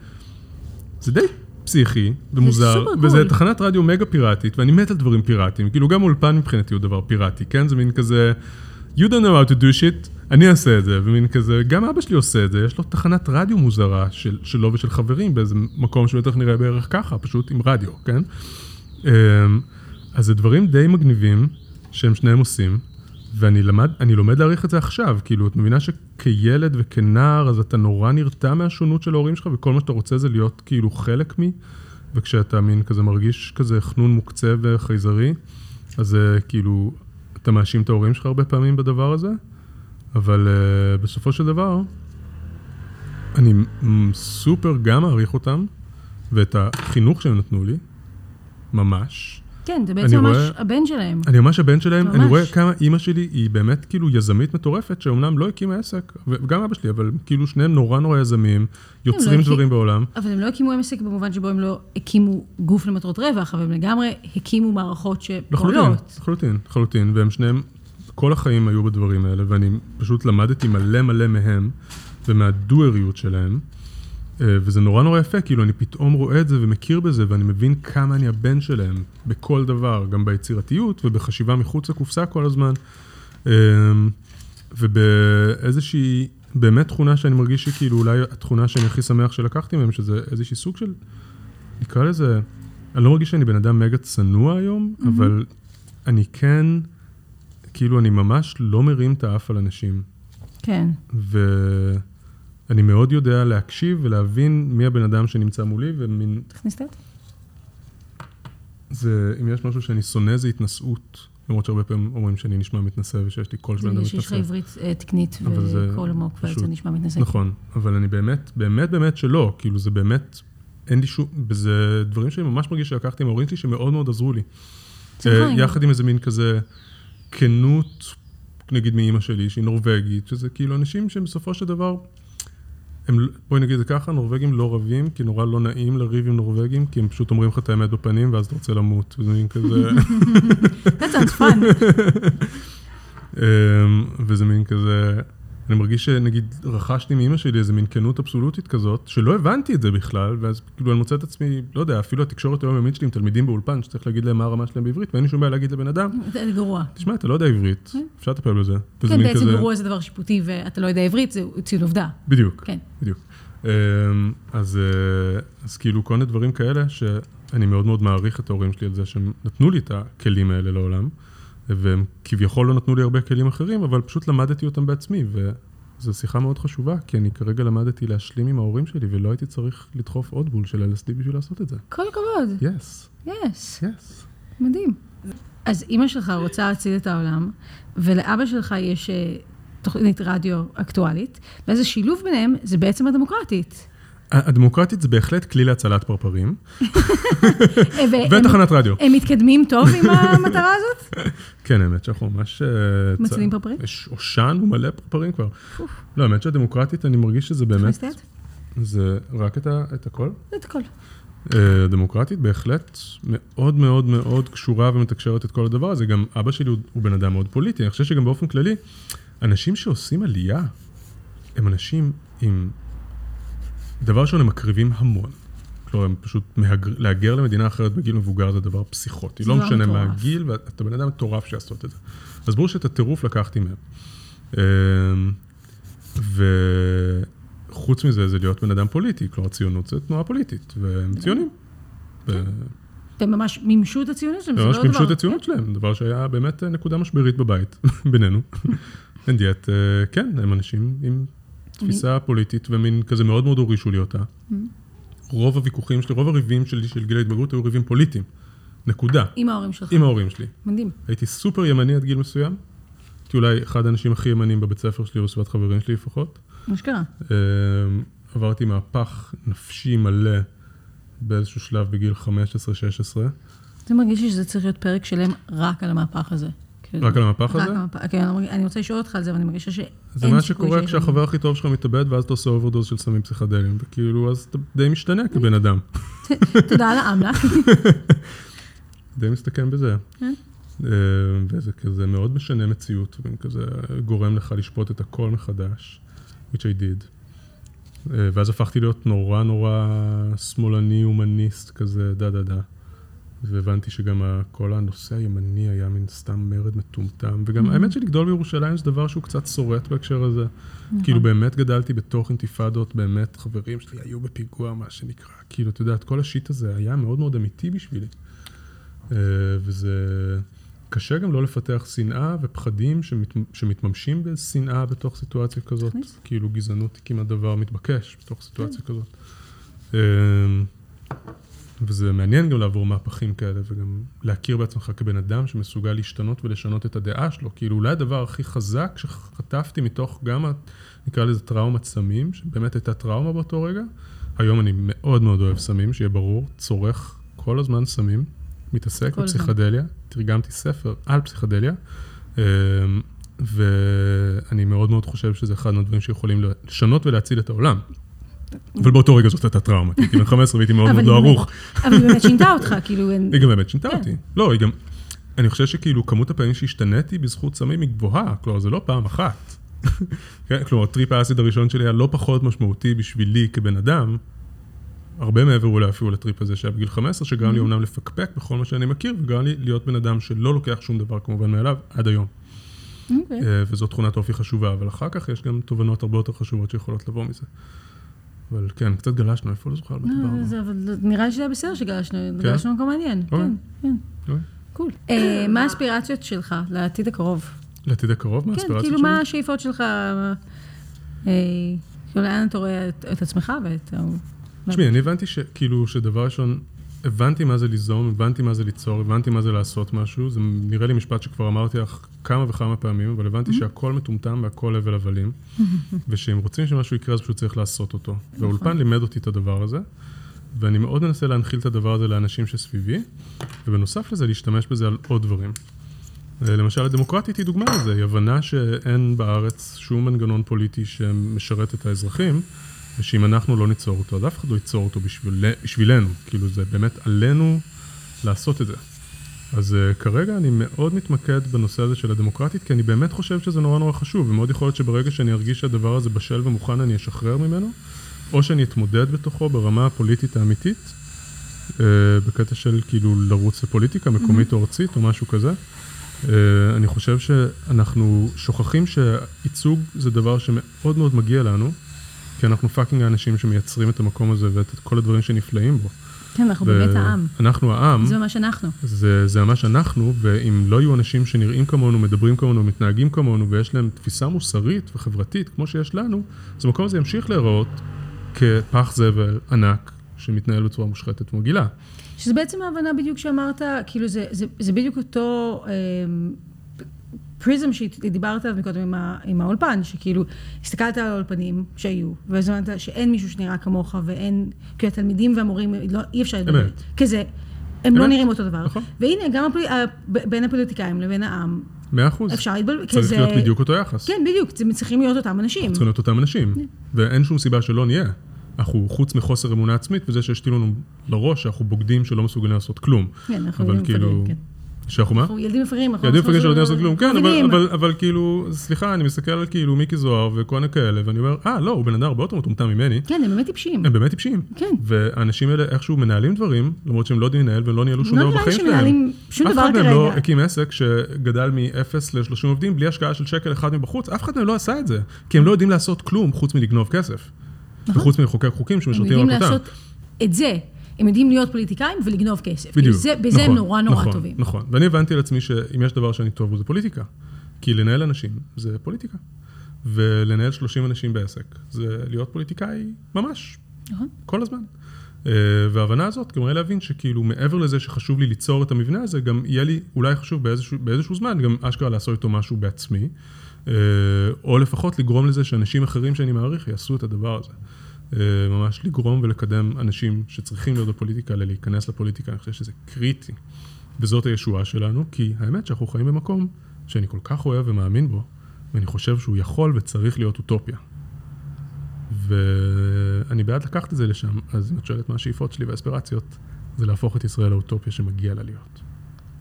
Speaker 2: זה די פסיכי ומוזר,
Speaker 3: סופר
Speaker 2: וזה
Speaker 3: קול.
Speaker 2: תחנת רדיו מגה פיראטית, ואני מת על דברים פיראטיים, כאילו גם אולפן מבחינתי הוא דבר פיראטי, כן? זה מין כזה, you don't know how to do shit, אני אעשה את זה, ומין כזה, גם אבא שלי עושה את זה, יש לו תחנת רדיו מוזרה של, שלו ושל חברים באיזה מקום שבטח נראה בערך ככה, פשוט עם רדיו, כן? אמ, אז זה דברים די מגניבים שהם שניהם עושים, ואני למד, אני לומד להעריך את זה עכשיו, כאילו, את מבינה שכילד וכנער, אז אתה נורא נרתע מהשונות של ההורים שלך, וכל מה שאתה רוצה זה להיות כאילו חלק מי, וכשאתה מין כזה מרגיש כזה חנון מוקצה וחייזרי, אז זה כאילו, אתה מאשים את ההורים שלך הרבה פעמים בדבר הזה, אבל uh, בסופו של דבר, אני מ- סופר גם מעריך אותם, ואת החינוך שהם נתנו לי, ממש.
Speaker 3: כן, זה
Speaker 2: אני
Speaker 3: בעצם ממש
Speaker 2: רואה-
Speaker 3: הבן שלהם.
Speaker 2: אני ממש הבן שלהם, אני
Speaker 3: ממש.
Speaker 2: רואה כמה אימא שלי היא באמת כאילו יזמית מטורפת, שאומנם לא הקימה עסק, וגם אבא שלי, אבל כאילו שניהם נורא נורא יזמים,
Speaker 3: הם
Speaker 2: יוצרים
Speaker 3: לא
Speaker 2: דברים
Speaker 3: הקימו-
Speaker 2: בעולם.
Speaker 3: אבל הם לא הקימו עסק במובן שבו הם לא הקימו גוף למטרות רווח, אבל הם לגמרי הקימו מערכות
Speaker 2: לחלוטין,
Speaker 3: שפועלות.
Speaker 2: לחלוטין, לחלוטין, והם שניהם, כל החיים היו בדברים האלה, ואני פשוט למדתי מלא מלא מהם, ומהדואריות שלהם, אה, וזה נורא נורא יפה, כאילו אני פתאום רואה את זה ומכיר בזה, ואני מבין כמה אני הבן שלהם, בכל דבר, גם ביצירתיות ובחשיבה מחוץ לקופסה כל הזמן, אה, ובאיזושהי, באמת תכונה שאני מרגיש שכאילו אולי התכונה שאני הכי שמח שלקחתי מהם, שזה איזשהי סוג של, נקרא לזה, אני לא מרגיש שאני בן אדם מגה צנוע היום, mm-hmm. אבל אני כן, כאילו, אני ממש לא מרים את האף על אנשים,
Speaker 3: כן.
Speaker 2: ואני מאוד יודע להקשיב ולהבין מי הבן אדם שנמצא מולי, ומין,
Speaker 3: תכניס את היד.
Speaker 2: זה, אם יש משהו שאני שונא זה התנשאות, למרות שהרבה פעמים אומרים שאני נשמע מתנשא ושיש לי קול של
Speaker 3: זה
Speaker 2: בן אדם
Speaker 3: בגלל שיש לך
Speaker 2: מתנשא.
Speaker 3: עברית אה, תקנית
Speaker 2: אבל זה
Speaker 3: וקול עמוק,
Speaker 2: פשוט.
Speaker 3: וזה נשמע מתנשא.
Speaker 2: נכון, אבל אני באמת, באמת באמת שלא, כאילו זה באמת, אין לי שום, זה דברים שאני ממש מרגיש שלקחתי עם ההורים שלי שמאוד מאוד עזרו לי.
Speaker 3: צריך
Speaker 2: אה,
Speaker 3: להגיד.
Speaker 2: יחד עם איזה מין כזה כנות, נגיד מאימא שלי, שהיא נורבגית, שזה כאילו אנשים שהם בסופו של דבר, הם, ל- בואי נגיד את זה ככה, נורבגים לא רבים, כי נורא לא נעים לריב עם נורבגים, כי הם פשוט אומרים לך את האמת בפנים, ואז אתה רוצה למות, וזה מין כזה...
Speaker 3: That sounds fun.
Speaker 2: אמ, וזה מין כזה, אני מרגיש שנגיד רכשתי מאימא שלי איזה מין כנות אבסולוטית כזאת, שלא הבנתי את זה בכלל, ואז כאילו אני מוצא את עצמי, לא יודע, אפילו התקשורת היומיומית שלי עם תלמידים באולפן, שצריך להגיד להם מה הרמה שלהם בעברית, ואין לי שום בעיה להגיד לבן אדם,
Speaker 3: זה גרוע.
Speaker 2: תשמע, אתה לא יודע עברית, אפשר לטפל בזה. וזה
Speaker 3: כן,
Speaker 2: מין
Speaker 3: בעצם
Speaker 2: כזה-
Speaker 3: גרוע זה דבר שיפוטי, ואתה לא יודע עברית, זה ציון עובדה.
Speaker 2: בדיוק.
Speaker 3: כן.
Speaker 2: בדיוק. אמ, אז, אה, אז כאילו כל מיני דברים כאלה, שאני אני מאוד מאוד מעריך את ההורים שלי על זה שהם נתנו לי את הכלים האלה לעולם, והם כביכול לא נתנו לי הרבה כלים אחרים, אבל פשוט למדתי אותם בעצמי, וזו שיחה מאוד חשובה, כי אני כרגע למדתי להשלים עם ההורים שלי, ולא הייתי צריך לדחוף עוד בול של LSD בשביל לעשות את זה.
Speaker 3: כל הכבוד,
Speaker 2: יס,
Speaker 3: יס,
Speaker 2: יס.
Speaker 3: מדהים. אז אימא שלך רוצה להציל את העולם, ולאבא שלך יש אה, תוכנית רדיו אקטואלית, ואז השילוב ביניהם זה בעצם הדמוקרטית.
Speaker 2: הדמוקרטית זה בהחלט כלי להצלת פרפרים,
Speaker 3: אה, והם-
Speaker 2: ותחנת רדיו.
Speaker 3: הם מתקדמים טוב עם המטרה הזאת?
Speaker 2: כן, האמת שאנחנו ממש... אה, צ-
Speaker 3: מצילים פרפרים?
Speaker 2: יש עושן ומלא פרפרים כבר. לא, האמת שהדמוקרטית, אני מרגיש שזה באמת...
Speaker 3: הכנסת?
Speaker 2: זה רק את ה- את הכל.
Speaker 3: זה את הכל.
Speaker 2: אה, דמוקרטית בהחלט מאוד מאוד מאוד קשורה ומתקשרת את כל הדבר הזה. גם אבא שלי הוא, הוא בן אדם מאוד פוליטי. אני חושב שגם באופן כללי, אנשים שעושים עלייה, הם אנשים עם... דבר ראשון, הם מקריבים המון. כלומר, הם פשוט, מהגר, להגר למדינה אחרת בגיל מבוגר זה דבר פסיכוטי.
Speaker 3: זה
Speaker 2: לא
Speaker 3: דבר
Speaker 2: משנה מה
Speaker 3: מטורף.
Speaker 2: הגיל, ואתה בן אדם מטורף שיעשות את זה. אז ברור שאת הטירוף לקחתי מהם. אה, וחוץ מזה, זה להיות בן אדם פוליטי. כלומר, ציונות זה תנועה פוליטית, והם
Speaker 3: כן.
Speaker 2: ציונים. ו-
Speaker 3: הם ממש מימשו את הציונות שלהם, כן. זה לא
Speaker 2: ממש
Speaker 3: דבר.
Speaker 2: מימשו את הציונות שלהם, דבר שהיה באמת אה, נקודה משברית בבית, בינינו. אין דיאט, אה, כן, הם אנשים עם תפיסה פוליטית ומין כזה מאוד מאוד הורישו לי אותה.
Speaker 3: Mm.
Speaker 2: רוב הוויכוחים שלי, רוב הריבים שלי של גיל ההתבגרות היו ריבים פוליטיים. נקודה.
Speaker 3: עם ההורים שלך.
Speaker 2: עם ההורים שלי.
Speaker 3: מדהים.
Speaker 2: הייתי סופר ימני עד גיל מסוים. הייתי אולי אחד האנשים הכי ימנים בבית ספר שלי, או בסביבת חברים שלי לפחות.
Speaker 3: מה שקרה.
Speaker 2: אה, עברתי מהפך נפשי מלא באיזשהו שלב בגיל 15-16.
Speaker 3: זה מרגיש לי שזה צריך להיות פרק שלם רק על המהפך הזה. כאילו-
Speaker 2: רק על המהפך
Speaker 3: רק
Speaker 2: הזה?
Speaker 3: על המהפך. כן, אני מרגיש- אני רוצה לשאול אותך על זה, אבל אני מרגישה שאין
Speaker 2: זה מה
Speaker 3: סיכוי
Speaker 2: שקורה
Speaker 3: שיש-
Speaker 2: כשהחבר הכי טוב שלך מתאבד, ואז אתה עושה אוברדוז של סמים פסיכדליים, וכאילו, אז אתה די משתנה כבן אדם.
Speaker 3: תודה על האמנה.
Speaker 2: די מסתכם בזה.
Speaker 3: כן.
Speaker 2: אה, וזה כזה מאוד משנה מציאות, וכזה גורם לך לשפוט את הכל מחדש, which I did. אה, ואז הפכתי להיות נורא נורא שמאלני, הומניסט, כזה דה דה דה. והבנתי שגם ה- כל הנושא הימני היה מין סתם מרד מטומטם, וגם האמת שלגדול בירושלים זה דבר שהוא קצת שורט בהקשר הזה.
Speaker 3: נכון.
Speaker 2: כאילו באמת גדלתי בתוך אינתיפאדות, באמת חברים שלי היו בפיגוע, מה שנקרא. כאילו, את יודעת, כל השיט הזה היה מאוד מאוד אמיתי בשבילי. אה, וזה קשה גם לא לפתח שנאה ופחדים שמת, שמתממשים בשנאה בתוך סיטואציה כזאת. כאילו גזענות היא כמעט דבר מתבקש בתוך סיטואציה כזאת. אה, וזה מעניין גם לעבור מהפכים כאלה, וגם להכיר בעצמך כבן אדם שמסוגל להשתנות ולשנות את הדעה שלו. כאילו, אולי הדבר הכי חזק שחטפתי מתוך גם, ה- נקרא לזה טראומת סמים, שבאמת הייתה טראומה באותו רגע. היום אני מאוד מאוד אוהב סמים, שיהיה ברור, צורך כל הזמן סמים, מתעסק
Speaker 3: כל הזמן.
Speaker 2: בפסיכדליה, תרגמתי ספר על פסיכדליה, אמ, ואני מאוד מאוד חושב שזה אחד מהדברים שיכולים לשנות ולהציל את העולם. אבל באותו רגע זאת הייתה טראומה, כי הייתי בן 15 והייתי מאוד
Speaker 3: אבל
Speaker 2: מאוד
Speaker 3: היא
Speaker 2: לא
Speaker 3: באמת-
Speaker 2: ערוך.
Speaker 3: אבל היא באמת שינתה אותך, כאילו... אין-
Speaker 2: היא גם באמת שינתה
Speaker 3: כן.
Speaker 2: אותי. לא, היא גם... אני חושב שכאילו כמות הפעמים שהשתניתי בזכות סמים היא גבוהה, כלומר זה לא פעם אחת. כן, כלומר, טריפ האסיד הראשון שלי היה לא פחות משמעותי בשבילי כבן אדם, הרבה מעבר אולי אפילו לטריפ הזה שהיה בגיל 15, שגרם לי
Speaker 3: Mm-hmm.
Speaker 2: אומנם לפקפק בכל מה שאני מכיר, וגרם לי להיות בן אדם שלא לוקח שום דבר כמובן מאליו עד היום.
Speaker 3: אוקיי.
Speaker 2: אה, וזו תכונת אופי חשובה, אבל אחר כך יש גם תובנות הרבה יותר חשובות שיכולות לבוא מזה. אבל כן, קצת גלשנו, איפה לא זוכר על מה
Speaker 3: לא,
Speaker 2: דיברנו. כן?
Speaker 3: זה- אבל נראה לי שזה היה בסדר שגלשנו, גלשנו במקום מעניין.
Speaker 2: אוקיי.
Speaker 3: כן, כן.
Speaker 2: אוקיי.
Speaker 3: קול. אה, מה האספירציות שלך לעתיד הקרוב?
Speaker 2: לעתיד הקרוב, מה
Speaker 3: כן,
Speaker 2: האספירציות
Speaker 3: כאילו
Speaker 2: שלי?
Speaker 3: מה השאיפות שלך? אה, כאילו לאן אתה רואה את- את עצמך ואת... ה-
Speaker 2: תשמעי, אני הבנתי שכאילו, שדבר ראשון, הבנתי מה זה ליזום, הבנתי מה זה ליצור, הבנתי מה זה לעשות משהו, זה נראה לי משפט שכבר אמרתי לך כמה וכמה פעמים, אבל הבנתי שהכל מטומטם והכל הבל הבלים, ושאם רוצים שמשהו יקרה, אז פשוט צריך לעשות אותו. והאולפן לימד אותי את הדבר הזה, ואני מאוד מנסה להנחיל את הדבר הזה לאנשים שסביבי, ובנוסף לזה, להשתמש בזה על עוד דברים. אה, למשל, הדמוקרטית היא דוגמה לזה, היא הבנה שאין בארץ שום מנגנון פוליטי שמשרת את האזרחים, ושאם אנחנו לא ניצור אותו, אז אף אחד לא ייצור אותו בשביל, בשבילנו. כאילו, זה באמת עלינו לעשות את זה. אז uh, כרגע אני מאוד מתמקד בנושא הזה של הדמוקרטית, כי אני באמת חושב שזה נורא נורא חשוב, ומאוד יכול להיות שברגע שאני ארגיש שהדבר הזה בשל ומוכן, אני אשחרר ממנו, או שאני אתמודד בתוכו ברמה הפוליטית האמיתית, uh, בקטע של כאילו לרוץ לפוליטיקה
Speaker 3: Mm-hmm.
Speaker 2: מקומית או ארצית או משהו כזה. Uh, אני חושב שאנחנו שוכחים שייצוג זה דבר שמאוד מאוד מגיע לנו, כי אנחנו פאקינג האנשים שמייצרים את המקום הזה ואת את כל הדברים שנפלאים בו.
Speaker 3: כן, אנחנו באמת העם.
Speaker 2: אנחנו העם,
Speaker 3: זה ממש אנחנו.
Speaker 2: זה, זה ממש אנחנו, ואם לא יהיו אנשים שנראים כמונו, מדברים כמונו, מתנהגים כמונו, ויש להם תפיסה מוסרית וחברתית כמו שיש לנו, אז המקום הזה ימשיך להיראות כפח זבל ענק שמתנהל בצורה מושחתת ומגעילה.
Speaker 3: שזה בעצם ההבנה בדיוק שאמרת, כאילו זה, זה, זה בדיוק אותו אה, פריזם שדיברת עליו מקודם עם, ה, עם האולפן, שכאילו הסתכלת על האולפנים שהיו, ואז אמרת שאין מישהו שנראה כמוך ואין, כאילו התלמידים והמורים, לא, אי אפשר לדבר.
Speaker 2: אמת.
Speaker 3: כי זה, הם לא
Speaker 2: אמת.
Speaker 3: נראים אותו דבר.
Speaker 2: נכון.
Speaker 3: והנה, גם הפול, ה, ב- בין הפוליטיקאים לבין העם,
Speaker 2: מאה אחוז.
Speaker 3: אפשר להתבלבל. כי
Speaker 2: צריך
Speaker 3: זה-
Speaker 2: להיות בדיוק אותו יחס.
Speaker 3: כן, בדיוק, זה צריכים להיות אותם אנשים.
Speaker 2: צריכים להיות אותם אנשים, ואין שום סיבה שלא נהיה. אנחנו, חוץ מחוסר אמונה עצמית וזה שהשתילו לנו לראש שאנחנו בוגדים שלא מסוגלים לעשות כלום.
Speaker 3: כן, אנחנו
Speaker 2: אבל
Speaker 3: ילדים
Speaker 2: כאילו...
Speaker 3: מפגרים, כן.
Speaker 2: שאנחנו מה?
Speaker 3: אנחנו ילדים מפגרים, אנחנו לא
Speaker 2: ילדים
Speaker 3: צריכים
Speaker 2: מפגרים שלא יודעים
Speaker 3: לעשות-
Speaker 2: לעשות כלום, כן, אבל-
Speaker 3: מבינים.
Speaker 2: אבל- אבל כאילו, סליחה, אני מסתכל על כאילו מיקי זוהר וכל מיני כאלה, ואני אומר, אה, לא, הוא בן אדם הרבה יותר מטומטם ממני.
Speaker 3: כן, הם באמת טיפשים.
Speaker 2: הם באמת טיפשים.
Speaker 3: כן.
Speaker 2: והאנשים האלה איכשהו מנהלים דברים, למרות שהם לא יודעים לנהל והם לא ניהלו שום
Speaker 3: לא
Speaker 2: דבר
Speaker 3: נראה לי
Speaker 2: בחיים שלהם.
Speaker 3: שמנהלים שום דבר
Speaker 2: אף אחד מהם לא
Speaker 3: כרגע.
Speaker 2: הקים עסק שגדל מ-0 ל-30 עובדים בלי השקעה של שקל אחד מבחוץ, אף אחד מהם לא עשה את זה. כי הם לא יודעים לעשות כלום חוץ מלגנוב כסף. וחוץ מלחוקק חוקים
Speaker 3: נכון. הם
Speaker 2: שמשרתים
Speaker 3: יודעים
Speaker 2: רק אותם.
Speaker 3: לעשות את זה. הם יודעים להיות פוליטיקאים ולגנוב כסף.
Speaker 2: בדיוק.
Speaker 3: זה- בזה הם
Speaker 2: נכון,
Speaker 3: נורא נורא
Speaker 2: נכון,
Speaker 3: טובים.
Speaker 2: נכון, ואני הבנתי לעצמי שאם יש דבר שאני טוב בו זה פוליטיקה. כי לנהל אנשים זה פוליטיקה. ולנהל 30 אנשים בעסק זה להיות פוליטיקאי ממש,
Speaker 3: נכון.
Speaker 2: כל הזמן. אה, וההבנה הזאת גמרה להבין שכאילו מעבר לזה שחשוב לי ליצור את המבנה הזה, גם יהיה לי אולי חשוב באיזשהו, באיזשהו זמן גם אשכרה לעשות איתו משהו בעצמי, אה, או לפחות לגרום לזה שאנשים אחרים שאני מעריך יעשו את הדבר הזה. אה, ממש לגרום ולקדם אנשים שצריכים להיות בפוליטיקה ללהיכנס לפוליטיקה, אני חושב שזה קריטי. וזאת הישועה שלנו, כי האמת שאנחנו חיים במקום שאני כל כך אוהב ומאמין בו, ואני חושב שהוא יכול וצריך להיות אוטופיה. ואני בעד לקחת את זה לשם, אז אם את שואלת מה השאיפות שלי והאספירציות, זה להפוך את ישראל לאוטופיה שמגיע לה להיות.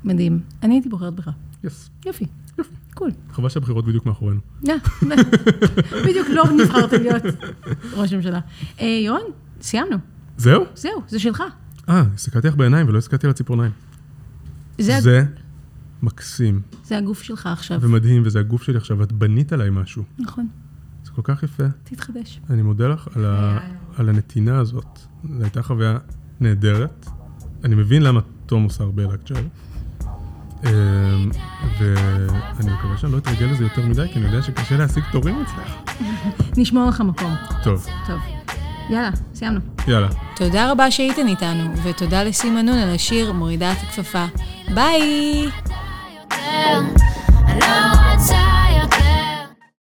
Speaker 3: מדהים. אני הייתי בוחרת בך.
Speaker 2: יס.
Speaker 3: יופי. קול.
Speaker 2: חבל שהבחירות בדיוק מאחורינו.
Speaker 3: אה, בדיוק לא נבחרת להיות ראש ממשלה. אה, ירון, סיימנו.
Speaker 2: זהו?
Speaker 3: זהו, זה שלך.
Speaker 2: אה, הסתכלתי לך בעיניים ולא הסתכלתי על הציפורניים.
Speaker 3: זה ה-
Speaker 2: זה מקסים
Speaker 3: זה הגוף שלך עכשיו.
Speaker 2: ומדהים, וזה הגוף שלי עכשיו, ואת בנית עליי משהו.
Speaker 3: נכון,
Speaker 2: זה כל כך יפה.
Speaker 3: תתחדש.
Speaker 2: אני מודה לך על, ה... על הנתינה הזאת. זו הייתה חוויה נהדרת. אני מבין למה תום עושה הרבה לקצ'ר. אמ, ואני מקווה שאני לא אתרגל לזה יותר מדי, כי אני יודע שקשה להשיג תורים אצלך.
Speaker 3: נשמור לך מקום.
Speaker 2: טוב,
Speaker 3: טוב. יאללה, סיימנו.
Speaker 2: יאללה.
Speaker 1: תודה רבה שהייתן איתנו, ותודה לסימנון על השיר מורידה את הכפפה. ביי!